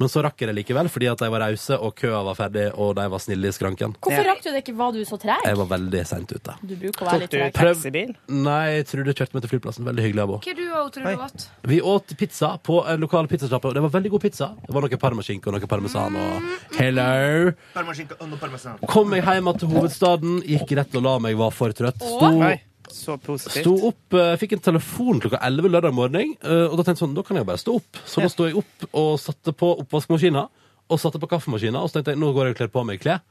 [SPEAKER 1] Men så rakk jeg det likevel, fordi at de var rause, og køa var ferdig, og de var snille i skranken.
[SPEAKER 5] Hvorfor rakk du det ikke? Var du så treg?
[SPEAKER 1] Jeg var veldig seint ute.
[SPEAKER 5] Du bruker å være litt treg.
[SPEAKER 1] Prøv- Nei, jeg tror du kjørte meg til flyplassen. Veldig hyggelig av henne.
[SPEAKER 15] Hva du og Trude åt?
[SPEAKER 1] Vi åt pizza på en lokal pizzasjappe, og det var veldig god pizza. Det var noe parmaskinke og noe parmesan og Hello!
[SPEAKER 13] Parmaskinke under parmesan.
[SPEAKER 1] Kom meg hjem igjen til hovedstaden, gikk rett og la meg, var for trøtt. Sto
[SPEAKER 13] Oi.
[SPEAKER 2] Så positivt.
[SPEAKER 1] Sto opp, eh, fikk en telefon klokka 11 lørdag morgen, eh, og da tenkte jeg sånn, da kan jeg bare stå opp. Så da sto jeg opp og satte på oppvaskmaskina, og satte på kaffemaskina, og så tenkte jeg, nå går jeg og kler på meg klær.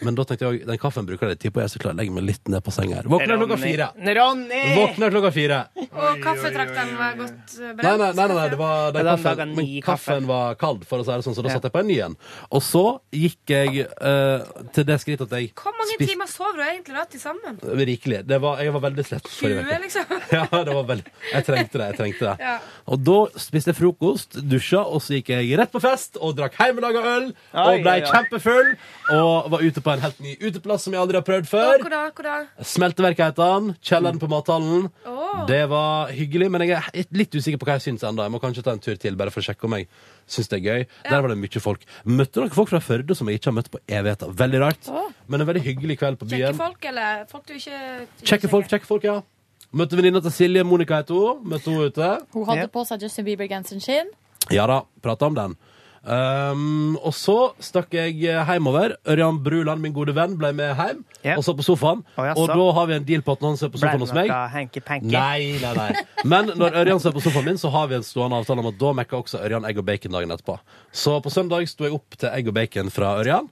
[SPEAKER 1] Men da tenkte jeg, den kaffen bruker jeg litt tid på, jeg er så klar, legger meg litt ned på senga her. Våkner klokka fire.
[SPEAKER 2] Ronny!
[SPEAKER 1] Våkner klokka fire.
[SPEAKER 15] Og kaffetrakteren var godt eh,
[SPEAKER 1] Nei,
[SPEAKER 15] brent.
[SPEAKER 1] nei, nei, nei, nei det var, den kaffen, men kaffen var kald, for å si det sånn, så da satte jeg på en ny en. Og så gikk jeg eh, til det skrittet at jeg
[SPEAKER 15] Hvor mange
[SPEAKER 1] spiste
[SPEAKER 15] timer sover du egentlig da til sammen?
[SPEAKER 1] rikelig. Det var, jeg var veldig slett forrige
[SPEAKER 15] 20,
[SPEAKER 1] uke.
[SPEAKER 15] liksom?
[SPEAKER 1] Ja, det var veldig Jeg trengte det. jeg trengte det
[SPEAKER 15] Ja.
[SPEAKER 1] Og da spiste jeg frokost, dusja, og så gikk jeg rett på fest og drakk hjemmelaga øl.
[SPEAKER 15] Oi,
[SPEAKER 1] Og ble
[SPEAKER 15] oi, oi.
[SPEAKER 1] kjempefull og var ute på en helt ny uteplass som jeg aldri har prøvd før.
[SPEAKER 15] Hvor da? Hvor da?
[SPEAKER 1] Smelteverket het han. Kjelleren på mathallen.
[SPEAKER 15] Åh.
[SPEAKER 1] Det var hyggelig, men jeg er litt usikker på hva jeg syns ennå. Jeg må kanskje ta en tur til bare for å sjekke om jeg syns det er gøy. Der var det mye folk. Møtte dere folk fra Førde som jeg ikke har møtt på evigheter? Veldig rart.
[SPEAKER 15] Åh.
[SPEAKER 1] Men en veldig hyggelig kveld på
[SPEAKER 15] Kjekke
[SPEAKER 1] byen.
[SPEAKER 15] folk, eller folk du ikke
[SPEAKER 1] Kjekke folk, kjekke folk, ja. Møtte venninna til Silje, Monica heter hun. Møtte hun ute.
[SPEAKER 5] Hun hadde på seg Justin Bieber-genseren sin.
[SPEAKER 1] Ja da, prata om den. Um, og så stakk jeg hjemover. Ørjan Bruland, min gode venn, ble med hjem og så på sofaen.
[SPEAKER 2] jaså.
[SPEAKER 1] og da har vi en deal på at når han ser på sofaen hos meg
[SPEAKER 2] hanky-panky.
[SPEAKER 1] Nei, nei, nei. Men når Ørjan ser på sofaen min, så har vi en stående avtale om at da mekker også Ørjan egg og bacon dagen etterpå. Så på søndag sto jeg opp til egg og bacon fra Ørjan,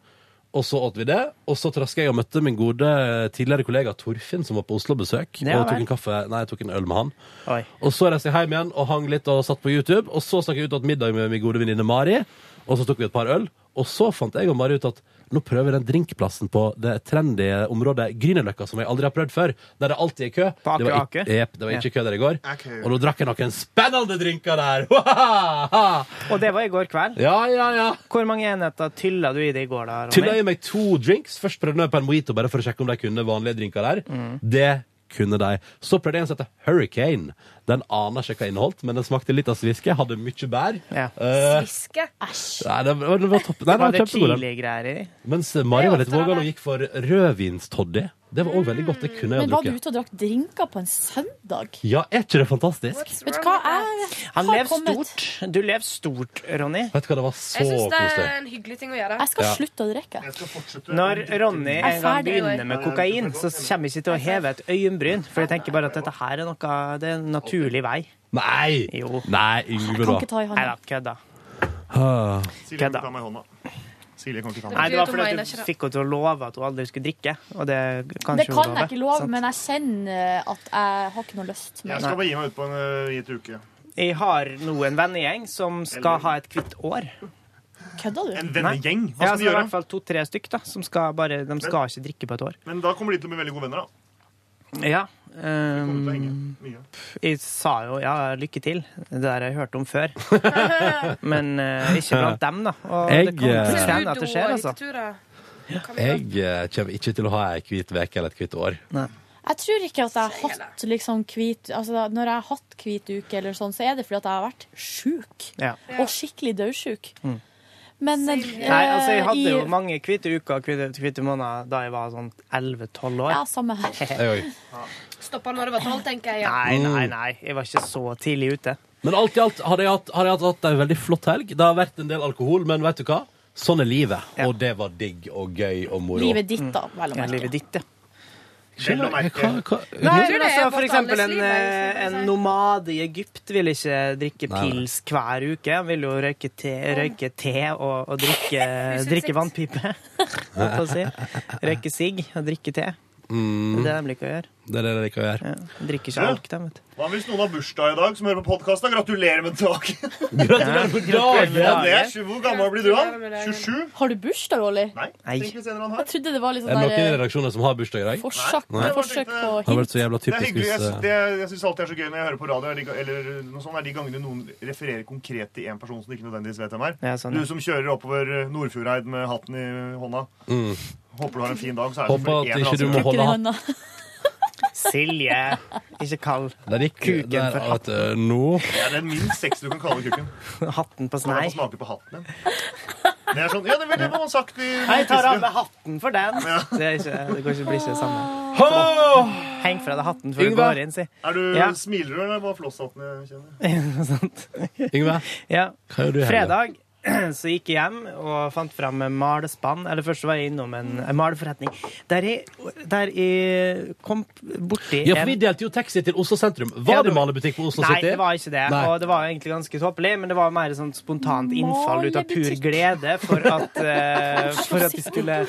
[SPEAKER 1] og så åt vi det. Og så traska jeg og møtte min gode tidligere kollega Torfinn, som var på Oslo-besøk.
[SPEAKER 2] Ja,
[SPEAKER 1] og tok
[SPEAKER 2] vel.
[SPEAKER 1] en kaffe, nei, jeg tok en øl med han. Og så reiste jeg hjem igjen og hang litt og satt på YouTube. Og så stakk jeg ut og åt middag med min gode venninne Mari, og så tok vi et par øl. Og så fant jeg og Mari ut at nå prøver vi den drinkplassen på det trendy området Grünerløkka, som jeg aldri har prøvd før. Der det alltid er kø.
[SPEAKER 2] På
[SPEAKER 1] Det var
[SPEAKER 2] Aker
[SPEAKER 1] ikke,
[SPEAKER 2] Aker?
[SPEAKER 1] jep, det var ikke kø der i går.
[SPEAKER 2] Aker.
[SPEAKER 1] Og nå drakk jeg noen spennende drinker der!
[SPEAKER 2] Og det var i går kveld.
[SPEAKER 1] Ja, ja, ja.
[SPEAKER 2] Hvor mange enheter tylla du i det i går, da? Ronny?
[SPEAKER 1] Tylla i meg to drinks. Først prøvde jeg på en mojito bare for å sjekke om de kunne vanlige drinker der. Det kunne de. Så prøvde jeg en som heter Hurricane. Den aner ikke hva inneholdt, men den smakte litt av sviske. Hadde mye bær. Eh,
[SPEAKER 15] Sviske? Æsj.
[SPEAKER 1] nei, det var, det var topp. Nei,
[SPEAKER 2] Var
[SPEAKER 1] den var
[SPEAKER 2] det
[SPEAKER 1] kjempegod. den.
[SPEAKER 2] Chile-greier i?
[SPEAKER 1] Mens Mari var litt
[SPEAKER 5] Det er ofte
[SPEAKER 1] vågal
[SPEAKER 5] det.
[SPEAKER 1] og gikk for rødvinstoddy. Det var òg veldig godt. Det kunne jeg
[SPEAKER 5] Men
[SPEAKER 1] ha
[SPEAKER 5] var du
[SPEAKER 1] drukket.
[SPEAKER 5] ute og drakk drinker på en søndag?
[SPEAKER 1] Ja, er ikke det fantastisk?
[SPEAKER 5] Vet du hva? Jeg
[SPEAKER 2] Han
[SPEAKER 5] har
[SPEAKER 2] lever
[SPEAKER 5] kommet-
[SPEAKER 2] stort. Du lever stort, Ronny.
[SPEAKER 1] Vet du hva, det var
[SPEAKER 15] Jeg syns det er en hyggelig ting å gjøre.
[SPEAKER 5] Jeg skal
[SPEAKER 2] Ja.
[SPEAKER 5] slutte å drikke.
[SPEAKER 2] Når Ronny
[SPEAKER 5] Jeg er
[SPEAKER 2] en gang
[SPEAKER 5] ferdig,
[SPEAKER 2] begynner
[SPEAKER 5] jeg.
[SPEAKER 2] med kokain, så kommer jeg ikke til å heve et øyenbryn, for jeg tenker bare at dette her er noe Det er en naturlig vei.
[SPEAKER 1] Nei!
[SPEAKER 2] Jo.
[SPEAKER 1] Nei, Yngve, da.
[SPEAKER 2] Nei da, kødda.
[SPEAKER 1] Ah.
[SPEAKER 13] Silje kan ikke ta meg i hånda. Silje kan ikke ta meg i
[SPEAKER 2] Nei, det var
[SPEAKER 13] hånda.
[SPEAKER 2] fordi at du fikk henne til å love at hun aldri skulle drikke, og det kan
[SPEAKER 5] Det
[SPEAKER 2] ikke hun
[SPEAKER 5] kan jeg ikke love, men jeg kjenner at jeg har ikke noe lyst.
[SPEAKER 13] Jeg skal bare gi meg ut på en eh, gitt uke.
[SPEAKER 2] Jeg har nå en vennegjeng som skal ha et hvitt år.
[SPEAKER 5] Kødder du?
[SPEAKER 13] En vennegjeng? Hva skal
[SPEAKER 2] ja, så
[SPEAKER 13] de
[SPEAKER 2] det er
[SPEAKER 13] gjøre?
[SPEAKER 2] I hvert fall to-tre stykk da, som skal bare, de skal ikke drikke på et år.
[SPEAKER 13] Men da kommer de til å bli veldig gode venner, da.
[SPEAKER 2] Ja. ehm, pff, jeg sa jo ja, lykke til. Det der har jeg hørt om før. Men eh, ikke blant dem, da. Og det
[SPEAKER 1] Jeg,
[SPEAKER 2] kan
[SPEAKER 1] eh,
[SPEAKER 2] ikke hende at det skjer, altså.
[SPEAKER 1] Jeg eh, kommer ikke til å ha ei hvit uke eller et hvitt år.
[SPEAKER 5] Jeg tror ikke at jeg har hatt liksom hvit altså, Når jeg har hatt hvit uke, eller sånn, så er det fordi at jeg har vært sjuk.
[SPEAKER 2] Ja.
[SPEAKER 5] Og skikkelig dødsjuk.
[SPEAKER 2] Mm.
[SPEAKER 5] Men eh,
[SPEAKER 2] Nei, altså Jeg hadde jo
[SPEAKER 5] i-
[SPEAKER 2] mange hvite uker og hvite, hvite måneder da jeg var sånn 11-12 år.
[SPEAKER 5] Ja, samme her.
[SPEAKER 15] Stoppa når det var tolv, tenker jeg. Ja.
[SPEAKER 2] Nei, nei, nei. Jeg var ikke så tidlig ute.
[SPEAKER 1] Men alt i alt har jeg hatt, har jeg hatt, hatt en veldig flott helg. Det har vært en del alkohol, men vet du hva? Sånn er livet. Og det var digg og gøy og moro.
[SPEAKER 5] Livet ditt, da, vel å
[SPEAKER 2] Ja,
[SPEAKER 5] merke.
[SPEAKER 2] livet ditt, ja.
[SPEAKER 1] Skjønner jeg- hva- hva-
[SPEAKER 2] Nei,
[SPEAKER 5] tror
[SPEAKER 2] men
[SPEAKER 5] det er
[SPEAKER 2] altså,
[SPEAKER 5] vårt
[SPEAKER 2] for eksempel
[SPEAKER 5] alles
[SPEAKER 2] en,
[SPEAKER 5] liv, jeg,
[SPEAKER 2] eh, en nomade i Egypt vil ikke drikke
[SPEAKER 1] Nei, nei.
[SPEAKER 2] pils hver uke. Han vil jo røyke te, røyke te og, og drikke,
[SPEAKER 1] Usikt.
[SPEAKER 2] drikke vannpipe. holdt på å si. Røyke sigg og drikke te.
[SPEAKER 1] Mm.
[SPEAKER 2] Det er det de liker å gjøre.
[SPEAKER 1] Det er det jeg liker å gjøre.
[SPEAKER 2] Drikker
[SPEAKER 13] Ja.
[SPEAKER 2] ikke alk, de, vet du.
[SPEAKER 13] Hva hvis noen har bursdag i dag som hører på podkasten? Gratulerer med dagen!
[SPEAKER 1] Gratulerer med
[SPEAKER 5] dagen!
[SPEAKER 13] Ja, det er sju. Hvor gammel blir du, da? 27?
[SPEAKER 5] Har du bursdag, Olli?
[SPEAKER 1] Nei.
[SPEAKER 5] Jeg trodde det var litt
[SPEAKER 1] Er det
[SPEAKER 5] sånn
[SPEAKER 1] noen i
[SPEAKER 5] der
[SPEAKER 1] redaksjonen som har bursdag i dag?
[SPEAKER 5] forsøk,
[SPEAKER 1] Nei.
[SPEAKER 5] forsøk på
[SPEAKER 1] Det har vært så jævla
[SPEAKER 13] Det er
[SPEAKER 1] typisk eh,
[SPEAKER 13] hyggelig. Jeg,
[SPEAKER 1] hvis
[SPEAKER 13] det, jeg syns alltid er så gøy når jeg hører på radio, er de, ga- eller noe sånt, er de gangene noen refererer konkret til én person som de ikke nødvendigvis vet hvem er.
[SPEAKER 2] Ja, sånn, ja.
[SPEAKER 13] Du som kjører oppover eh, Nordfjordeid med hatten i hånda.
[SPEAKER 1] Mm.
[SPEAKER 13] Håper du har en fin dag. Så er det
[SPEAKER 1] Håper
[SPEAKER 13] selvfølgelig
[SPEAKER 1] at
[SPEAKER 13] en
[SPEAKER 1] ikke du
[SPEAKER 13] rase.
[SPEAKER 1] må holde hatt.
[SPEAKER 2] Silje, ikke kall
[SPEAKER 1] Der gikk
[SPEAKER 2] kuken
[SPEAKER 1] der
[SPEAKER 2] for
[SPEAKER 1] at eh, nå
[SPEAKER 13] Ja, det er minst seks du kan kalle kukken.
[SPEAKER 2] hatten på
[SPEAKER 13] Nei.
[SPEAKER 2] snei.
[SPEAKER 13] Smake på hatten din. Det er sånn, ja, det ville man sagt i
[SPEAKER 2] Nei, jeg tar av meg hatten for den! Det, er ikke, det går ikke, blir ikke det samme. Så, heng fra deg hatten før du
[SPEAKER 13] Yngve.
[SPEAKER 2] går inn, si.
[SPEAKER 13] Er du
[SPEAKER 2] Ja.
[SPEAKER 13] smiler du, eller er det bare flosshatten jeg kjenner?
[SPEAKER 2] Noe sånt.
[SPEAKER 1] Yngve,
[SPEAKER 2] Ja.
[SPEAKER 1] hva gjør du i helga?
[SPEAKER 2] Fredag Så gikk jeg hjem og fant fram en malespann. Eller først var jeg innom en, en maleforretning. Der jeg, der jeg kom borti
[SPEAKER 1] Ja, for
[SPEAKER 2] en-
[SPEAKER 1] vi delte jo taxi til Oslo sentrum. Var
[SPEAKER 2] Ja,
[SPEAKER 1] det
[SPEAKER 2] det-
[SPEAKER 1] malebutikk på Oslo
[SPEAKER 2] Nei,
[SPEAKER 1] City?
[SPEAKER 2] det var ikke det.
[SPEAKER 1] Nei.
[SPEAKER 2] Og det var egentlig ganske tåpelig, men det var mer sånn spontant innfall ut av pur glede for at, eh, for at jeg, skulle,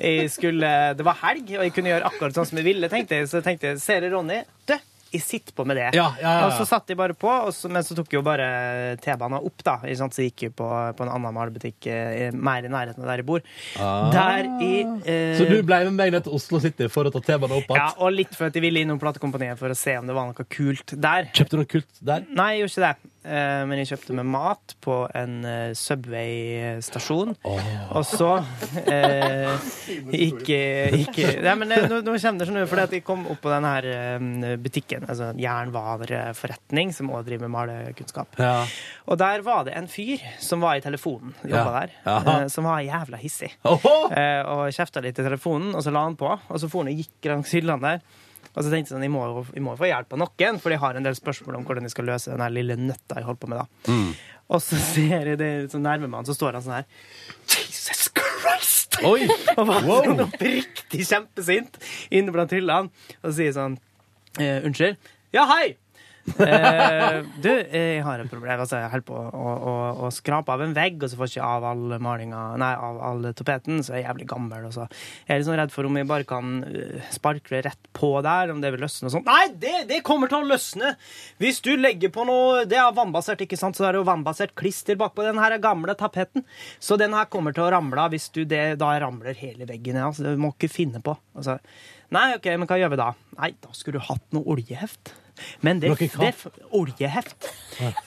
[SPEAKER 2] jeg skulle Det var helg, og jeg kunne gjøre akkurat sånn som jeg ville, tenkte jeg. Så tenkte jeg, ser jeg Ronny, dø, jeg sitter på med det.
[SPEAKER 1] Ja, ja, ja, ja.
[SPEAKER 2] Og så satt jeg bare på, og så, men så tok jeg jo bare T-banen opp, da. Ikke sant? Så jeg gikk jeg på, på en annen malebutikk eh, mer i nærheten av der jeg bor.
[SPEAKER 1] Ah.
[SPEAKER 2] Der i eh,
[SPEAKER 1] Så du ble med meg ned til Oslo City for å ta T-banen opp
[SPEAKER 2] ja,
[SPEAKER 1] igjen?
[SPEAKER 2] og litt for at jeg ville innom platekompaniet for å se om det var noe kult der.
[SPEAKER 1] Kjøpte du noe kult der?
[SPEAKER 2] Nei, jeg gjorde ikke det. Eh, Men jeg kjøpte meg mat på en eh, Subway-stasjon. Og så eh, gikk, gikk Nei, men eh, nå, nå kommer det sånn, for jeg kom opp på den her eh, butikken, altså en jernvareforretning, som også driver med malekunnskap.
[SPEAKER 1] Ja.
[SPEAKER 2] Og der var det en fyr som var i telefonen,
[SPEAKER 1] Ja.
[SPEAKER 2] jobba der,
[SPEAKER 1] Jaha.
[SPEAKER 2] eh, som var jævla hissig. Eh, og kjefta litt i telefonen, og så la han på. Og så for han og gikk langs hyllene der. Og så tenkte jeg sånn, jeg må, jo- jeg må jo få hjelp av noen, for jeg har en del spørsmål om hvordan jeg skal løse den her lille nøtta jeg holder på med. da.
[SPEAKER 1] Mm.
[SPEAKER 2] Og så ser jeg det så nærmer meg han, så står han sånn her. Jesus Christ!
[SPEAKER 1] Oi!
[SPEAKER 2] Og var
[SPEAKER 1] Wow!
[SPEAKER 2] sånn oppriktig kjempesint inne blant hyllene og sier sånn eh, Unnskyld? Ja, hei! eh, du, eh, jeg har et problem. Altså, jeg holder på å, å, å, å skrape av en vegg, og så får jeg ikke av all malinga Nei, av all tapeten, så er jeg jævlig gammel. Og så jeg er litt sånn redd for om jeg bare kan eh, sparkle rett på der, om det vil løsne og sånn. Nei, det, det kommer til å løsne! Hvis du legger på noe Det er vannbasert, ikke sant? Så er det jo vannbasert klister bakpå den her gamle tapeten. Så den her kommer til å ramle av hvis du det Da ramler hele veggen ned. Altså, du må ikke finne på. Altså, nei, OK, men hva gjør vi da? Nei, da skulle du hatt noe oljeheft. Men det,
[SPEAKER 1] Noe hva?
[SPEAKER 2] det Oljeheft.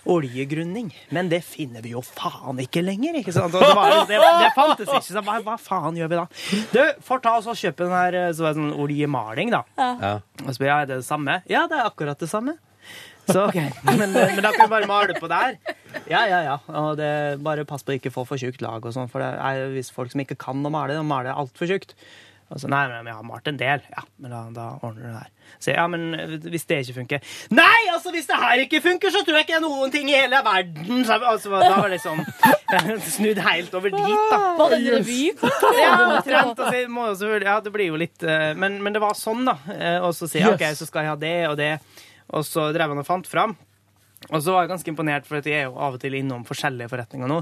[SPEAKER 2] Oljegrunning. Men det finner vi jo faen ikke lenger, ikke sant? Og Det, var, det, det fantes ikke. Så hva, hva faen gjør vi da? Du, får ta oss og kjøpe den her eh, så var det sånn oljemaling, da. Og så ja, er det det samme? Ja, det er akkurat det samme. Så OK. Men, eh, men da kan vi bare male på der. Ja, ja, ja. Og det, bare pass på å ikke få for tjukt lag og sånn, for det er jo visse folk som ikke kan å male, de maler altfor tjukt. Og så, Altså, nei, men jeg har malt en del. Ja, men da, da ordner du det her. Så ja, men eh, hvis det ikke funker Nei, altså, hvis det her ikke funker, så tror jeg ikke det er noen ting i hele verden! Så, altså, da var det liksom snudd helt over dit, da.
[SPEAKER 5] Var det en revykontroll?
[SPEAKER 2] Ja, omtrent. Altså, jeg må jo selvfølgelig- ja, det blir jo litt eh, Men, men det var sånn, da. Eh, Og så sier jeg
[SPEAKER 1] Yes.
[SPEAKER 2] OK, så skal jeg ha det og det. Og så drev han og fant fram. Og så var jeg ganske imponert, for at jeg er jo av og til innom forskjellige forretninger nå.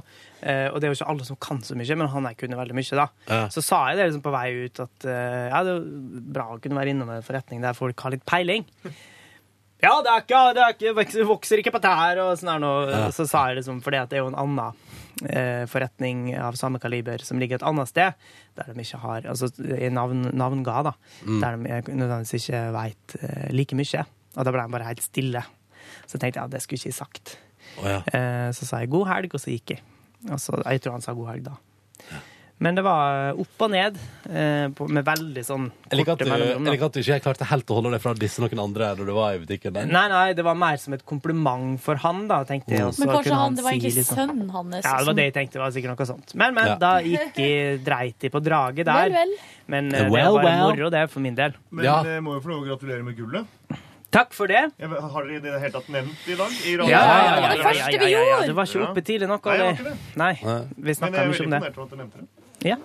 [SPEAKER 2] Eh, Og det er jo ikke alle som kan så mye, men han her kunne veldig mye, da.
[SPEAKER 1] Ja.
[SPEAKER 2] Så sa jeg det liksom på vei ut at eh, ja, det er jo bra å kunne være innom en forretning der folk har litt peiling. Ja, det, er ikke, det er ikke, vokser- vokser ikke på tær og sånn her nå.
[SPEAKER 1] Ja.
[SPEAKER 2] Så sa jeg liksom, for det at det er jo en annen eh, forretning av samme kaliber som ligger et annet sted, der de ikke har Altså i navn, navnga, da.
[SPEAKER 1] Mm.
[SPEAKER 2] Der de ikke- nødvendigvis ikke veit eh, like mye. Og da ble han bare helt stille. Så tenkte jeg ja, det skulle ikke jeg sagt. Eh, så sa jeg god helg, og så gikk jeg. Og så, jeg tror han sa god helg da. Men det var opp og ned, eh, på, med veldig sånn
[SPEAKER 1] Jeg liker at
[SPEAKER 2] korte
[SPEAKER 1] du, jeg
[SPEAKER 2] mellomrom. da.
[SPEAKER 1] liker at du ikke klarte helt å holde deg fra å disse noen andre når du var i butikken der.
[SPEAKER 2] Nei, nei, det var mer som et kompliment for han, da, tenkte
[SPEAKER 1] Mm.
[SPEAKER 2] jeg. og så
[SPEAKER 5] Men kanskje
[SPEAKER 2] kunne
[SPEAKER 5] han, det var
[SPEAKER 2] si
[SPEAKER 5] egentlig
[SPEAKER 2] litt sånn-
[SPEAKER 5] sønnen hans.
[SPEAKER 2] Ja, det var det jeg tenkte. det var sikkert noe sånt. Men, men,
[SPEAKER 1] Ja.
[SPEAKER 2] da gikk jeg dreit i på draget der.
[SPEAKER 5] Vel, vel.
[SPEAKER 2] Men eh, det
[SPEAKER 1] Well,
[SPEAKER 2] var bare
[SPEAKER 1] well.
[SPEAKER 2] moro, det, for min del.
[SPEAKER 13] Men eh, må jo få lov å gratulere med gullet.
[SPEAKER 2] Takk for det.
[SPEAKER 13] Jeg, vet- har dere i det hele tatt nevnt det i dag? I
[SPEAKER 2] Ja,
[SPEAKER 13] radioen?
[SPEAKER 2] ja, ja, ja,
[SPEAKER 13] Eller-
[SPEAKER 2] ja, ja, ja, ja, ja. Det var ikke
[SPEAKER 13] Ja.
[SPEAKER 2] oppe tidlig nok.
[SPEAKER 13] Nei,
[SPEAKER 2] Og
[SPEAKER 13] det var
[SPEAKER 2] det,
[SPEAKER 13] ikke det.
[SPEAKER 2] nei,
[SPEAKER 1] Nei.
[SPEAKER 2] vi
[SPEAKER 13] Men jeg
[SPEAKER 2] snakka
[SPEAKER 13] er
[SPEAKER 2] mye
[SPEAKER 13] veldig
[SPEAKER 2] om det.
[SPEAKER 13] imponert over at dere nevnte det.
[SPEAKER 2] Ja.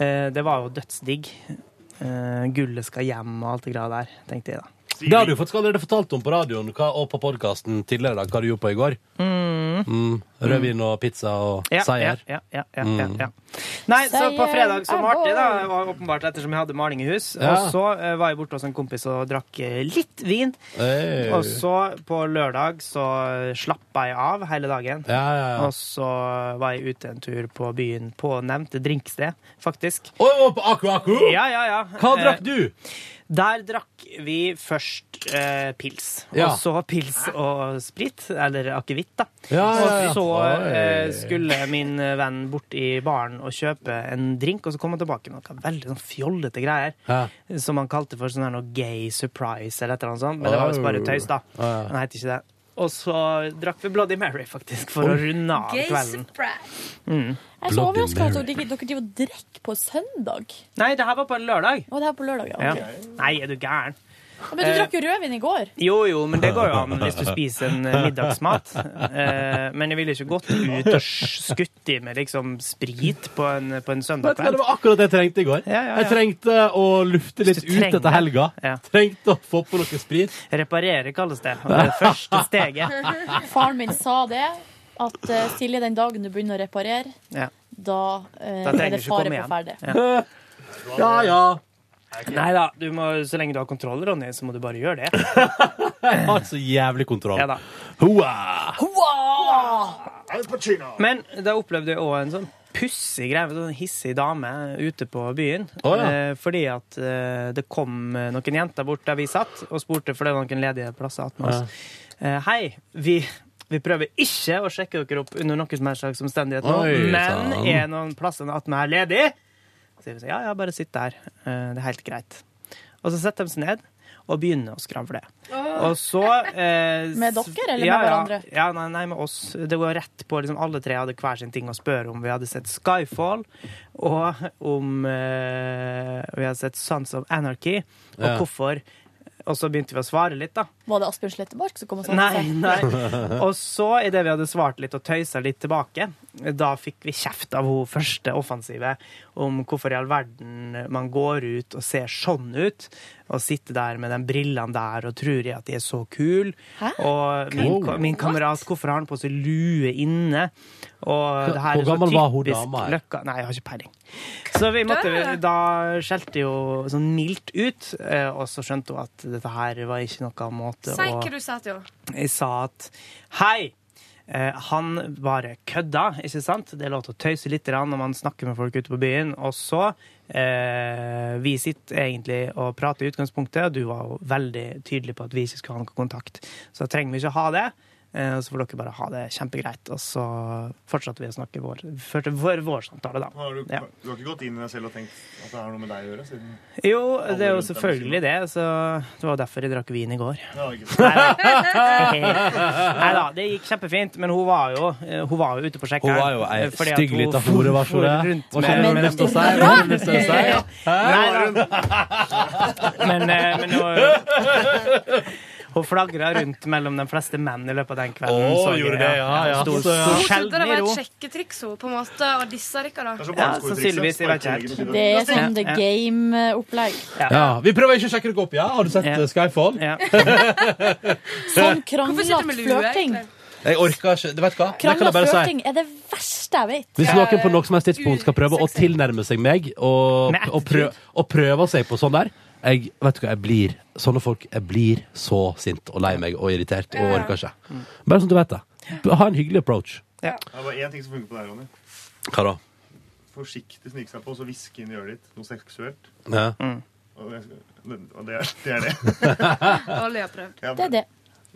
[SPEAKER 2] Eh, Det var jo dødsdigg. Eh, Gullet skal hjem og alt det greia der, tenkte jeg da.
[SPEAKER 1] Det har du faktisk allerede fortalt om på radioen hva, og på podkasten tidligere i dag, hva du gjorde på i går.
[SPEAKER 2] Mm.
[SPEAKER 1] Mm, rødvin og pizza og
[SPEAKER 2] Ja,
[SPEAKER 1] seier.
[SPEAKER 2] ja, ja, ja, ja,
[SPEAKER 1] Mm.
[SPEAKER 2] ja. Nei, så på
[SPEAKER 5] Seier
[SPEAKER 2] fredag så
[SPEAKER 5] er
[SPEAKER 2] malte jeg, da.
[SPEAKER 5] vår.
[SPEAKER 2] og Åpenbart ettersom jeg hadde maling i hus.
[SPEAKER 1] Ja.
[SPEAKER 2] Og så eh, var jeg borte hos en kompis og drakk eh, litt vin.
[SPEAKER 1] Hey.
[SPEAKER 2] Og så på lørdag så slappa jeg av hele dagen.
[SPEAKER 1] Ja, ja, ja.
[SPEAKER 2] Og så var jeg ute en tur på byen på nevnte drinksted, faktisk.
[SPEAKER 1] Oi, oi, på Aku Aku?
[SPEAKER 2] Ja, ja, ja.
[SPEAKER 1] Hva drakk
[SPEAKER 2] Eh,
[SPEAKER 1] du?
[SPEAKER 2] Der drakk vi først eh, pils.
[SPEAKER 1] Ja.
[SPEAKER 2] Og så pils og sprit. Eller akevitt, da.
[SPEAKER 1] Ja, ja, ja.
[SPEAKER 2] Og så
[SPEAKER 1] Oi.
[SPEAKER 2] eh, skulle min venn bort i baren og kjøpe en drink, og så kom han tilbake med noe veldig sånn fjollete greier.
[SPEAKER 1] Ja.
[SPEAKER 2] Som han kalte for sånn her noe gay surprise eller et eller annet sånt. Men det var visst bare tøys, da.
[SPEAKER 1] Ja, ja.
[SPEAKER 2] Han het ikke det. Og så drakk vi Bloody Mary, faktisk, for
[SPEAKER 1] Oi.
[SPEAKER 2] å runde av
[SPEAKER 5] Gay
[SPEAKER 2] kvelden.
[SPEAKER 5] Jeg er så overraska over at dere dere driver og drikker på søndag.
[SPEAKER 2] Nei, det her var på en lørdag.
[SPEAKER 5] Og det her på lørdag, ja.
[SPEAKER 2] Ja.
[SPEAKER 5] ok.
[SPEAKER 2] Nei, er du gæren?
[SPEAKER 5] Men du
[SPEAKER 2] Eh,
[SPEAKER 5] drakk jo rødvin i går.
[SPEAKER 2] Jo, jo, men det går jo an hvis du spiser en eh, middagsmat. Eh, men jeg ville ikke gått ut og s- skutt i meg liksom sprit på en, på en
[SPEAKER 1] Vet
[SPEAKER 2] søndag
[SPEAKER 1] du hva,
[SPEAKER 2] kveld.
[SPEAKER 1] Det var akkurat det jeg trengte i går. Jeg trengte å lufte litt ut
[SPEAKER 2] trenger-
[SPEAKER 1] etter helga. Trengte å få på noe sprit.
[SPEAKER 2] Reparere kalles det. Og det er det første steget.
[SPEAKER 5] Faren min sa det. At eh, Silje, den dagen du begynner å reparere,
[SPEAKER 2] Ja.
[SPEAKER 5] da, eh,
[SPEAKER 2] Da
[SPEAKER 5] er
[SPEAKER 2] trenger du
[SPEAKER 5] det
[SPEAKER 2] ikke
[SPEAKER 5] fare
[SPEAKER 2] komme
[SPEAKER 5] på
[SPEAKER 2] igjen.
[SPEAKER 5] ferde.
[SPEAKER 1] Ja, ja.
[SPEAKER 2] Nei da, du må, så lenge du har kontroll, Ronny, så må du bare gjøre det.
[SPEAKER 1] Jeg har så jævlig kontroll.
[SPEAKER 2] Ja da.
[SPEAKER 1] Hoa!
[SPEAKER 2] Men da opplevde jeg òg en sånn pussig greie, en sånn hissig dame ute på byen.
[SPEAKER 1] Å, ja.
[SPEAKER 2] Eh, Fordi at eh, det kom eh, noen jenter bort der vi satt, og spurte for det var noen ledige plasser attmed oss. Eh, Hei, vi, vi prøver ikke å sjekke dere opp under noen som helst slags omstendighet nå,
[SPEAKER 6] Oi,
[SPEAKER 2] men
[SPEAKER 6] sann.
[SPEAKER 2] er noen plasser attmed her ledig? Så sier vi sånn, ja, ja, bare sitt der. Eh, Det er helt greit. Og så setter de seg ned og begynner å skravle. Og så eh,
[SPEAKER 5] Med dere, eller med hverandre?
[SPEAKER 2] Ja, ja nei, nei, med oss. Det var rett på liksom, Alle tre hadde hver sin ting å spørre om. Vi hadde sett Skyfall, og om eh, Vi hadde sett Sons of Anarchy, og
[SPEAKER 5] Ja.
[SPEAKER 2] hvorfor. Og så begynte vi å svare litt, da.
[SPEAKER 5] Var det Asbjørn Slettemark som kom og sa
[SPEAKER 2] Nei,
[SPEAKER 5] det?
[SPEAKER 2] nei. Og så, idet vi hadde svart litt og tøysa litt tilbake, da fikk vi kjeft av hun første offensive om hvorfor i all verden man går ut og ser sånn ut, og sitter der med de brillene der og tror jeg at de er så kul. Og min,
[SPEAKER 1] Wow.
[SPEAKER 2] min kamerat, hvorfor har han på seg lue inne? Og det her
[SPEAKER 1] Hvor
[SPEAKER 2] er så
[SPEAKER 1] gammel var hun
[SPEAKER 2] typisk
[SPEAKER 1] dama her?
[SPEAKER 2] Løkka. Nei, jeg har ikke peiling. Så vi måtte, da skjelte jo sånn mildt ut, eh, og så skjønte hun at dette her var ikke noe måte
[SPEAKER 15] Si
[SPEAKER 2] å
[SPEAKER 15] hva du sa til henne.
[SPEAKER 2] jeg sa at hei, eh, han bare kødda, ikke sant? Det er lov til å tøyse litt grann når man snakker med folk ute på byen. Og så eh, Vi sitter egentlig og prater i utgangspunktet, og du var jo veldig tydelig på at vi ikke skulle ha noe kontakt. Så da trenger vi ikke ha det. eh, Og så får dere bare ha det kjempegreit. Og så fortsatte vi å snakke vår, førte vår, vår samtale, da.
[SPEAKER 13] Har du,
[SPEAKER 2] Ja.
[SPEAKER 13] du har ikke gått inn i deg selv og tenkt at det har noe med deg å gjøre? Siden
[SPEAKER 2] Jo, det er jo
[SPEAKER 13] rundt dem
[SPEAKER 2] selvfølgelig det. Så det var derfor jeg drakk vin i går.
[SPEAKER 13] Ja, ikke sant.
[SPEAKER 2] Nei da, det gikk kjempefint, men hun var jo, hun var jo ute på sjekkeren.
[SPEAKER 1] Hun var jo ei
[SPEAKER 2] fordi at
[SPEAKER 1] stygg
[SPEAKER 2] hun
[SPEAKER 1] lita hore, var ikke
[SPEAKER 2] for
[SPEAKER 1] det?
[SPEAKER 2] rundt
[SPEAKER 1] Hva skjer
[SPEAKER 2] med-
[SPEAKER 1] med lyst til å si? Hva har du lyst til å si?
[SPEAKER 2] Neida. Men, eh, men hun, hun flagra rundt mellom de fleste menn i løpet av den kvelden.
[SPEAKER 1] Å,
[SPEAKER 2] så jeg.
[SPEAKER 1] gjorde det, ja, ja.
[SPEAKER 2] Hun sto
[SPEAKER 1] Så, ja.
[SPEAKER 2] sto
[SPEAKER 15] Hun trodde
[SPEAKER 2] sjelden
[SPEAKER 15] det
[SPEAKER 2] i
[SPEAKER 15] var
[SPEAKER 2] ro.
[SPEAKER 15] et sjekketriks hun, på en måte, og dissa dere, da.
[SPEAKER 2] Ja, sannsynligvis. Jeg vet ikke helt.
[SPEAKER 5] Det er sånn The
[SPEAKER 1] Ja.
[SPEAKER 5] Game-opplegg.
[SPEAKER 1] Ja, Vi prøver ikke å sjekke dere opp, ja? Har du sett eh, Skyfall?
[SPEAKER 5] Sånn
[SPEAKER 15] Hvorfor sitter du
[SPEAKER 5] kranglete
[SPEAKER 15] med lue,
[SPEAKER 5] flørting.
[SPEAKER 1] Jeg orker ikke det, Vet du hva? Det kan jeg
[SPEAKER 5] Krangla
[SPEAKER 1] bare si.
[SPEAKER 5] flørting er det verste jeg vet.
[SPEAKER 1] Hvis noen på noe som helst tidspunkt skal prøve å tilnærme seg meg og, og, prø og prøve seg på sånn der jeg, Vet du hva, jeg blir Sånne folk, jeg blir så sint og lei meg og irritert og orker ikke. Bare sånn at du vet det. Ha en hyggelig approach.
[SPEAKER 2] Ja.
[SPEAKER 13] Det var én ting som funker på deg, Ronny.
[SPEAKER 1] Hva da?
[SPEAKER 13] Forsiktig snike seg på og så hviske inn i øret ditt noe seksuelt.
[SPEAKER 1] Ja.
[SPEAKER 13] Og det, og det er det. Er det.
[SPEAKER 15] Olli har prøvd.
[SPEAKER 13] Ja,
[SPEAKER 15] Det er det.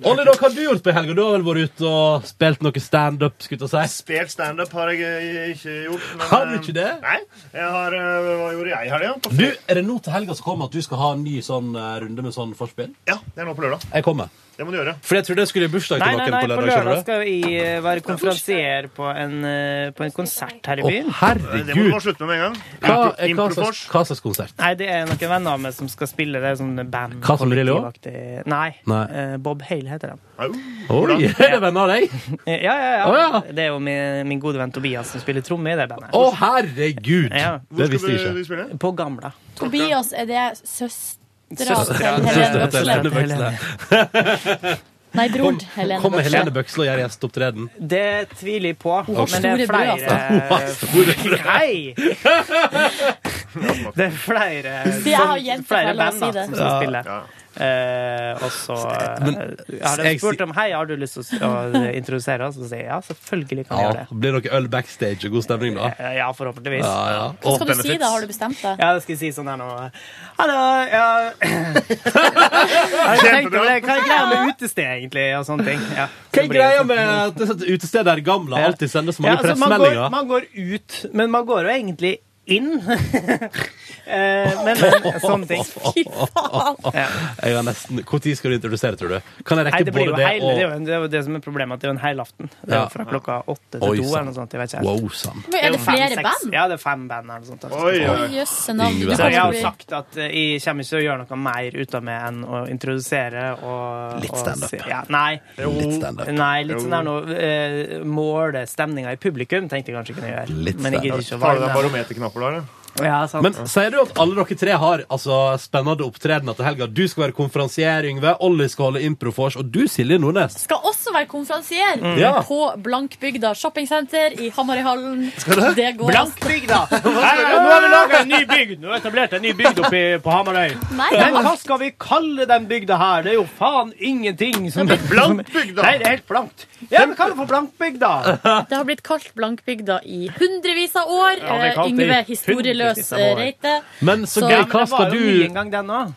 [SPEAKER 1] Olli, da, hva har du gjort på helga? Du har vel vært ute og spilt noe standup? skulle jeg si.
[SPEAKER 13] Spilt standup har jeg eh, ikke gjort. Men,
[SPEAKER 1] Har du
[SPEAKER 13] eh,
[SPEAKER 1] ikke det?
[SPEAKER 13] Nei. Jeg har, eh, hva gjorde jeg i helga? På
[SPEAKER 1] Du, Er det nå til helga som kommer at du skal ha en ny sånn eh, runde med sånn forspill?
[SPEAKER 13] Ja, det er nå på lørdag.
[SPEAKER 1] Jeg kommer.
[SPEAKER 13] Det må du gjøre.
[SPEAKER 1] For jeg trodde jeg skulle i bursdag
[SPEAKER 2] Nei,
[SPEAKER 1] til
[SPEAKER 2] nei,
[SPEAKER 1] noen
[SPEAKER 2] nei,
[SPEAKER 1] på
[SPEAKER 2] på
[SPEAKER 1] lørdag.
[SPEAKER 2] lørdag
[SPEAKER 1] skjønner du?
[SPEAKER 2] skal jeg være konferansier på en, eh, på en konsert her i
[SPEAKER 1] Å,
[SPEAKER 2] byen.
[SPEAKER 1] herregud. Det må du bare
[SPEAKER 13] slutte med med en gang.
[SPEAKER 1] Hva, eh, hva, slags, hva slags konsert?
[SPEAKER 2] Nei, det er noen venner av meg som skal spille. Det er sånn band.
[SPEAKER 1] Hva som Murillo?
[SPEAKER 2] kollektivaktig- Nei.
[SPEAKER 1] Nei.
[SPEAKER 2] eh, Bob Hale heter de.
[SPEAKER 1] Oi, er det venner av deg?
[SPEAKER 2] Ja, ja, ja.
[SPEAKER 1] Å,
[SPEAKER 2] Det er jo min, min gode venn Tobias som spiller tromme i det bandet.
[SPEAKER 1] Å, herregud!
[SPEAKER 2] Ja.
[SPEAKER 1] Det visste jeg ikke.
[SPEAKER 13] ikke.
[SPEAKER 2] På Gamla.
[SPEAKER 5] Tobias, er det søstera
[SPEAKER 1] Søstera
[SPEAKER 5] til
[SPEAKER 1] til
[SPEAKER 5] Helene
[SPEAKER 1] Helene
[SPEAKER 5] Øksle?
[SPEAKER 1] Bøksle.
[SPEAKER 5] Nei, bror
[SPEAKER 1] Kom-
[SPEAKER 5] til Helene
[SPEAKER 1] Kommer
[SPEAKER 5] Bøksle.
[SPEAKER 1] Helene Bøksle og gjør gjesteopptreden?
[SPEAKER 2] Det tviler jeg på.
[SPEAKER 1] Hun har
[SPEAKER 2] men det
[SPEAKER 1] store
[SPEAKER 2] er
[SPEAKER 1] brød,
[SPEAKER 2] flere
[SPEAKER 1] altså. Hun har store brød.
[SPEAKER 2] Hei! Det er flere,
[SPEAKER 5] Si, jeg har
[SPEAKER 2] som,
[SPEAKER 5] jenter,
[SPEAKER 2] flere
[SPEAKER 5] la oss
[SPEAKER 2] band
[SPEAKER 5] si
[SPEAKER 2] da,
[SPEAKER 5] det.
[SPEAKER 2] som skal
[SPEAKER 1] Ja.
[SPEAKER 2] spille. Eh, og så eh,
[SPEAKER 1] Men-
[SPEAKER 2] har de
[SPEAKER 1] jeg
[SPEAKER 2] spurt om Hei, har du lyst til å å introdusere oss? Og så sier jeg ja, selvfølgelig kan jeg gjøre
[SPEAKER 1] Ja,
[SPEAKER 2] det. Eh,
[SPEAKER 1] blir det noe øl backstage og god stemning, da?
[SPEAKER 2] Ja, forhåpentligvis.
[SPEAKER 1] Ja, ja.
[SPEAKER 5] Hva skal du si da? Har du bestemt deg?
[SPEAKER 2] Ja, det skal jeg si sånn her nå. Hallo, ja Har du tenkt over det? Hva er greia med utested, egentlig? Og sånne ting. Ja.
[SPEAKER 1] Hva er
[SPEAKER 2] altså
[SPEAKER 1] greia med at det sånn utestedet er gamle? Alltid sender så mange
[SPEAKER 2] Ja, altså, man, går,
[SPEAKER 1] pressmeldinger.
[SPEAKER 2] man går ut, men man går jo egentlig inn. Eh, men, men sånne ting. Fy faen!
[SPEAKER 1] Jeg har nesten Når skal du introdusere, tror du? Kan jeg
[SPEAKER 2] Nei,
[SPEAKER 1] rekke
[SPEAKER 2] det, blir jo
[SPEAKER 1] både det
[SPEAKER 2] hele,
[SPEAKER 1] og
[SPEAKER 2] det, er jo, det er jo det som er problemet, at det er jo en helaften. Det er jo
[SPEAKER 1] Ja.
[SPEAKER 2] fra klokka
[SPEAKER 1] Oi,
[SPEAKER 2] åtte til to eller
[SPEAKER 1] sant.
[SPEAKER 2] noe sånt. Jeg vet ikke
[SPEAKER 1] Wow, sant.
[SPEAKER 5] Men er det
[SPEAKER 2] jo fem,
[SPEAKER 5] flere
[SPEAKER 2] seks-
[SPEAKER 5] band?
[SPEAKER 2] Ja, det er fem band eller noe sånt.
[SPEAKER 5] Oi, oi. Oi, jøsse navn. Du
[SPEAKER 2] Så
[SPEAKER 5] kan
[SPEAKER 2] jeg har
[SPEAKER 5] bli-
[SPEAKER 2] jo sagt at eh, jeg kommer ikke til å gjøre noe mer ut av meg enn å introdusere og
[SPEAKER 1] Litt
[SPEAKER 2] og
[SPEAKER 1] stand-up.
[SPEAKER 2] se- Ja, nei.
[SPEAKER 1] Litt stand-up.
[SPEAKER 2] Nei, litt sånn
[SPEAKER 1] Jo.
[SPEAKER 2] der noe eh, Måle stemninga i publikum tenkte jeg kanskje kunne gjøre.
[SPEAKER 1] Litt
[SPEAKER 2] men jeg gidder
[SPEAKER 1] stand-up.
[SPEAKER 2] ikke å
[SPEAKER 1] Har du
[SPEAKER 2] være
[SPEAKER 1] deg
[SPEAKER 2] med.
[SPEAKER 13] barometerknapper der,
[SPEAKER 2] Ja, sant.
[SPEAKER 1] Men sier du at alle dere tre har altså, spennende opptredener til helga? Du skal være konferansier, Yngve. Olli skal holde improfors. Og du, Silje Nordnes.
[SPEAKER 5] Skal også være konferansier
[SPEAKER 1] Mm. Ja.
[SPEAKER 5] på Blankbygda shoppingsenter i Hamarøyhallen.
[SPEAKER 2] Skal du?
[SPEAKER 5] Det går
[SPEAKER 2] Blankbygda! Nå har vi laga en ny bygd! Nå har vi etablert en ny bygd oppe i- på Hamarøy.
[SPEAKER 5] Nei,
[SPEAKER 2] Men
[SPEAKER 5] det-
[SPEAKER 2] hva skal vi kalle den bygda her? Det er jo faen ingenting som Det er blankt bygda! Nei, det er helt blankt. Ja, vi kaller det for blankbygda.
[SPEAKER 5] Det har blitt kalt Blankbygda i hundrevis av år.
[SPEAKER 2] Ja, det er
[SPEAKER 5] Eh,
[SPEAKER 2] kalt i
[SPEAKER 5] Yngve
[SPEAKER 2] hundrevis
[SPEAKER 5] historieløs
[SPEAKER 2] av år.
[SPEAKER 5] eh, Reite.
[SPEAKER 1] Men så
[SPEAKER 2] Ja,
[SPEAKER 1] gøy. Hva
[SPEAKER 2] men det var
[SPEAKER 1] skal
[SPEAKER 2] jo ny
[SPEAKER 1] du,
[SPEAKER 2] en gang, den også.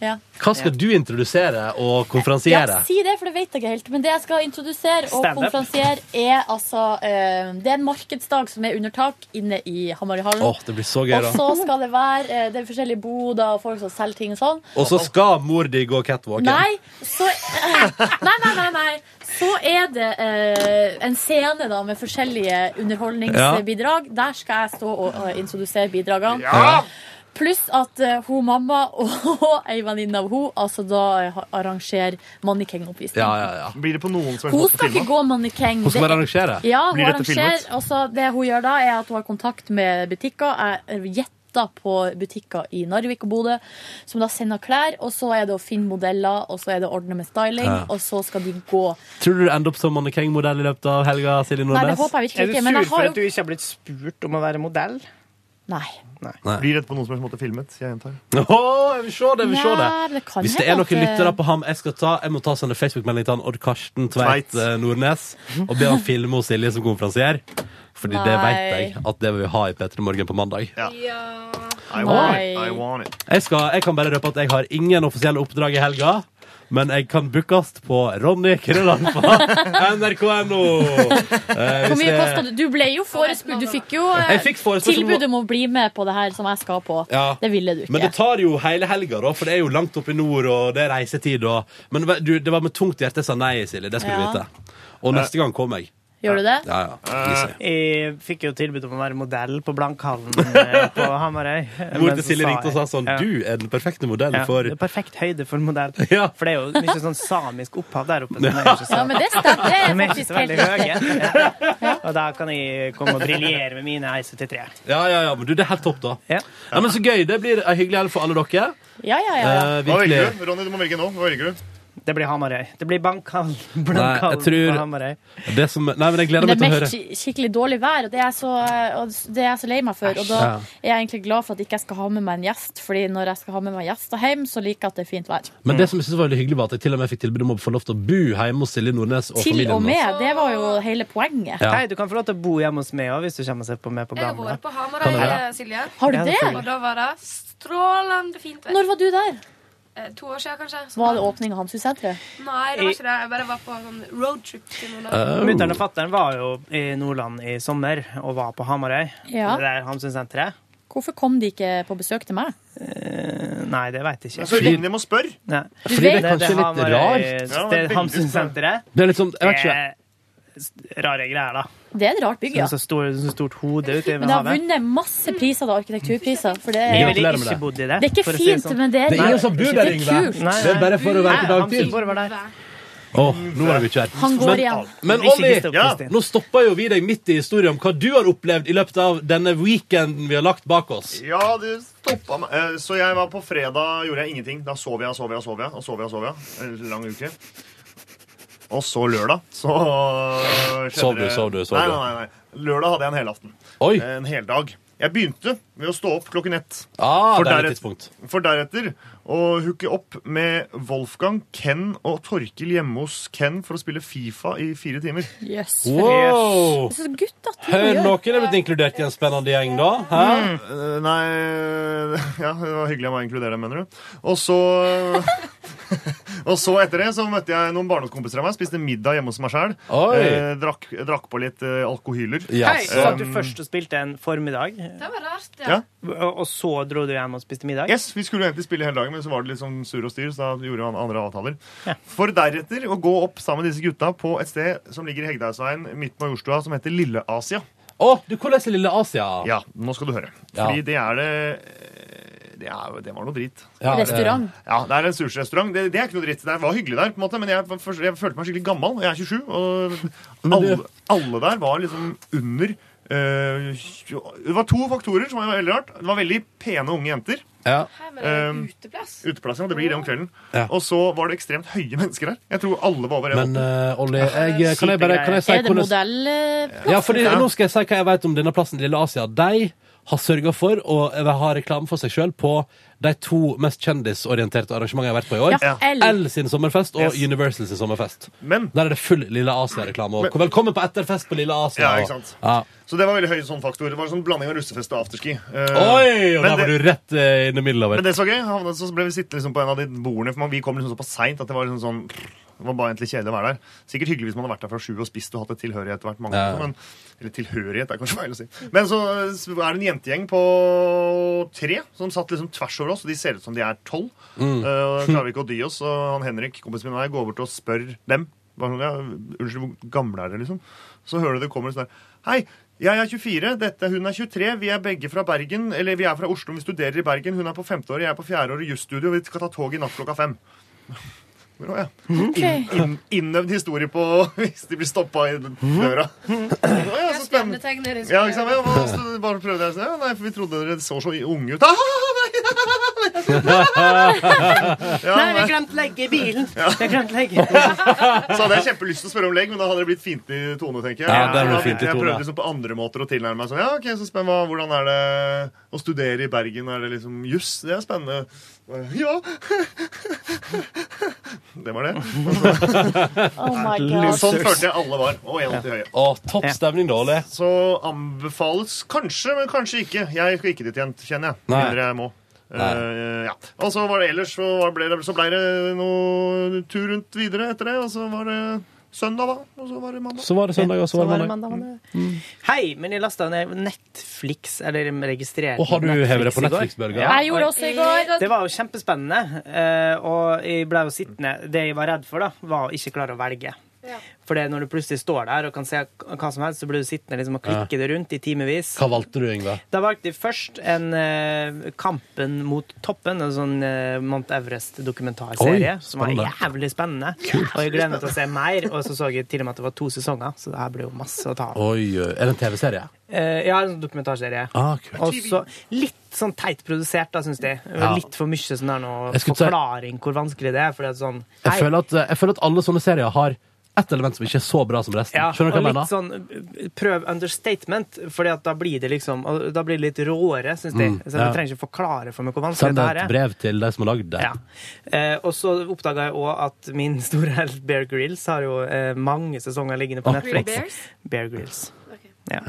[SPEAKER 5] Ja.
[SPEAKER 1] hva skal du introdusere og
[SPEAKER 5] Ja,
[SPEAKER 1] konferansiere?
[SPEAKER 5] si det, for det vet jeg ikke helt. Men det jeg skal introdusere og
[SPEAKER 1] Stand-up.
[SPEAKER 5] konferansiere, er altså eh, Det er en markedsdag som er under tak inne i Hamarøyhallen.
[SPEAKER 1] Åh, det blir så gøy, da.
[SPEAKER 5] Og så skal det være eh, det er forskjellige boder og folk som selger ting og sånn.
[SPEAKER 1] Og så skal mor di gå catwalken.
[SPEAKER 5] Nei, så, eh, nei, nei, nei, nei. Så er det eh, en scene da med forskjellige underholdningsbidrag. Der skal jeg stå og eh, introdusere bidragene.
[SPEAKER 1] Ja!
[SPEAKER 5] Pluss at eh, hun mamma og ei venninne av hun altså da eh, arrangerer mannekengoppvisning.
[SPEAKER 1] Ja, ja, ja.
[SPEAKER 13] Blir det på noen som
[SPEAKER 5] Hun skal ikke gå mannekeng.
[SPEAKER 1] Hun skal
[SPEAKER 5] Det er-
[SPEAKER 1] bare arrangere.
[SPEAKER 5] Ja, hun
[SPEAKER 1] Blir dette
[SPEAKER 5] arrangerer.
[SPEAKER 1] filmet?
[SPEAKER 5] Og så altså, det hun gjør da, er at hun har kontakt med butikker. Jeg gjetter på butikker i Narvik og Bodø, som da sender klær. Og så er det å finne modeller, og så er det å ordne med styling,
[SPEAKER 1] Ja.
[SPEAKER 5] og så skal de gå.
[SPEAKER 1] Tror du du ender opp som mannekengmodell i løpet av helga? Silje
[SPEAKER 5] Nei,
[SPEAKER 1] Nordnes?
[SPEAKER 5] det håper jeg virkelig
[SPEAKER 2] Er du
[SPEAKER 5] ikke. Men
[SPEAKER 2] sur
[SPEAKER 5] jeg har
[SPEAKER 2] for
[SPEAKER 5] jo
[SPEAKER 2] at du ikke har blitt spurt om å være modell?
[SPEAKER 5] Nei.
[SPEAKER 13] Blir dette på noen som helst måte filmet? Jeg gjentar.
[SPEAKER 1] Åh, jeg vil se det! Jeg vil se det.
[SPEAKER 5] Nei, det kan
[SPEAKER 1] Hvis det
[SPEAKER 5] hende
[SPEAKER 1] er noen
[SPEAKER 5] at eh, det-
[SPEAKER 1] lyttere på ham jeg skal ta, jeg må ta sånne Facebook-melding til han Odd Karsten Tveit
[SPEAKER 13] Tveit.
[SPEAKER 1] eh, Nordnes og be han filme hos Silje som konferansier. Fordi det
[SPEAKER 5] Nei.
[SPEAKER 1] vet jeg at det vil vi ha i P3 Morgen på mandag.
[SPEAKER 15] eh,
[SPEAKER 13] I
[SPEAKER 5] want it, Nei. I
[SPEAKER 13] want it.
[SPEAKER 1] Jeg, skal, jeg kan bare røpe at jeg har ingen offisielle oppdrag i helga. Men jeg kan bookes på Ronny Krøllalfa nrk.no. Eh,
[SPEAKER 5] Hvor
[SPEAKER 1] hvis
[SPEAKER 5] mye
[SPEAKER 1] det-
[SPEAKER 5] kosta det? Du ble jo forespurt. Du fikk jo eh,
[SPEAKER 1] Jeg fikk forespørsel om å-
[SPEAKER 5] tilbud om å bli med på det her som jeg skal på.
[SPEAKER 1] Ja.
[SPEAKER 5] Det ville du
[SPEAKER 1] Men det
[SPEAKER 5] ikke.
[SPEAKER 1] tar jo hele helga, da, for det er jo langt opp i nord, og det er reisetid og Men ve- du, det var med tungt hjerte jeg sa nei, Silje. Det skulle
[SPEAKER 5] Ja.
[SPEAKER 1] du vite. Og neste gang kom jeg.
[SPEAKER 5] Gjør du det?
[SPEAKER 1] Ja, ja. Lise.
[SPEAKER 2] Jeg fikk jo tilbud om å være modell på Blankhallen eh, på Hamarøy.
[SPEAKER 1] Mor
[SPEAKER 2] Men
[SPEAKER 1] til
[SPEAKER 2] så
[SPEAKER 1] Silje
[SPEAKER 2] sa
[SPEAKER 1] ringte og sa sånn
[SPEAKER 2] jeg-
[SPEAKER 1] Du er den perfekte modellen
[SPEAKER 2] Ja,
[SPEAKER 1] for
[SPEAKER 2] det er perfekt høyde for en modell. For det er jo mye sånn samisk opphav der oppe. som er ikke så-
[SPEAKER 5] Ja, men det stemmer. Det
[SPEAKER 2] De
[SPEAKER 5] er
[SPEAKER 2] er ikke
[SPEAKER 5] faktisk
[SPEAKER 2] så veldig
[SPEAKER 5] helt riktig.
[SPEAKER 2] høye. Ja. Og da kan jeg komme og briljere med mine 173.
[SPEAKER 1] Ja, ja, ja, men du, det er helt topp, da. Ja. men Så gøy. Det blir en hyggelig helg for alle dere.
[SPEAKER 5] Ja, ja, ja.
[SPEAKER 1] Eh,
[SPEAKER 13] Hva
[SPEAKER 1] virkelig.
[SPEAKER 13] velger du? Ronny, du må velge nå. Hva velger du?
[SPEAKER 2] Det blir Hamarøy. Det blir Bankhallen.
[SPEAKER 1] Nei, jeg
[SPEAKER 2] Blankhallen på Hamarøy.
[SPEAKER 1] tror det som, Nei, men jeg gleder
[SPEAKER 5] Men
[SPEAKER 1] meg
[SPEAKER 5] det
[SPEAKER 1] til å
[SPEAKER 5] er
[SPEAKER 1] høre.
[SPEAKER 5] meldt skikkelig dårlig vær, og det er, jeg så, og det er jeg så lei meg for. Og da
[SPEAKER 1] Ja.
[SPEAKER 5] er jeg egentlig glad for at ikke jeg skal ha med meg en gjest, Fordi når jeg skal ha med meg gjester hjem, så liker jeg at det er fint vær.
[SPEAKER 1] Men det som jeg synes var veldig hyggelig, var at jeg til og med fikk tilbud om å få lov til å bo hjemme hos Silje Nordnes og
[SPEAKER 5] Til
[SPEAKER 1] familien
[SPEAKER 5] og
[SPEAKER 1] hennes.
[SPEAKER 5] med. Det var jo hele poenget.
[SPEAKER 1] Ja.
[SPEAKER 2] Hei, du kan få lov til å bo hjemme hos meg òg, hvis du kommer og ser på meg på
[SPEAKER 15] Jeg har vært
[SPEAKER 2] Blankhallen.
[SPEAKER 15] på
[SPEAKER 2] Kan
[SPEAKER 15] Hamarøy,
[SPEAKER 2] det være?
[SPEAKER 15] eh, Silje.
[SPEAKER 2] Har du Ja, det? selvfølgelig.
[SPEAKER 15] Og da var det strålende fint vær.
[SPEAKER 5] Når var du der?
[SPEAKER 15] Eh, To år siden, kanskje. Så-
[SPEAKER 5] Var det åpning av Hamsunsenteret?
[SPEAKER 15] Nei, det var ikke det. Jeg bare var på en sånn roadtrip til
[SPEAKER 2] Eh,
[SPEAKER 15] Nordland.
[SPEAKER 2] Mutter'n og fatter'n var jo i Nordland i sommer og var på Hamarøy.
[SPEAKER 5] Ja.
[SPEAKER 2] Det der Hamsunsenteret.
[SPEAKER 5] Hvorfor kom de ikke på besøk til meg?
[SPEAKER 2] Eh, Nei, det veit jeg ikke.
[SPEAKER 13] Så ring dem og spør.
[SPEAKER 2] Nei.
[SPEAKER 1] Fordi det er kanskje litt
[SPEAKER 2] Hamarøy-
[SPEAKER 1] rart.
[SPEAKER 13] Altså, Ja,
[SPEAKER 2] Det
[SPEAKER 13] det er
[SPEAKER 2] er
[SPEAKER 13] veldig
[SPEAKER 2] Hamsunsenteret.
[SPEAKER 1] Det er litt sånn, jeg vet ikke.
[SPEAKER 2] Det er Rare greier, da.
[SPEAKER 5] Det er et rart bygg, ja.
[SPEAKER 2] Med så, stor, så stort hode ute i
[SPEAKER 5] Men det har
[SPEAKER 2] havet.
[SPEAKER 5] vunnet masse priser, da. Arkitekturpriser. For det
[SPEAKER 2] Jeg
[SPEAKER 5] er
[SPEAKER 2] ville
[SPEAKER 1] med
[SPEAKER 2] ikke
[SPEAKER 1] det.
[SPEAKER 2] bodd i det.
[SPEAKER 5] Det er ikke
[SPEAKER 2] for å si
[SPEAKER 5] fint,
[SPEAKER 2] sånn.
[SPEAKER 5] men det er
[SPEAKER 1] Det er ingen som bor der,
[SPEAKER 5] det
[SPEAKER 1] Yngve.
[SPEAKER 5] er kult.
[SPEAKER 1] Det er bare for å være på dagtid.
[SPEAKER 2] Hamsun var der.
[SPEAKER 1] Å, nå var det mye her.
[SPEAKER 5] Han går
[SPEAKER 1] Men-
[SPEAKER 5] igjen.
[SPEAKER 1] Men
[SPEAKER 2] Ikke
[SPEAKER 1] Olli,
[SPEAKER 2] gitt opp,
[SPEAKER 1] ja,
[SPEAKER 2] Kristin.
[SPEAKER 1] nå stopper jo vi deg midt i historien om hva du har opplevd i løpet av denne weekenden vi har lagt bak oss.
[SPEAKER 13] Ja, det stoppa meg. Eh, Så jeg var på fredag, gjorde jeg ingenting. Da sov jeg, sov jeg, sov jeg. Og sov jeg, sov jeg. En lang uke. Og så lørdag, så skjedde
[SPEAKER 1] Sov du,
[SPEAKER 13] det-
[SPEAKER 1] sov du, sov
[SPEAKER 13] nei,
[SPEAKER 1] du.
[SPEAKER 13] nei, nei, nei. Lørdag hadde jeg en helaften.
[SPEAKER 1] Oi.
[SPEAKER 13] En heldag. Jeg begynte ved å stå opp klokken ett.
[SPEAKER 1] Ah, det er et
[SPEAKER 13] deret-
[SPEAKER 1] tidspunkt.
[SPEAKER 13] for deretter å hooke opp med Wolfgang, Ken og Torkil hjemme hos Ken for å spille Fifa i fire timer.
[SPEAKER 5] Yes.
[SPEAKER 1] Wow.
[SPEAKER 5] Så gutta to
[SPEAKER 1] Hør,
[SPEAKER 5] gjør.
[SPEAKER 1] noen er blitt inkludert i en spennende gjeng, da. Hæ?
[SPEAKER 13] Eh, Nei Ja, det var hyggelig av meg å inkludere deg, mener du. Og så Og så etter det så møtte jeg noen barndomskompiser av meg, spiste middag hjemme hos meg sjøl.
[SPEAKER 17] Oi.
[SPEAKER 13] Eh, drakk, drakk på litt eh, alkohyler.
[SPEAKER 2] Hei, så at du
[SPEAKER 13] Um,
[SPEAKER 2] først spilte en formiddag,
[SPEAKER 15] Det var rart, ja.
[SPEAKER 13] ja.
[SPEAKER 2] og og så dro du hjem og spiste middag?
[SPEAKER 13] Yes, Vi skulle jo egentlig spille hele dagen, men så var det litt sånn sur og styr. Så da gjorde han andre avtaler. For deretter å gå opp sammen med disse gutta på et sted som ligger i Hegdehaugsveien midt på Jordstua, som heter Lille Asia.
[SPEAKER 1] Å, du hvordan er Lille Asia?
[SPEAKER 13] Ja, nå skal du høre.
[SPEAKER 1] Ja.
[SPEAKER 13] Fordi det er det eh, det, er, jo- det var noe drit.
[SPEAKER 1] Ja, eh, Restaurant.
[SPEAKER 13] Ja, det er en sushirestaurant. Det, det er ikke noe dritt. Det var hyggelig der, på en måte, men jeg, var først- jeg følte meg skikkelig gammel. Jeg er 27, og alle, alle der var liksom under eh, tjo- Det var to faktorer som var veldig rart. Det var veldig pene unge jenter. Eh,
[SPEAKER 15] uteplass?
[SPEAKER 13] ja. Det blir det om kvelden. Og så var det ekstremt høye mennesker der. Jeg tror alle var over en
[SPEAKER 1] Men eh, Olli, jeg, kan jeg bare kan jeg si
[SPEAKER 5] Er det
[SPEAKER 1] hvordan-
[SPEAKER 5] modellplass?
[SPEAKER 1] Ja, fordi nå skal jeg si hva jeg vet om denne plassen Lille Asia. De har sørga for å ha reklame for seg sjøl på de to mest kjendisorienterte arrangementene jeg har vært på i år.
[SPEAKER 13] Ja,
[SPEAKER 1] L.
[SPEAKER 13] L.
[SPEAKER 1] sin sommerfest og
[SPEAKER 13] Yes.
[SPEAKER 1] Universal sin sommerfest.
[SPEAKER 13] Men
[SPEAKER 1] Der er det full Lille Asia-reklame. Og
[SPEAKER 13] Men-
[SPEAKER 1] velkommen på etterfest på Lille Asia.
[SPEAKER 13] Ja,
[SPEAKER 1] og-
[SPEAKER 13] ikke sant.
[SPEAKER 1] Ja.
[SPEAKER 13] Så det var veldig høy sånn faktor. Det var sånn blanding av russefest og afterski. Eh,
[SPEAKER 1] Oi, og der
[SPEAKER 13] men
[SPEAKER 1] var
[SPEAKER 13] det-
[SPEAKER 1] du rett eh, inn i middelover.
[SPEAKER 13] Men det som var gøy, havnet- så ble vi sittende liksom på en av de bordene, for man- vi kom liksom såpass seint at det var liksom sånn det var bare egentlig kjedelig å være der. Sikkert hyggelig hvis man hadde vært der fra sju og spist og hatt et tilhørighet etter hvert. Mange,
[SPEAKER 1] Ja.
[SPEAKER 13] men, eller tilhørighet, er kanskje feil å si. Men så, så er det en jentegjeng på tre som satt liksom tvers over oss, og de ser ut som de er tolv.
[SPEAKER 1] Mm.
[SPEAKER 13] Eh, og da klarer vi ikke å dy oss, og han Henrik, kompisen min og jeg, går bort og spør dem. Bare sånn, ja, unnskyld, hvor gamle er dere, liksom? Så hører du det kommer sånn der, hei, jeg er 24, dette, hun er 23, vi er begge fra Bergen, eller vi er fra Oslo, vi studerer i Bergen, hun er på femte året, jeg er på fjerde året i jusstudio, vi skal ta tog i natt klokka fem. Hvor var jeg? Inn- inn- Innøvd historie på hvis de blir stoppa i
[SPEAKER 1] Mhm.
[SPEAKER 13] døra. Å, ja, så spennende.
[SPEAKER 15] Stjernetegner
[SPEAKER 13] Ja, ikke sant? Ja, og så bare prøvde jeg sånn, ja, nei, for vi trodde dere så så unge ut. Ah, ja,
[SPEAKER 2] Nei, vi
[SPEAKER 13] nei.
[SPEAKER 2] glemte legge i bilen!
[SPEAKER 13] Ja.
[SPEAKER 2] Vi glemte legge
[SPEAKER 13] Så hadde jeg kjempelyst til å spørre om legg, men da hadde det blitt fiendtlig tone. tenker jeg.
[SPEAKER 1] Ja, det
[SPEAKER 13] Så
[SPEAKER 1] hadde
[SPEAKER 13] da
[SPEAKER 1] blitt fiendtlig
[SPEAKER 13] Jeg
[SPEAKER 1] tone.
[SPEAKER 13] prøvde liksom på andre måter å tilnærme meg sånn. Ja, ok, så spennende. Hva- Hvordan er det å studere i Bergen? Er det liksom juss? Det er spennende. Bare, Ja! Det var det.
[SPEAKER 1] Oh my
[SPEAKER 13] Nei,
[SPEAKER 1] God.
[SPEAKER 13] Sånn følte jeg alle var. Og en til høye.
[SPEAKER 1] Å, topp stemning, da, Olli.
[SPEAKER 13] Så anbefales kanskje, men kanskje ikke. Jeg skal ikke dit igjen, kjenner jeg.
[SPEAKER 1] Nei.
[SPEAKER 13] Mindre jeg må.
[SPEAKER 1] Nei.
[SPEAKER 13] Eh, ja. Og så var det ellers så var- ble det, så ble det noe tur rundt videre etter det, og så var det søndag, da. Og så var det mandag.
[SPEAKER 1] Så var det søndag, og så var det mandag.
[SPEAKER 2] Mm. Hei, men jeg lasta ned Netflix, eller registrerte
[SPEAKER 1] Og har du
[SPEAKER 2] Netflix
[SPEAKER 1] hevet det på
[SPEAKER 2] i går.
[SPEAKER 1] Netflix-bølga?
[SPEAKER 2] Ja.
[SPEAKER 6] Jeg gjorde det også i går.
[SPEAKER 2] Det var jo kjempespennende, eh, og jeg ble jo sittende. Det jeg var redd for, da, var å ikke klare å velge. For det er når du plutselig står der og kan se hva som helst, så blir du sittende liksom, og klikke det rundt i timevis.
[SPEAKER 1] Hva valgte du, Yngve?
[SPEAKER 2] Da valgte jeg først en eh, Kampen mot toppen, en sånn eh, Mount Everest-dokumentarserie,
[SPEAKER 1] Oi,
[SPEAKER 2] som var
[SPEAKER 1] spennende.
[SPEAKER 2] jævlig spennende. Og jeg gledet å se mer, og så så jeg til og med at det var to sesonger, så det her ble jo masse å ta av.
[SPEAKER 1] Oi, ø, er det en TV-serie?
[SPEAKER 2] Eh, ja, en sånn dokumentarserie.
[SPEAKER 1] Ah, kult.
[SPEAKER 2] Og så litt sånn teit produsert, da, syns de.
[SPEAKER 1] Ja.
[SPEAKER 2] Litt for mye sånn der noe
[SPEAKER 1] Jeg skulle si-
[SPEAKER 2] forklaring hvor vanskelig det er. Fordi at sånn
[SPEAKER 1] Jeg,
[SPEAKER 2] hei,
[SPEAKER 1] føler at, ø, jeg føler at alle sånne serier har ett element som ikke er så bra som resten.
[SPEAKER 2] ja,
[SPEAKER 1] Skjønner du hva jeg
[SPEAKER 2] og
[SPEAKER 1] mener?
[SPEAKER 2] litt sånn uh, prøv understatement, Fordi at da blir det liksom og Da blir det litt råere, syns de.
[SPEAKER 1] Mm,
[SPEAKER 2] Så du
[SPEAKER 1] ja.
[SPEAKER 2] trenger ikke forklare for meg hvor vanskelig
[SPEAKER 1] Send
[SPEAKER 2] det
[SPEAKER 1] et
[SPEAKER 2] her er.
[SPEAKER 1] brev til de som har lagd det.
[SPEAKER 2] Ja. Eh, og så oppdaga jeg òg at min store helt Bear Grills har jo eh, mange sesonger liggende på
[SPEAKER 1] Ah.
[SPEAKER 2] Netflix.
[SPEAKER 1] Grill Bears?
[SPEAKER 2] Bear Grills. Ja.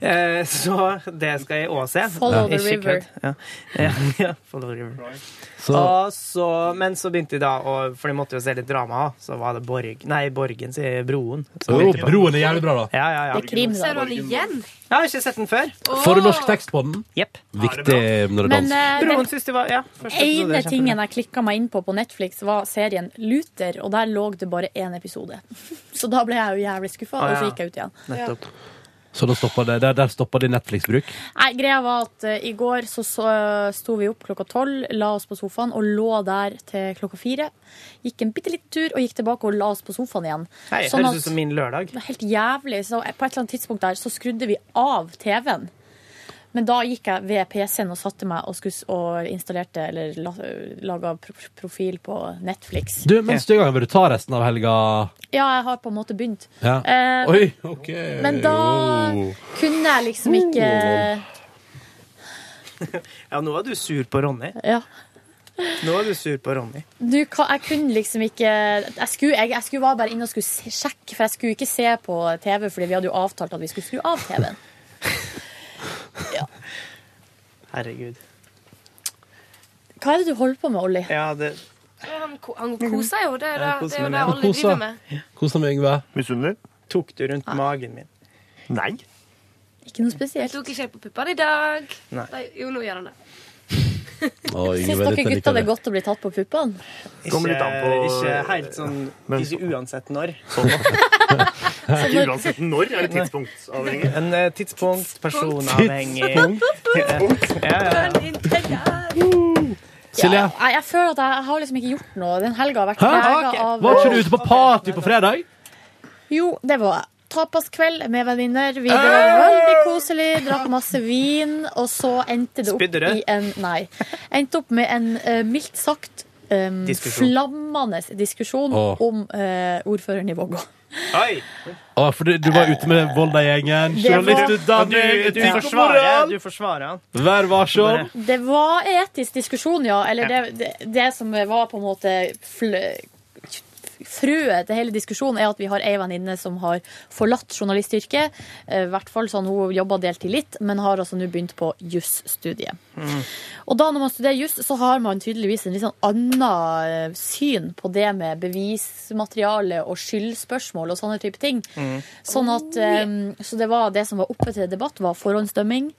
[SPEAKER 2] Eh, så det skal jeg òg se.
[SPEAKER 5] Follow the
[SPEAKER 2] Ikke
[SPEAKER 5] river.
[SPEAKER 2] kødd. Ja. Ja, ja, follow the river.
[SPEAKER 1] Så-
[SPEAKER 2] Og så, men så begynte jeg da å For de måtte jo se litt drama òg. Så var det Borg Nei, Borgen, sier jeg, Broen. som
[SPEAKER 1] Å,
[SPEAKER 2] begynte på.
[SPEAKER 1] Broen er jævlig bra, da.
[SPEAKER 2] Ja, ja, ja.
[SPEAKER 15] Ser du han igjen?
[SPEAKER 2] Jeg har ikke sett den før.
[SPEAKER 1] Får du norsk tekst på den?
[SPEAKER 2] Jepp.
[SPEAKER 1] Viktig når det
[SPEAKER 5] Men
[SPEAKER 1] danser.
[SPEAKER 5] eh,
[SPEAKER 2] Broren
[SPEAKER 5] den
[SPEAKER 2] synes det var ja, første episode,
[SPEAKER 5] ene
[SPEAKER 2] kjempebra.
[SPEAKER 5] tingen jeg klikka meg inn på på Netflix, var serien Luther, og der lå det bare én episode. Så da ble jeg jo jævlig skuffa, og
[SPEAKER 1] Ah,
[SPEAKER 5] så
[SPEAKER 1] ja.
[SPEAKER 5] gikk jeg ut igjen.
[SPEAKER 2] Nettopp.
[SPEAKER 1] Så da stopper det, der, der stopper din Netflix-bruk?
[SPEAKER 5] Nei, greia var at eh, i går så, så eh, sto vi opp klokka tolv, la oss på sofaen og lå der til klokka fire. Gikk en bitte liten tur og gikk tilbake og la oss på sofaen igjen.
[SPEAKER 2] Hei,
[SPEAKER 5] Sånn
[SPEAKER 2] høres
[SPEAKER 5] at-
[SPEAKER 2] ut som min lørdag.
[SPEAKER 5] Det var helt jævlig. Så på et eller annet tidspunkt der så skrudde vi av TV-en. Men da gikk jeg ved PC-en og satte meg og, skulle, og installerte eller la, laga pro profil på Netflix.
[SPEAKER 1] Du, mens du er i gang, vil du ta resten av helga?
[SPEAKER 5] Ja, jeg har på en måte begynt.
[SPEAKER 1] Ja.
[SPEAKER 5] Eh,
[SPEAKER 1] Oi, OK.
[SPEAKER 5] Men da
[SPEAKER 1] Jo.
[SPEAKER 5] kunne jeg liksom ikke
[SPEAKER 1] Oh.
[SPEAKER 2] Ja, nå er du sur på Ronny.
[SPEAKER 5] Ja.
[SPEAKER 2] Nå er du sur på Ronny.
[SPEAKER 5] du, hva- jeg kunne liksom ikke Jeg skulle, jeg, jeg skulle bare bare inne og skulle se- sjekke, for jeg skulle ikke se på TV, fordi vi hadde jo avtalt at vi skulle skru av TV-en.
[SPEAKER 2] Herregud.
[SPEAKER 5] Hva er det du holder på med, Olli?
[SPEAKER 2] Ja, det
[SPEAKER 15] Han, ko- han koser jo, det er det,
[SPEAKER 2] Jeg koser
[SPEAKER 15] det, er
[SPEAKER 2] meg
[SPEAKER 15] jo det
[SPEAKER 2] med
[SPEAKER 15] alle
[SPEAKER 2] det.
[SPEAKER 15] driver med.
[SPEAKER 18] Kos deg med Yngve.
[SPEAKER 13] Misunner?
[SPEAKER 2] Tok du rundt magen min?
[SPEAKER 13] Nei.
[SPEAKER 5] Ikke noe spesielt.
[SPEAKER 15] Jeg tok ikke helt på puppene i dag.
[SPEAKER 2] Nei.
[SPEAKER 15] jo, nå gjør han det.
[SPEAKER 5] Syns dere gutta det er godt å bli tatt på puppene?
[SPEAKER 2] Ikke,
[SPEAKER 13] litt an på-
[SPEAKER 2] ikke helt sånn Ikke uansett når.
[SPEAKER 13] Ikke uansett når, er det tidspunktsavhengig?
[SPEAKER 2] En eh, tidspunkt, personavhengig Ja, ja.
[SPEAKER 1] Silje?
[SPEAKER 5] Nei, jeg føler at jeg har liksom ikke gjort noe. Den helga har vært
[SPEAKER 1] Hæ? Ah,
[SPEAKER 5] prega av
[SPEAKER 1] Var ikke du ute på party på fredag?
[SPEAKER 5] Jo, det var jeg. Tapaskveld med venninner.
[SPEAKER 1] Eh!
[SPEAKER 5] Vi det var veldig koselig, drakk masse vin, og så endte det opp
[SPEAKER 2] Spydde du?
[SPEAKER 5] i en Nei. Endte opp med en eh, mildt sagt um,
[SPEAKER 1] Diskusjon.
[SPEAKER 5] flammende diskusjon
[SPEAKER 1] Åh.
[SPEAKER 5] om eh, ordføreren i Vågå.
[SPEAKER 1] Å, for du, du var ute med Volda-gjengen.
[SPEAKER 5] Det var-
[SPEAKER 1] Journalistutdanning,
[SPEAKER 2] Du, du,
[SPEAKER 1] etikk og
[SPEAKER 2] forsvarer,
[SPEAKER 1] moral!
[SPEAKER 2] du forsvarer han.
[SPEAKER 1] Vær varsom!
[SPEAKER 5] Det var etisk diskusjon, ja. Eller det, det, det som var på en måte flø, frøet til hele diskusjonen, er at vi har ei venninne som har forlatt journalistyrket. Eh, I hvert fall sånn hun jobba deltid litt, men har altså nå begynt på jusstudiet. Og da når man studerer juss, så har man tydeligvis en litt sånn annet eh, syn på det med bevismateriale og skyldspørsmål og sånne type ting. Sånn at, eh, så det var det som var oppe til debatt, var forhåndsdømming.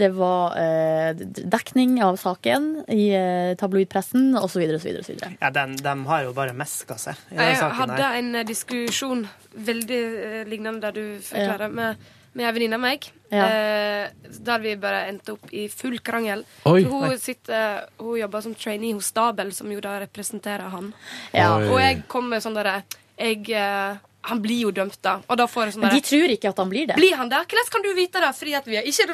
[SPEAKER 5] Det var eh, d- dekning av saken i eh, tabloidpressen osv. osv.
[SPEAKER 2] Ja, de, har jo bare meska seg i den
[SPEAKER 15] Jeg
[SPEAKER 2] saken
[SPEAKER 15] hadde
[SPEAKER 2] her.
[SPEAKER 15] en eh, diskusjon veldig eh, lignende der du
[SPEAKER 5] Ja.
[SPEAKER 15] forklarer, med, med ei venninne av meg.
[SPEAKER 5] Ja.
[SPEAKER 15] eh, der vi bare endte opp i full krangel.
[SPEAKER 5] Oi.
[SPEAKER 15] For
[SPEAKER 5] Oi.
[SPEAKER 15] Hun, sitter, hun jobber som trainee hos Stabel, som jo da representerer han.
[SPEAKER 5] Ja. Oi.
[SPEAKER 15] Og jeg kom med sånn derre jeg, eh, Han blir jo dømt, da. Og da får jeg sånn
[SPEAKER 5] Men de
[SPEAKER 15] derre
[SPEAKER 5] tror ikke at han blir det.
[SPEAKER 15] Blir han det? Hvordan kan du vite det? Fordi at vi er ikke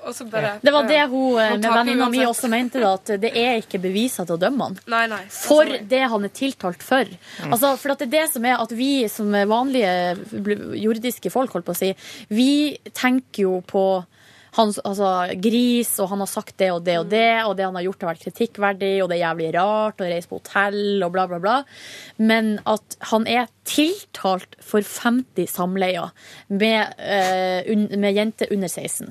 [SPEAKER 15] Og så bare
[SPEAKER 5] Det var det hun eh,
[SPEAKER 15] Han
[SPEAKER 5] med
[SPEAKER 15] taper
[SPEAKER 5] venninna mi
[SPEAKER 15] uansett.
[SPEAKER 5] også mente, da, at det er ikke beviser til å dømme han.
[SPEAKER 15] Nei, nei.
[SPEAKER 5] For det han er tiltalt for. Altså, for at det er det som er at vi som er vanlige bl- jordiske folk, holdt på å si, vi tenker jo på hans, altså, gris, og han har sagt det og det
[SPEAKER 15] Mm.
[SPEAKER 5] og det, og det han har gjort har vært kritikkverdig, og det er jævlig rart, og reise på hotell og bla, bla, bla. Men at han er tiltalt for 50 samleier med, eh, un, med jenter under 16.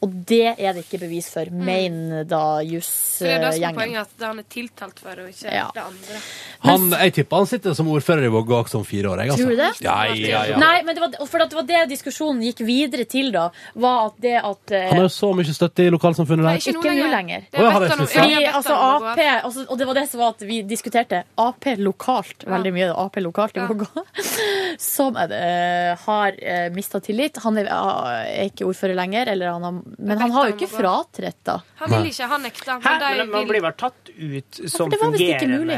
[SPEAKER 5] Og det er det ikke bevis for, mener da eh,
[SPEAKER 15] Så Mm. det er det som er
[SPEAKER 5] jusgjengen.
[SPEAKER 15] poenget, at det han er tiltalt for, og ikke
[SPEAKER 5] Ja.
[SPEAKER 15] det andre.
[SPEAKER 1] Han, jeg tipper han sitter som ordfører i Vågå også om fire år. Jeg, altså.
[SPEAKER 5] Tror du det?
[SPEAKER 1] Ja, ja, ja.
[SPEAKER 5] Nei, men det var, for at det var det diskusjonen gikk videre til, da. Var at det at eh,
[SPEAKER 1] Han har jo så mye støtte i lokalsamfunnet der.
[SPEAKER 5] ikke nå lenger.
[SPEAKER 1] Å, ja, har jeg sluttet?
[SPEAKER 5] Fordi, altså, AP, altså, og det var det som var at vi diskuterte Ap lokalt veldig mye. Ap lokalt i Vågå. Som eh, har uh, mista tillit. Han er, eh, er ikke ordfører lenger, eller han har, men han har jo ikke fratredt, da.
[SPEAKER 15] Han vil ikke, han nekter.
[SPEAKER 2] Hæ?
[SPEAKER 15] Men de
[SPEAKER 2] Men man
[SPEAKER 15] vil
[SPEAKER 2] blir vel tatt ut som
[SPEAKER 5] det var visst ikke
[SPEAKER 2] fungerende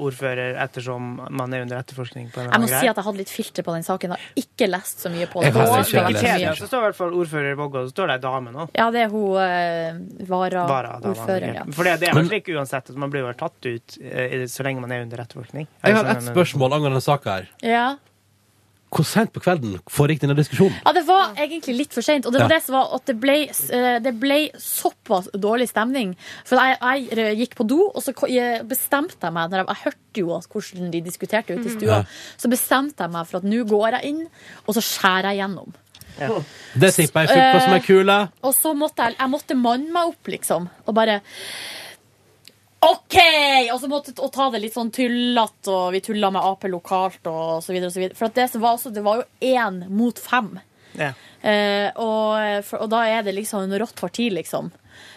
[SPEAKER 2] ordfører ettersom man er under etterforskning på en eller
[SPEAKER 5] Jeg må
[SPEAKER 2] annen
[SPEAKER 5] si at jeg hadde litt filter på den saken. Jeg har ikke lest så mye på det.
[SPEAKER 2] Og
[SPEAKER 5] Og-
[SPEAKER 2] i Wikipedia så står i hvert fall ordfører i Vågå, så står det ei dame nå.
[SPEAKER 5] Ja, det er hun eh, vara,
[SPEAKER 2] Bare dama,
[SPEAKER 5] ordfører.
[SPEAKER 2] ikke?
[SPEAKER 5] Ja.
[SPEAKER 2] For det, det er vel slik uansett at man blir vel tatt ut eh, i- så lenge man er under etterforskning.
[SPEAKER 1] jeg har ett spørsmål angående denne saka her.
[SPEAKER 5] Ja.
[SPEAKER 1] Hvor sent på kvelden foregikk denne diskusjonen?
[SPEAKER 5] Ja, det var egentlig litt for seint. Og det var
[SPEAKER 1] Ja.
[SPEAKER 5] det som var at det ble, eh, det ble såpass dårlig stemning. For jeg, jeg gikk på do, og så ko- jeg bestemte jeg meg når jeg, jeg hørte jo at hvordan de diskuterte ute i
[SPEAKER 1] Mhm.
[SPEAKER 5] stua.
[SPEAKER 1] Ja.
[SPEAKER 5] Så bestemte jeg meg for at nå går jeg inn, og så skjærer jeg gjennom.
[SPEAKER 1] Det tipper jeg suppa som er kule.
[SPEAKER 5] Og så måtte jeg, jeg måtte manne meg opp, liksom. Og bare OK! Og så måtte og ta det litt sånn tullete, og vi tulla med Ap lokalt og så videre og så videre. For at det, som var, også, det var jo én mot fem.
[SPEAKER 2] Ja.
[SPEAKER 5] Eh, og, for, og da er det liksom en rått parti, liksom.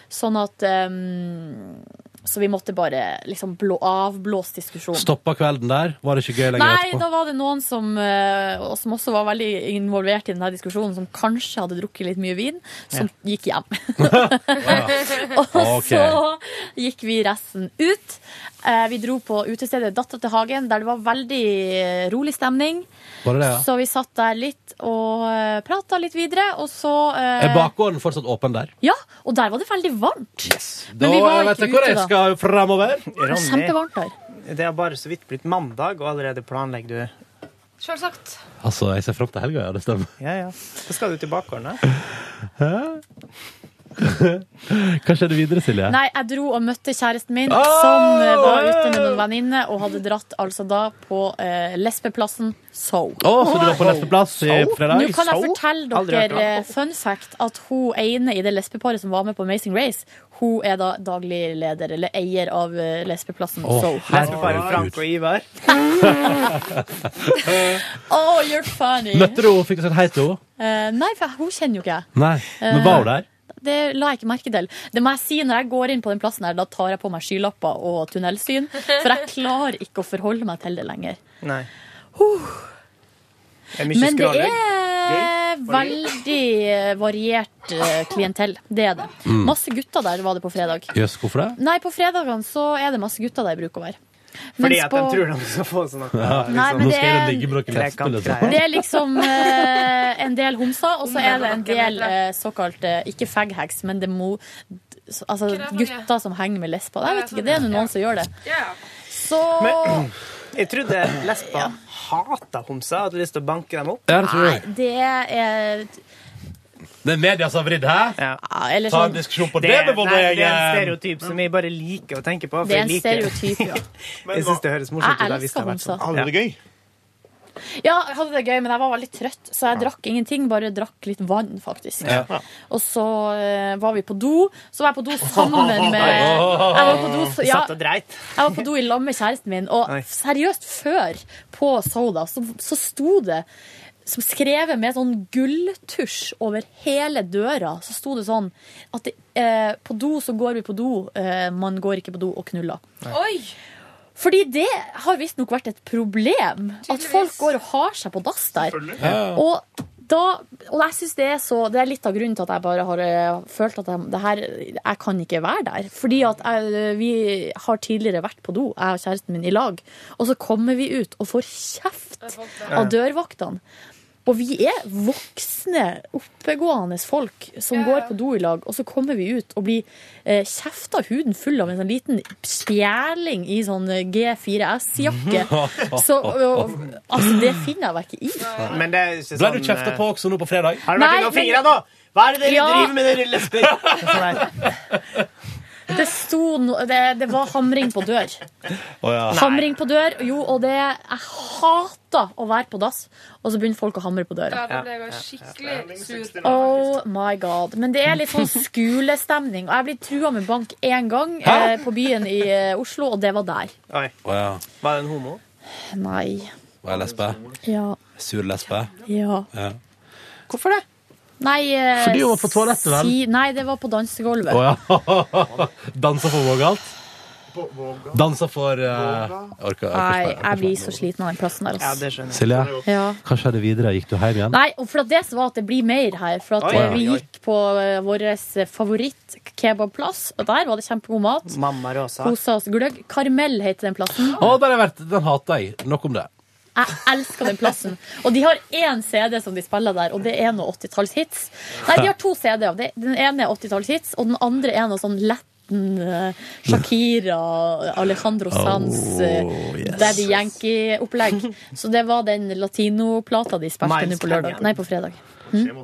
[SPEAKER 5] Sånn at ehm, Så vi måtte bare liksom blå, avblåse diskusjonen.
[SPEAKER 1] Stoppa kvelden der. Var det ikke gøy lenger
[SPEAKER 5] Nei,
[SPEAKER 1] etterpå?
[SPEAKER 5] da var det noen som, eh, og som også var veldig involvert i denne diskusjonen, som kanskje hadde drukket litt mye vin, som gikk hjem. og
[SPEAKER 1] Ok.
[SPEAKER 5] så gikk vi resten ut. Eh, Vi dro på utestedet Datter til hagen, der det var veldig eh, rolig stemning.
[SPEAKER 1] Var det det, ja?
[SPEAKER 5] Så vi satt der litt og eh, prata litt videre, og så eh,
[SPEAKER 1] Er bakgården fortsatt åpen der?
[SPEAKER 5] Ja, og der var det veldig varmt.
[SPEAKER 1] Da
[SPEAKER 5] Men vi var
[SPEAKER 1] vet
[SPEAKER 5] ikke
[SPEAKER 1] jeg hvor jeg
[SPEAKER 5] ute, da.
[SPEAKER 1] skal framover.
[SPEAKER 5] Det var kjempevarmt der.
[SPEAKER 2] Det har bare så vidt blitt mandag, og allerede planlegger du
[SPEAKER 15] Selvsagt.
[SPEAKER 1] Altså, jeg ser fram til helga, ja. Det stemmer.
[SPEAKER 2] Ja, ja. Så skal du til bakgården, da.
[SPEAKER 1] Hæ? Hva skjedde videre, Silje?
[SPEAKER 5] Nei, jeg dro og møtte kjæresten min,
[SPEAKER 1] Oh!
[SPEAKER 5] som eh, var ute med noen venninne og hadde dratt altså da på eh, lesbeplassen So.
[SPEAKER 19] Å, så du var på lesbeplass i fredag?
[SPEAKER 5] Nå kan jeg
[SPEAKER 19] So?
[SPEAKER 5] fortelle
[SPEAKER 19] Aldri hørt om.
[SPEAKER 5] dere eh, fun fact at hun ene i det lesbeparet som var med på Amazing Race, hun er da daglig leder, eller eier av eh, lesbeplassen
[SPEAKER 19] Å,
[SPEAKER 5] So.
[SPEAKER 2] Lesbeparet Frank og Ivar.
[SPEAKER 5] Oh, you're funny!
[SPEAKER 19] Møtte du henne? Fikk du sagt hei til henne?
[SPEAKER 5] Eh, nei, for hun kjenner jo ikke jeg.
[SPEAKER 19] Nei. Eh, Men var hun der?
[SPEAKER 5] Det la jeg ikke merke til. Det må jeg si når jeg går inn på den plassen her, da tar jeg på meg skylapper og tunnelsyn, for jeg klarer ikke å forholde meg til det lenger.
[SPEAKER 2] Nei. Det er mye
[SPEAKER 5] Men det
[SPEAKER 2] skravling.
[SPEAKER 5] er
[SPEAKER 2] Gøy? Var det
[SPEAKER 5] veldig eh, variert eh, klientell. Det er det.
[SPEAKER 19] Mm.
[SPEAKER 5] Masse gutter der var det på fredag.
[SPEAKER 19] Jøss, hvorfor det?
[SPEAKER 5] Nei, på fredagene så er det masse gutter der bruker å være.
[SPEAKER 2] Fordi
[SPEAKER 5] Mens
[SPEAKER 2] at de
[SPEAKER 5] på-
[SPEAKER 2] tror de skal få sånn at
[SPEAKER 19] Ja,
[SPEAKER 5] Nei, men
[SPEAKER 19] Nå
[SPEAKER 5] det
[SPEAKER 19] skal jeg
[SPEAKER 5] er-
[SPEAKER 19] ligge med dere lesbe, liksom.
[SPEAKER 5] Det er liksom eh, en del homser, og så er det en del eh, såkalt eh, ikke faghags, men det må, altså, gutter som henger med lesber. Jeg vet ikke, det er nå noen som gjør det. Så
[SPEAKER 2] Men jeg trodde lesber hata homser, hadde lyst til å banke dem opp.
[SPEAKER 19] Ja, det tror jeg.
[SPEAKER 5] Nei, det er
[SPEAKER 19] Det er media som har vridd, hæ?
[SPEAKER 5] eller
[SPEAKER 19] Ta
[SPEAKER 5] sånn-
[SPEAKER 19] en diskusjon på det, med vår
[SPEAKER 2] nei, det er
[SPEAKER 1] eh,
[SPEAKER 2] en
[SPEAKER 19] egen
[SPEAKER 2] stereotyp som jeg bare liker å tenke på. for
[SPEAKER 5] Det er en
[SPEAKER 2] jeg liker-
[SPEAKER 5] stereotyp, ja.
[SPEAKER 2] Jeg syns det høres morsomt ut.
[SPEAKER 5] Jeg
[SPEAKER 2] da, hvis det hadde vært
[SPEAKER 5] elsker
[SPEAKER 2] sånn.
[SPEAKER 5] homser. Hadde det
[SPEAKER 2] gøy?
[SPEAKER 5] Ja, jeg hadde det gøy, men jeg var veldig trøtt, så jeg drakk ingenting, bare drakk litt vann, faktisk.
[SPEAKER 19] Ja.
[SPEAKER 5] Og så eh, var vi på do. Så var jeg på do sammen med jeg var på do,
[SPEAKER 2] Du
[SPEAKER 5] ja,
[SPEAKER 2] satt og dreit.
[SPEAKER 5] jeg var på do i lag med kjæresten min, og
[SPEAKER 2] Oi.
[SPEAKER 5] seriøst, før på Soda, så, så sto det som skrevet med sånn gulltusj over hele døra, så sto det sånn at det, eh, på do så går vi på do, eh, man går ikke på do og knuller.
[SPEAKER 15] Oi!
[SPEAKER 5] Fordi det har visstnok vært et problem. At folk går og har seg på dass der.
[SPEAKER 15] Ja.
[SPEAKER 5] Og, da, og jeg synes det er så Det er litt av grunnen til at jeg bare har eh, følt at jeg, det her, jeg kan ikke være der. Fordi at jeg, eh, vi har tidligere vært på do, jeg og kjæresten min, i lag. Og så kommer vi ut og får kjeft av dørvaktene. Og vi er voksne, oppegående folk som går på do i lag, og så kommer vi ut og blir eh, kjefta huden full av en sånn liten spjæling i sånn eh, G4S-jakke. Så og, altså, det finner jeg meg ikke i.
[SPEAKER 2] Men det er jo ikke
[SPEAKER 19] Ble
[SPEAKER 2] sånn
[SPEAKER 19] du kjefta på også nå på fredag?
[SPEAKER 2] Har du vært innom fingra nå? Hva er det dere driver med, dere lesber?
[SPEAKER 5] Det sto no, det, det var hamring på dør.
[SPEAKER 19] Å, ja.
[SPEAKER 5] Hamring på dør, jo, og det Jeg hater å være på dass, og så begynner folk å hamre på døra.
[SPEAKER 15] Ja, da ble jeg skikkelig sur.
[SPEAKER 5] Oh my god. Men det er litt sånn skolestemning. Og jeg blir trua med bank én gang eh, på byen i eh, Oslo, og det var der.
[SPEAKER 2] Oi. Var det en homo?
[SPEAKER 5] Nei.
[SPEAKER 1] Var jeg lesbe?
[SPEAKER 5] Ja.
[SPEAKER 1] Sur lesbe?
[SPEAKER 5] ja.
[SPEAKER 1] Ja.
[SPEAKER 5] Hvorfor det? Nei, eh,
[SPEAKER 19] Fordi hun var på toalettet, vel?
[SPEAKER 5] Si, nei, det var på dansegulvet.
[SPEAKER 19] Å ja. Dansa for vågalt? Dansa for eh, Jeg orker jeg orker
[SPEAKER 5] Nei,
[SPEAKER 19] ikke mer.
[SPEAKER 5] jeg blir så sliten av den plassen der. ass.
[SPEAKER 19] Silje,
[SPEAKER 5] Ja.
[SPEAKER 19] hva skjedde videre? Gikk du hjem igjen?
[SPEAKER 5] Nei, og for at det som var at det blir mer her. For at
[SPEAKER 19] Oi,
[SPEAKER 5] eh, vi
[SPEAKER 19] oi, oi.
[SPEAKER 5] gikk på eh, vår favoritt-kebabplass, og der var det kjempegod mat.
[SPEAKER 2] Mamma Rosa.
[SPEAKER 5] Kosa oss gløgg. Karmell heter den plassen.
[SPEAKER 19] Å, der har jeg vært. Den hater jeg. Nok om det.
[SPEAKER 5] Jeg elsker den plassen. Og de har én CD som de spiller der, og det er noe 80-tallshits. Nei, de har to CD-er. Det- Den ene er 80-tallshits, og den andre er noe sånn Latin eh, Shakira,
[SPEAKER 19] Oh,
[SPEAKER 5] Alejandro Sanz, eh, Daddy Yankee-opplegg. Så det var den latinoplata de spilte
[SPEAKER 2] Miles
[SPEAKER 5] nå på lørdag.
[SPEAKER 2] Pena.
[SPEAKER 5] Nei, på fredag.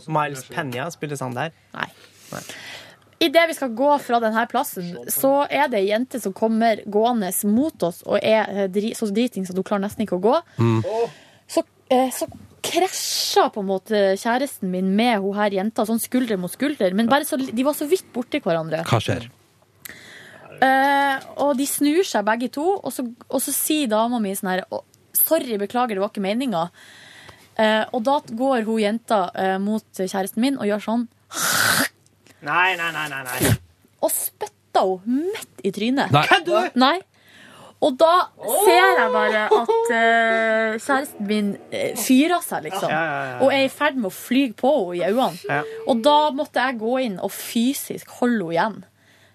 [SPEAKER 2] Miles Penya spilles han der.
[SPEAKER 5] Nei. Idet vi skal gå fra denne plassen, så er det ei jente som kommer gående mot oss og er eh, dri- så driting så hun klarer nesten ikke å gå. så, eh, så krasja på en måte kjæresten min med hun her jenta, sånn skulder mot skulder. Men bare så, de var så vidt borti hverandre.
[SPEAKER 19] Hva skjer?
[SPEAKER 5] Eh, og de snur seg begge to, og så, og så sier dama mi sånn her «Å, Sorry, beklager, det var ikke meninga. Eh, og da går hun jenta eh, mot kjæresten min og gjør sånn,
[SPEAKER 2] Nei, nei, nei, nei. nei.
[SPEAKER 5] og spytta hun midt i trynet.
[SPEAKER 2] Nei. Kødder
[SPEAKER 5] Nei. Og da ser jeg bare at eh, kjæresten min eh, fyrer seg, liksom.
[SPEAKER 2] Ja, ja, ja.
[SPEAKER 5] Og er i ferd med å fly på henne i øynene.
[SPEAKER 2] Ja.
[SPEAKER 5] Og da måtte jeg gå inn og fysisk holde henne igjen.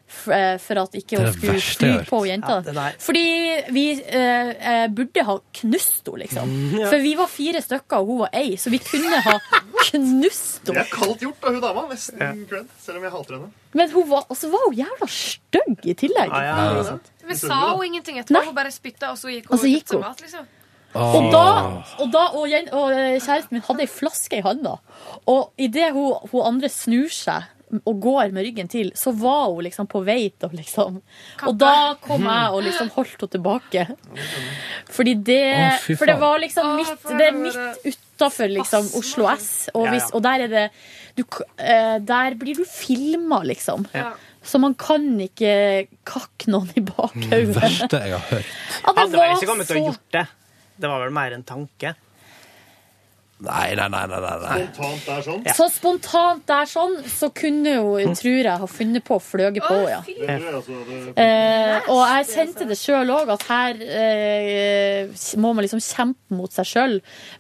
[SPEAKER 5] f- eh, For at
[SPEAKER 19] Det
[SPEAKER 5] ikke
[SPEAKER 19] er
[SPEAKER 5] hun
[SPEAKER 19] det
[SPEAKER 5] skulle
[SPEAKER 19] verste
[SPEAKER 5] fly
[SPEAKER 19] jeg har
[SPEAKER 5] på jenta. Fordi vi eh, eh, burde ha knust henne, liksom.
[SPEAKER 19] Ja.
[SPEAKER 5] For vi var fire stykker, og hun var ei, så vi kunne ha knust
[SPEAKER 13] Det er
[SPEAKER 5] henne.
[SPEAKER 13] kaldt gjort av hun dama. Nesten cred, selv om jeg hater henne.
[SPEAKER 5] Men hun var, og så var hun jævla stygg i tillegg.
[SPEAKER 15] Men sa hun ingenting etterpå? Hun bare spytta, og så gikk hun
[SPEAKER 5] Og så Altså, gikk
[SPEAKER 15] kjøpte
[SPEAKER 5] hun.
[SPEAKER 15] mat, liksom?
[SPEAKER 5] Og da, og da og, eh, jen- og kjæresten min hadde ei flaske i handa. Og idet hun, hun andre snur seg og går med ryggen til, så var hun liksom på vei til å liksom Og da kom jeg og liksom holdt henne tilbake. Fordi det
[SPEAKER 3] Å, fy
[SPEAKER 5] For det
[SPEAKER 3] faen.
[SPEAKER 5] var liksom midt Det er midt utafor liksom Oslo S, og,
[SPEAKER 3] Ja, ja.
[SPEAKER 5] hvis, og der er det du, k- eh, Der blir du filma, liksom.
[SPEAKER 3] Ja.
[SPEAKER 5] Så man kan ikke kakke noen i
[SPEAKER 19] Det
[SPEAKER 5] bakhauget.
[SPEAKER 19] verste jeg har hørt.
[SPEAKER 6] Hadde vel ikke
[SPEAKER 5] var
[SPEAKER 6] kommet til å
[SPEAKER 5] så-
[SPEAKER 6] gjort det. Det var vel mer en tanke.
[SPEAKER 1] Nei, nei, nei, nei, nei.
[SPEAKER 13] Spontant der sånn?
[SPEAKER 5] Så spontant der sånn, så kunne hun, tror jeg, ha funnet på å fløge på, ja.
[SPEAKER 13] Det tror jeg altså hadde-
[SPEAKER 5] Eh, og jeg kjente det sjøl òg, at her eh, må man liksom kjempe mot seg sjøl.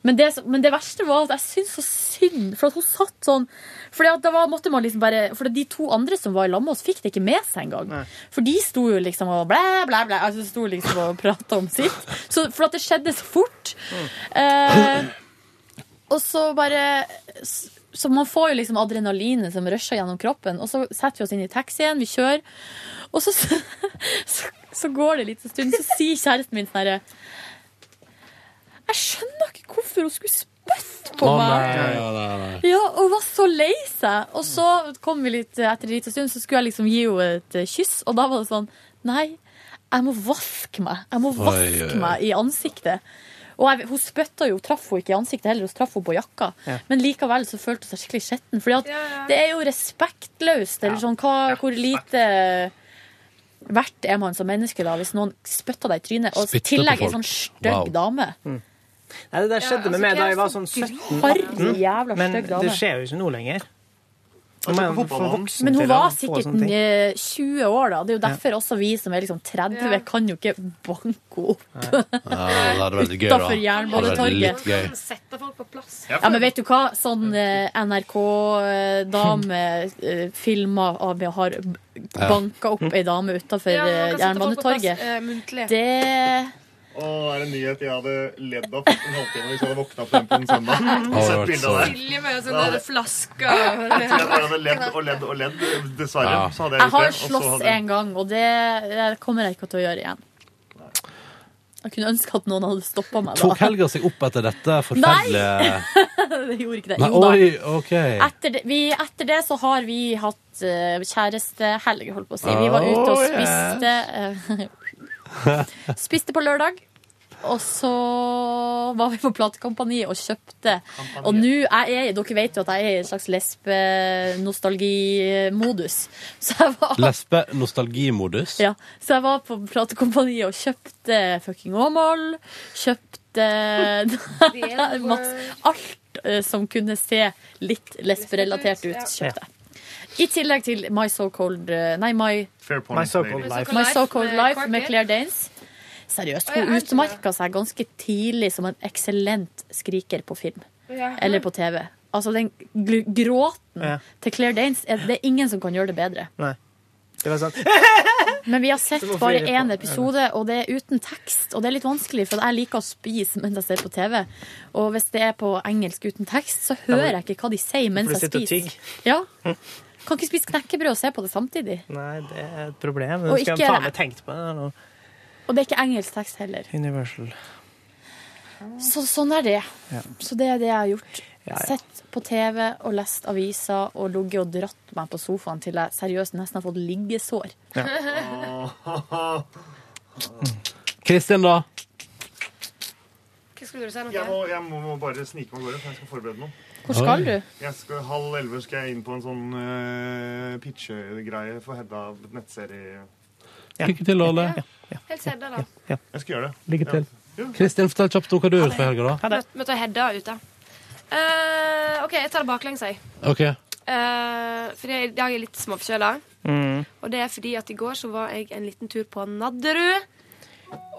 [SPEAKER 5] Men, det som- men det verste var at jeg syntes så synd, for at hun satt sånn For da var- måtte man liksom bare For de to andre som var i lag med oss, fikk det ikke med seg engang. For de sto jo liksom og blæ, blæ, blæ. Altså sto liksom og prata om sitt. Så, for at det skjedde så fort. Eh, og så bare s- Så man får jo liksom adrenalinet som rusher gjennom kroppen. Og så setter vi oss inn i taxien, vi kjører. Og så, så, så går det en liten stund, så sier kjæresten min sånn herre Jeg skjønner ikke hvorfor hun skulle spytte på meg. Ja, og hun var så lei seg. Og så kom vi litt etter en liten stund, så skulle jeg liksom gi henne et eh, kyss, og da var det sånn Nei, jeg må vaske meg. Jeg må
[SPEAKER 3] Oi,
[SPEAKER 5] vaske
[SPEAKER 3] oi, oi.
[SPEAKER 5] meg i ansiktet. Og jeg, hun spytta jo, traff hun ikke i ansiktet heller, hun traff hun på jakka.
[SPEAKER 3] Ja.
[SPEAKER 5] Men likevel så følte hun seg skikkelig skitten. For det er jo respektløst, eller sånn hva, hvor lite verdt er man som menneske da, hvis noen spytter deg i trynet, og i
[SPEAKER 6] Spytter på
[SPEAKER 5] tillegg ei
[SPEAKER 6] folk.
[SPEAKER 5] sånn stygg
[SPEAKER 6] Wow.
[SPEAKER 5] dame.
[SPEAKER 6] Mm. Nei, det der skjedde
[SPEAKER 5] altså,
[SPEAKER 6] med meg
[SPEAKER 5] hva
[SPEAKER 6] da
[SPEAKER 5] er
[SPEAKER 6] jeg var
[SPEAKER 5] så
[SPEAKER 6] sånn
[SPEAKER 5] Harry,
[SPEAKER 6] 17-18.
[SPEAKER 5] jævla
[SPEAKER 6] Men
[SPEAKER 5] stygg dame.
[SPEAKER 6] det skjer jo ikke nå lenger.
[SPEAKER 5] Men,
[SPEAKER 6] Men for voksne til
[SPEAKER 5] hun
[SPEAKER 6] å
[SPEAKER 5] var
[SPEAKER 6] få
[SPEAKER 5] sikkert
[SPEAKER 6] sånne ting.
[SPEAKER 5] eh, 20 år, da. Det er jo derfor også vi som er liksom 30,
[SPEAKER 3] Ja.
[SPEAKER 5] kan jo ikke banke opp
[SPEAKER 1] Ja, det hadde vært litt gøy, da.
[SPEAKER 5] utafor
[SPEAKER 1] Det hadde vært litt gøy.
[SPEAKER 5] Jernbanetorget.
[SPEAKER 3] Sette folk på plass.
[SPEAKER 5] Ja, men vet du hva? Sånn NRK-dame eh, filmer av vi har banka opp ei dame utafor
[SPEAKER 15] Ja, man kan sette folk på plass,
[SPEAKER 5] Jernbanetorget.
[SPEAKER 15] eh, muntlig.
[SPEAKER 5] Det
[SPEAKER 13] Å, er det en nyhet jeg hadde ledd av en halvtime hvis jeg hadde våkna opp den på en søndag?
[SPEAKER 15] Å,
[SPEAKER 13] Og sett
[SPEAKER 15] det
[SPEAKER 13] bildet av
[SPEAKER 15] var så-
[SPEAKER 13] det.
[SPEAKER 15] Silje med sånn
[SPEAKER 13] Ja.
[SPEAKER 15] der flaske.
[SPEAKER 13] Jeg tror jeg bare hadde ledd og ledd og ledd, dessverre.
[SPEAKER 1] Ja.
[SPEAKER 13] Så hadde jeg,
[SPEAKER 5] Jeg har
[SPEAKER 13] gjort det, og så
[SPEAKER 5] slåss
[SPEAKER 13] hadde jeg-
[SPEAKER 5] en gang, og det eh, kommer jeg ikke til å gjøre igjen. Jeg kunne ønske at noen hadde stoppa meg. da.
[SPEAKER 1] Tok helga seg opp etter dette forferdelige
[SPEAKER 5] det gjorde ikke det.
[SPEAKER 1] Nei,
[SPEAKER 5] Jo da.
[SPEAKER 1] oi, OK.
[SPEAKER 5] Etter det, vi, etter det så har vi hatt eh, kjærestehelg, holdt på å si. Vi var ute og
[SPEAKER 1] Oh,
[SPEAKER 5] spiste eh, Spiste på lørdag. Og så var vi på platekompani og kjøpte. Og nå er jeg Dere vet jo at jeg er i en slags lesbenostalgimodus. Så jeg var
[SPEAKER 1] Lesbe-nostalgimodus.
[SPEAKER 5] ja, så jeg var på platekompaniet og kjøpte fucking Åmål. Kjøpte masse, alt eh, som kunne se litt lesberelatert ut. kjøpte jeg. I tillegg til My So Cold eh, Nei, My,
[SPEAKER 6] My so-called life.
[SPEAKER 5] My So Cold
[SPEAKER 15] med
[SPEAKER 5] Life
[SPEAKER 15] Clark
[SPEAKER 5] med
[SPEAKER 15] Gable.
[SPEAKER 5] Claire Danes. Seriøst,
[SPEAKER 15] Oi, jeg
[SPEAKER 5] hun
[SPEAKER 15] ante det.
[SPEAKER 5] utmerka seg ganske tidlig som en eksellent skriker på film.
[SPEAKER 15] Ja.
[SPEAKER 5] Eller på TV. Altså, den gl- gråten
[SPEAKER 6] Ja.
[SPEAKER 5] til Claire Danes er det er ingen som kan gjøre det bedre.
[SPEAKER 6] Nei. Det var sånn
[SPEAKER 5] Men vi har
[SPEAKER 6] Så
[SPEAKER 5] sett
[SPEAKER 6] hvorfor
[SPEAKER 5] bare
[SPEAKER 6] er det på-
[SPEAKER 5] én episode, og det er uten tekst. Og det er litt vanskelig, for jeg liker å spise mens jeg ser på TV. Og hvis det er på engelsk uten tekst, så hører jeg ikke hva de sier mens
[SPEAKER 6] For du
[SPEAKER 5] jeg
[SPEAKER 6] sitter og
[SPEAKER 5] spiser. Ja. Kan ikke spise knekkebrød og se på det samtidig.
[SPEAKER 6] Nei, det er et problem.
[SPEAKER 5] Og
[SPEAKER 6] Det skal
[SPEAKER 5] ikke-
[SPEAKER 6] jeg faen meg tenkt på. Det er noe
[SPEAKER 5] Og det er ikke engelsk tekst heller.
[SPEAKER 6] Universal.
[SPEAKER 5] Så sånn er det.
[SPEAKER 6] Ja.
[SPEAKER 5] Så det er det jeg har gjort.
[SPEAKER 6] Ja, ja.
[SPEAKER 5] Sett på TV og lest aviser og ligget og dratt meg på sofaen til jeg seriøst nesten har fått liggesår.
[SPEAKER 1] Ja. Kristin, da?
[SPEAKER 15] Hva skulle du si nå?
[SPEAKER 13] Jeg må, jeg må må bare snike meg av gårde, for jeg skal forberede noe.
[SPEAKER 5] Hvor skal du?
[SPEAKER 13] Jeg skal, halv elleve skal jeg inn på en sånn uh, pitchegreie for Hedda nettserie.
[SPEAKER 1] Lykke til, Ole.
[SPEAKER 15] Helt sedda, da.
[SPEAKER 13] Jeg skal gjøre det.
[SPEAKER 1] Lykke til. Kristin, fortell kjapt om hva du gjorde for helga, da.
[SPEAKER 15] Møt- Møtte Hedda ute. Eh, OK, jeg tar det baklengs, jeg.
[SPEAKER 1] OK.
[SPEAKER 15] Eh, fordi jeg- i dag er jeg litt småforkjøla.
[SPEAKER 1] Mm.
[SPEAKER 15] Og det er fordi at i går så var jeg en liten tur på Nadderud.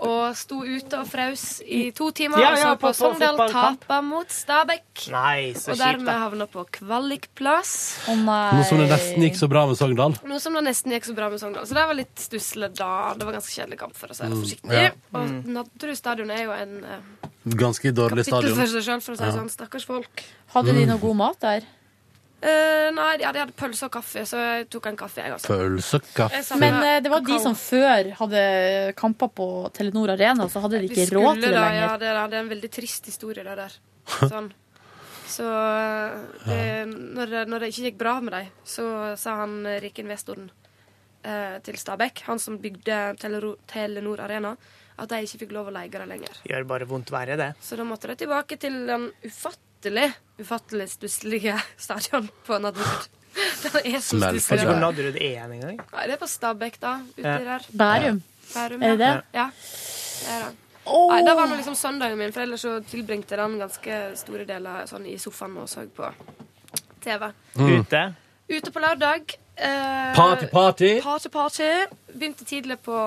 [SPEAKER 15] Og sto ute og fraus i to timer.
[SPEAKER 6] Ja,
[SPEAKER 15] og
[SPEAKER 6] ja,
[SPEAKER 15] så
[SPEAKER 6] på-
[SPEAKER 15] på,
[SPEAKER 6] på
[SPEAKER 15] Sogndal
[SPEAKER 6] fotballkamp.
[SPEAKER 15] tapa mot Stabæk.
[SPEAKER 6] Nei, så
[SPEAKER 15] og
[SPEAKER 6] kjipt,
[SPEAKER 15] dermed
[SPEAKER 6] da.
[SPEAKER 15] havna på kvalikplass.
[SPEAKER 1] Nå som det nesten gikk så bra med Sogndal.
[SPEAKER 15] Noe som da nesten gikk så bra med Sogndal. Så det var litt stusslig da. Det var ganske kjedelig kamp, for å si det
[SPEAKER 1] Mm,
[SPEAKER 15] forsiktig.
[SPEAKER 1] ja.
[SPEAKER 15] Og Nadderud stadion er jo en eh,
[SPEAKER 1] Ganske dårlig
[SPEAKER 15] kapittel
[SPEAKER 1] stadion.
[SPEAKER 15] for seg sjøl, for å si det
[SPEAKER 1] Ja.
[SPEAKER 15] sånn. Stakkars folk.
[SPEAKER 5] Hadde de
[SPEAKER 1] Mm.
[SPEAKER 5] noe god mat der?
[SPEAKER 15] Eh, nei, ja, de hadde pølse og kaffe, så jeg tok en kaffe, jeg altså. også.
[SPEAKER 1] Pølse, kaffe
[SPEAKER 15] Jeg savner
[SPEAKER 5] Men eh, det var
[SPEAKER 15] kakao.
[SPEAKER 5] de som før hadde kamper på Telenor Arena, så hadde de
[SPEAKER 15] Vi
[SPEAKER 5] ikke råd
[SPEAKER 15] skulle
[SPEAKER 5] til det
[SPEAKER 15] da,
[SPEAKER 5] lenger.
[SPEAKER 15] Ja, det, er, det er en veldig trist historie, det der. Sånn. Så det, når, det- når det ikke gikk bra med dem, så sa han eh, rike investoren eh, til Stabæk, han som bygde Telero- Telenor Arena, at de ikke fikk lov å leie det lenger.
[SPEAKER 2] Gjør bare vondt verre, det.
[SPEAKER 15] Så da måtte de tilbake til den ufattelig, ufattelig stusslige stadion på Nadderud. Den er så
[SPEAKER 2] Vet
[SPEAKER 15] stusslig.
[SPEAKER 2] ikke hvor Nadderud er en engang.
[SPEAKER 15] Nei, det er på Stabæk, da. Uti
[SPEAKER 2] Ja.
[SPEAKER 15] der.
[SPEAKER 2] Bærum.
[SPEAKER 15] Bærum,
[SPEAKER 2] Er det
[SPEAKER 15] ja.
[SPEAKER 2] det?
[SPEAKER 15] Ja. Det er det. Nei, det var nå liksom søndagen min, for ellers så tilbringte jeg den ganske store deler sånn i sofaen og så på TV.
[SPEAKER 1] Mm.
[SPEAKER 2] Ute.
[SPEAKER 15] Ute på lørdag. eh,
[SPEAKER 1] Party, party.
[SPEAKER 15] Party, party. Begynte tidlig på,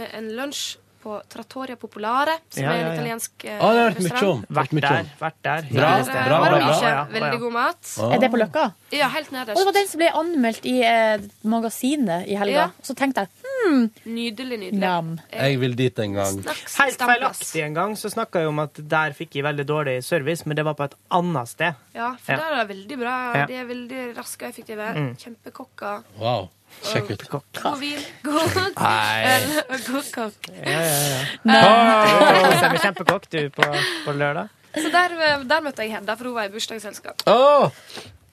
[SPEAKER 15] med en lunsj på Trattoria Popolare, som
[SPEAKER 1] Ja,
[SPEAKER 15] er
[SPEAKER 1] ja,
[SPEAKER 15] en
[SPEAKER 1] ja.
[SPEAKER 15] italiensk eh,
[SPEAKER 1] Å, det har jeg hørt mye om.
[SPEAKER 15] restaurant.
[SPEAKER 1] Vært mye om.
[SPEAKER 2] Vært der.
[SPEAKER 1] Bra,
[SPEAKER 15] Der, eh,
[SPEAKER 1] bra,
[SPEAKER 15] var det
[SPEAKER 1] bra,
[SPEAKER 15] mye
[SPEAKER 1] bra.
[SPEAKER 15] Veldig god mat.
[SPEAKER 1] Ah. Er det på
[SPEAKER 5] Løkka?
[SPEAKER 15] Ja, helt
[SPEAKER 5] Og det
[SPEAKER 15] nederst.
[SPEAKER 5] var den som ble anmeldt i eh, magasinet i helga.
[SPEAKER 15] Ja.
[SPEAKER 5] Og så tenkte jeg hmm,
[SPEAKER 15] Nydelig, nydelig.
[SPEAKER 5] nam.
[SPEAKER 1] Jeg vil dit en gang.
[SPEAKER 2] Helt feilaktig en gang så snakka jeg om at der fikk jeg veldig dårlig service, men det var på et annet sted.
[SPEAKER 15] Ja, for
[SPEAKER 2] Ja.
[SPEAKER 15] der er det veldig bra.
[SPEAKER 2] Ja.
[SPEAKER 15] De er veldig raske og effektive.
[SPEAKER 2] Mm.
[SPEAKER 15] Kjempekokker.
[SPEAKER 1] Wow. Sjekk ut.
[SPEAKER 15] God vin, god
[SPEAKER 1] Ah. Nei.
[SPEAKER 15] øl og god kokk.
[SPEAKER 2] Ja, ja, ja.
[SPEAKER 15] Nei.
[SPEAKER 2] Du koser deg med kjempekokk, du, på, på lørdag.
[SPEAKER 15] Så der, eh, der møtte jeg Hedda, for hun var i bursdagsselskap.
[SPEAKER 1] Åh! Og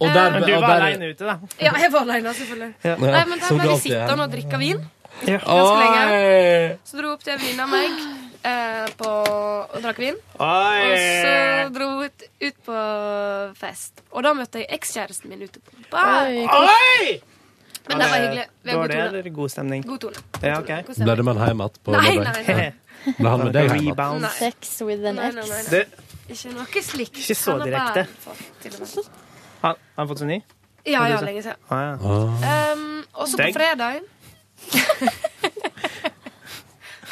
[SPEAKER 1] der,
[SPEAKER 2] Men du
[SPEAKER 1] og
[SPEAKER 2] var
[SPEAKER 1] der-
[SPEAKER 2] alene ute, da.
[SPEAKER 15] Ja, jeg var alene, selvfølgelig.
[SPEAKER 1] Ja.
[SPEAKER 15] Nei, men der
[SPEAKER 1] Som du
[SPEAKER 15] ble vi
[SPEAKER 1] alltid er.
[SPEAKER 15] sittende og drikke vin ganske lenge.
[SPEAKER 1] Oi!
[SPEAKER 15] Så dro opp til Vina meg eh, på, og drakk vin.
[SPEAKER 2] Oi.
[SPEAKER 15] Og så dro hun ut, ut på fest. Og da møtte jeg ekskjæresten min ute på bar.
[SPEAKER 2] Oi, kos-
[SPEAKER 15] Men det var hyggelig. Vi har god
[SPEAKER 2] Dårlig
[SPEAKER 15] tone.
[SPEAKER 2] eller god stemning?
[SPEAKER 15] God tone.
[SPEAKER 2] Ja, ok.
[SPEAKER 15] God
[SPEAKER 1] Ble det med han hjem igjen på
[SPEAKER 15] Nei,
[SPEAKER 1] lørdag?
[SPEAKER 15] nei, nei.
[SPEAKER 1] Ble han med deg hjem igjen?
[SPEAKER 2] Rebound.
[SPEAKER 5] Sex with an
[SPEAKER 15] Nei, nei, nei,
[SPEAKER 5] ex.
[SPEAKER 15] nei. Ikke noe slikt.
[SPEAKER 2] Ikke så
[SPEAKER 15] Han har bare
[SPEAKER 2] direkte.
[SPEAKER 15] fått til og med.
[SPEAKER 2] Har har han fått seg ny?
[SPEAKER 15] Ja,
[SPEAKER 2] Har du
[SPEAKER 15] ja,
[SPEAKER 2] sett?
[SPEAKER 15] lenge siden.
[SPEAKER 2] Ah, ja.
[SPEAKER 15] Um, og så på
[SPEAKER 2] Deg?
[SPEAKER 15] fredag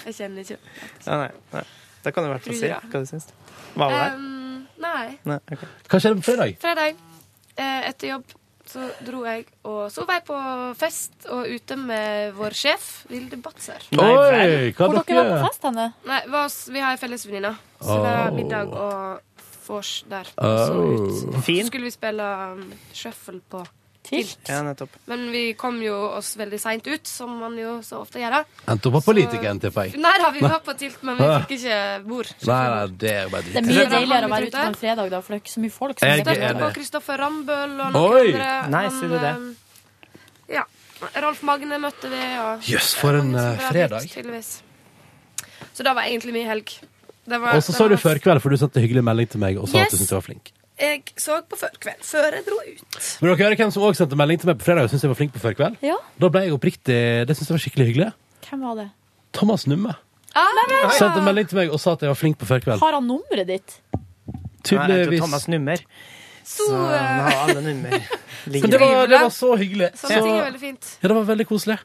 [SPEAKER 15] Jeg kjenner ikke
[SPEAKER 2] Ja, nei, nei. Da kan du i hvert fall si
[SPEAKER 15] Tror jeg.
[SPEAKER 2] hva du syns. Var det der?
[SPEAKER 15] Um, Nei.
[SPEAKER 2] Nei, ok.
[SPEAKER 1] Hva skjer på fredag?
[SPEAKER 15] Fredag eh, etter jobb så dro jeg og så var jeg på fest og ute med vår sjef, Vilde Batzer.
[SPEAKER 1] Nei, Oi, vel. hva
[SPEAKER 15] Hvor
[SPEAKER 1] dere-
[SPEAKER 15] på fest, henne? Nei, vi har, vi har en felles venninne. Så
[SPEAKER 1] Oh.
[SPEAKER 15] det var middag og vors der. Og så ut.
[SPEAKER 2] Oh. Fin.
[SPEAKER 15] Så skulle vi spille um, shuffle på Tilt.
[SPEAKER 2] Ja, nettopp.
[SPEAKER 15] Men vi kom jo oss veldig seint ut, som man jo så ofte gjør. da.
[SPEAKER 1] Endte opp på
[SPEAKER 15] Så-
[SPEAKER 1] politikeren, tipper jeg.
[SPEAKER 15] Nei da, vi var på tilt, men vi fikk ikke bord.
[SPEAKER 1] Nei, nei, det er jo bare
[SPEAKER 5] Det er
[SPEAKER 1] dritt.
[SPEAKER 5] mye deiligere å være ute på en fredag, da, for det er ikke så mye folk.
[SPEAKER 1] Jeg er
[SPEAKER 5] det
[SPEAKER 1] enig.
[SPEAKER 15] Og Kristoffer Rambøll og
[SPEAKER 1] Oi!
[SPEAKER 15] noen andre.
[SPEAKER 1] Nei, sier du det?
[SPEAKER 15] ehm, Ja. Rolf Magne møtte vi, og
[SPEAKER 1] Jøss, for en eh,
[SPEAKER 15] Bra
[SPEAKER 1] fredag.
[SPEAKER 15] gutt, tydeligvis. Så det var egentlig min helg. Det var-
[SPEAKER 1] Og så
[SPEAKER 15] det
[SPEAKER 1] så du
[SPEAKER 15] var-
[SPEAKER 1] førkveld, for du sendte hyggelig melding til meg og sa at du
[SPEAKER 15] Yes.
[SPEAKER 1] syntes jeg var flink.
[SPEAKER 15] Jeg så på førkveld før jeg dro ut.
[SPEAKER 1] Men dere hører hvem som også sendte melding til meg på fredag og syntes jeg var flink på førkveld?
[SPEAKER 5] Ja.
[SPEAKER 1] Da ble jeg oppriktig Det syntes jeg var skikkelig hyggelig.
[SPEAKER 5] Hvem var det?
[SPEAKER 1] Thomas Numme
[SPEAKER 15] Ah,
[SPEAKER 5] Nei, men-
[SPEAKER 1] sendte melding til meg og sa at jeg var flink på førkveld.
[SPEAKER 5] Har han nummeret ditt?
[SPEAKER 2] Nei, jeg tror
[SPEAKER 1] Tydeligvis.
[SPEAKER 2] Thomas nummer. Så
[SPEAKER 5] eh,
[SPEAKER 2] han har alle nummer.
[SPEAKER 1] Men det var, det var så hyggelig. Så,
[SPEAKER 15] Sånn
[SPEAKER 5] Sånne ting er veldig fint.
[SPEAKER 1] Ja, det var veldig koselig.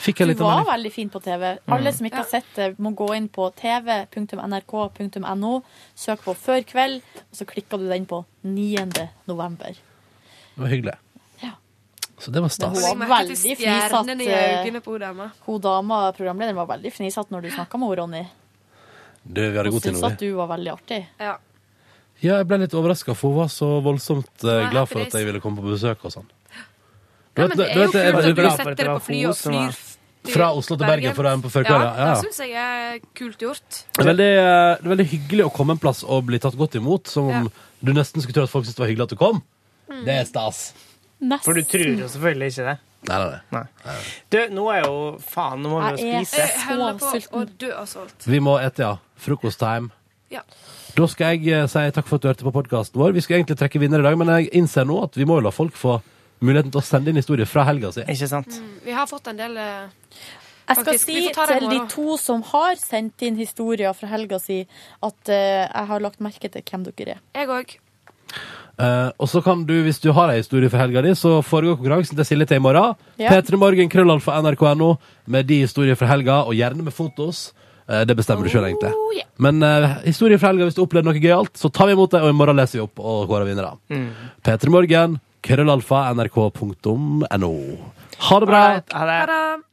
[SPEAKER 1] Fikk
[SPEAKER 5] Du
[SPEAKER 1] jeg litt
[SPEAKER 5] var
[SPEAKER 1] melding.
[SPEAKER 5] veldig fin på TV.
[SPEAKER 2] Mm.
[SPEAKER 5] Alle som ikke har sett det, må gå inn på tv.nrk.no, søk på Før kveld, og så klikker du den på 9. november.
[SPEAKER 1] Det var hyggelig. Så det var stas.
[SPEAKER 5] Hun var
[SPEAKER 15] merket
[SPEAKER 5] veldig
[SPEAKER 15] til stjernene
[SPEAKER 5] fnisete.
[SPEAKER 15] i øynene på hun dama.
[SPEAKER 5] Hun dama, programlederen, var veldig fnisete når du snakka med hun, Ronny.
[SPEAKER 1] Du, vi hadde
[SPEAKER 5] Hun
[SPEAKER 1] god tid
[SPEAKER 5] syntes
[SPEAKER 1] nå,
[SPEAKER 5] at
[SPEAKER 1] vi.
[SPEAKER 5] du var veldig artig.
[SPEAKER 1] Ja, jeg ble litt overraska, for hun var så voldsomt eh,
[SPEAKER 5] Nei,
[SPEAKER 1] glad for at
[SPEAKER 5] heldigvis.
[SPEAKER 1] jeg ville komme på besøk og sånn. Du
[SPEAKER 15] Nei,
[SPEAKER 1] vet-
[SPEAKER 15] men
[SPEAKER 1] du
[SPEAKER 15] det er jo
[SPEAKER 1] vet, jeg var
[SPEAKER 15] kult at du
[SPEAKER 1] glad for
[SPEAKER 15] setter
[SPEAKER 1] at det
[SPEAKER 15] deg
[SPEAKER 1] var
[SPEAKER 15] på fly og
[SPEAKER 1] hun som var-
[SPEAKER 15] flyr til
[SPEAKER 1] Fra Oslo til Bergen for å være med på Førkveld, ja,
[SPEAKER 15] Ja,
[SPEAKER 1] ja.
[SPEAKER 15] det syns jeg er kult gjort.
[SPEAKER 1] Det er veldig, eh, det er veldig hyggelig å komme en plass og bli tatt godt imot, som om du nesten skulle tro at folk syntes det var hyggelig at du kom.
[SPEAKER 2] Mm.
[SPEAKER 1] Det er stas.
[SPEAKER 2] For du tror jo selvfølgelig ikke det.
[SPEAKER 1] Nei, nei,
[SPEAKER 2] nei. Du, nå er jo Faen, nå må vi jo
[SPEAKER 15] Jeg
[SPEAKER 2] spise.
[SPEAKER 15] holder på å dø av sult.
[SPEAKER 1] Vi må ete, ja. Frokosttime.
[SPEAKER 15] Ja.
[SPEAKER 1] Da skal jeg eh, si takk for at du hørte på podkasten vår. Vi skulle egentlig trekke vinner i dag, men jeg innser nå at vi må jo la folk få muligheten til å sende inn historier fra helga si.
[SPEAKER 2] Ikke sant?
[SPEAKER 15] Vi har fått en del eh,
[SPEAKER 5] Jeg skal
[SPEAKER 15] faktisk. Vi
[SPEAKER 5] si
[SPEAKER 15] får ta det i
[SPEAKER 5] til de
[SPEAKER 15] morgen.
[SPEAKER 5] to som har sendt inn historier fra helga si, at eh, jeg har lagt merke til hvem dere er.
[SPEAKER 15] Jeg òg.
[SPEAKER 1] Eh, og så kan du, hvis du har ei historie fra helga di, så foregår konkurransen til Silje til i morgen.
[SPEAKER 5] Ja.
[SPEAKER 1] P3morgen, krøllalfa, nrk.no, med de historier fra helga, og gjerne med fotos. Eh, det bestemmer du sjøl, egentlig. Men eh, historier fra helga, hvis du opplevde noe gøyalt, så tar vi imot det, og i morgen leser vi opp og kårer vinnere.
[SPEAKER 2] Mm.
[SPEAKER 1] P3morgen, krøllalfa, nrk.no. Ha det bra!
[SPEAKER 2] Ha det.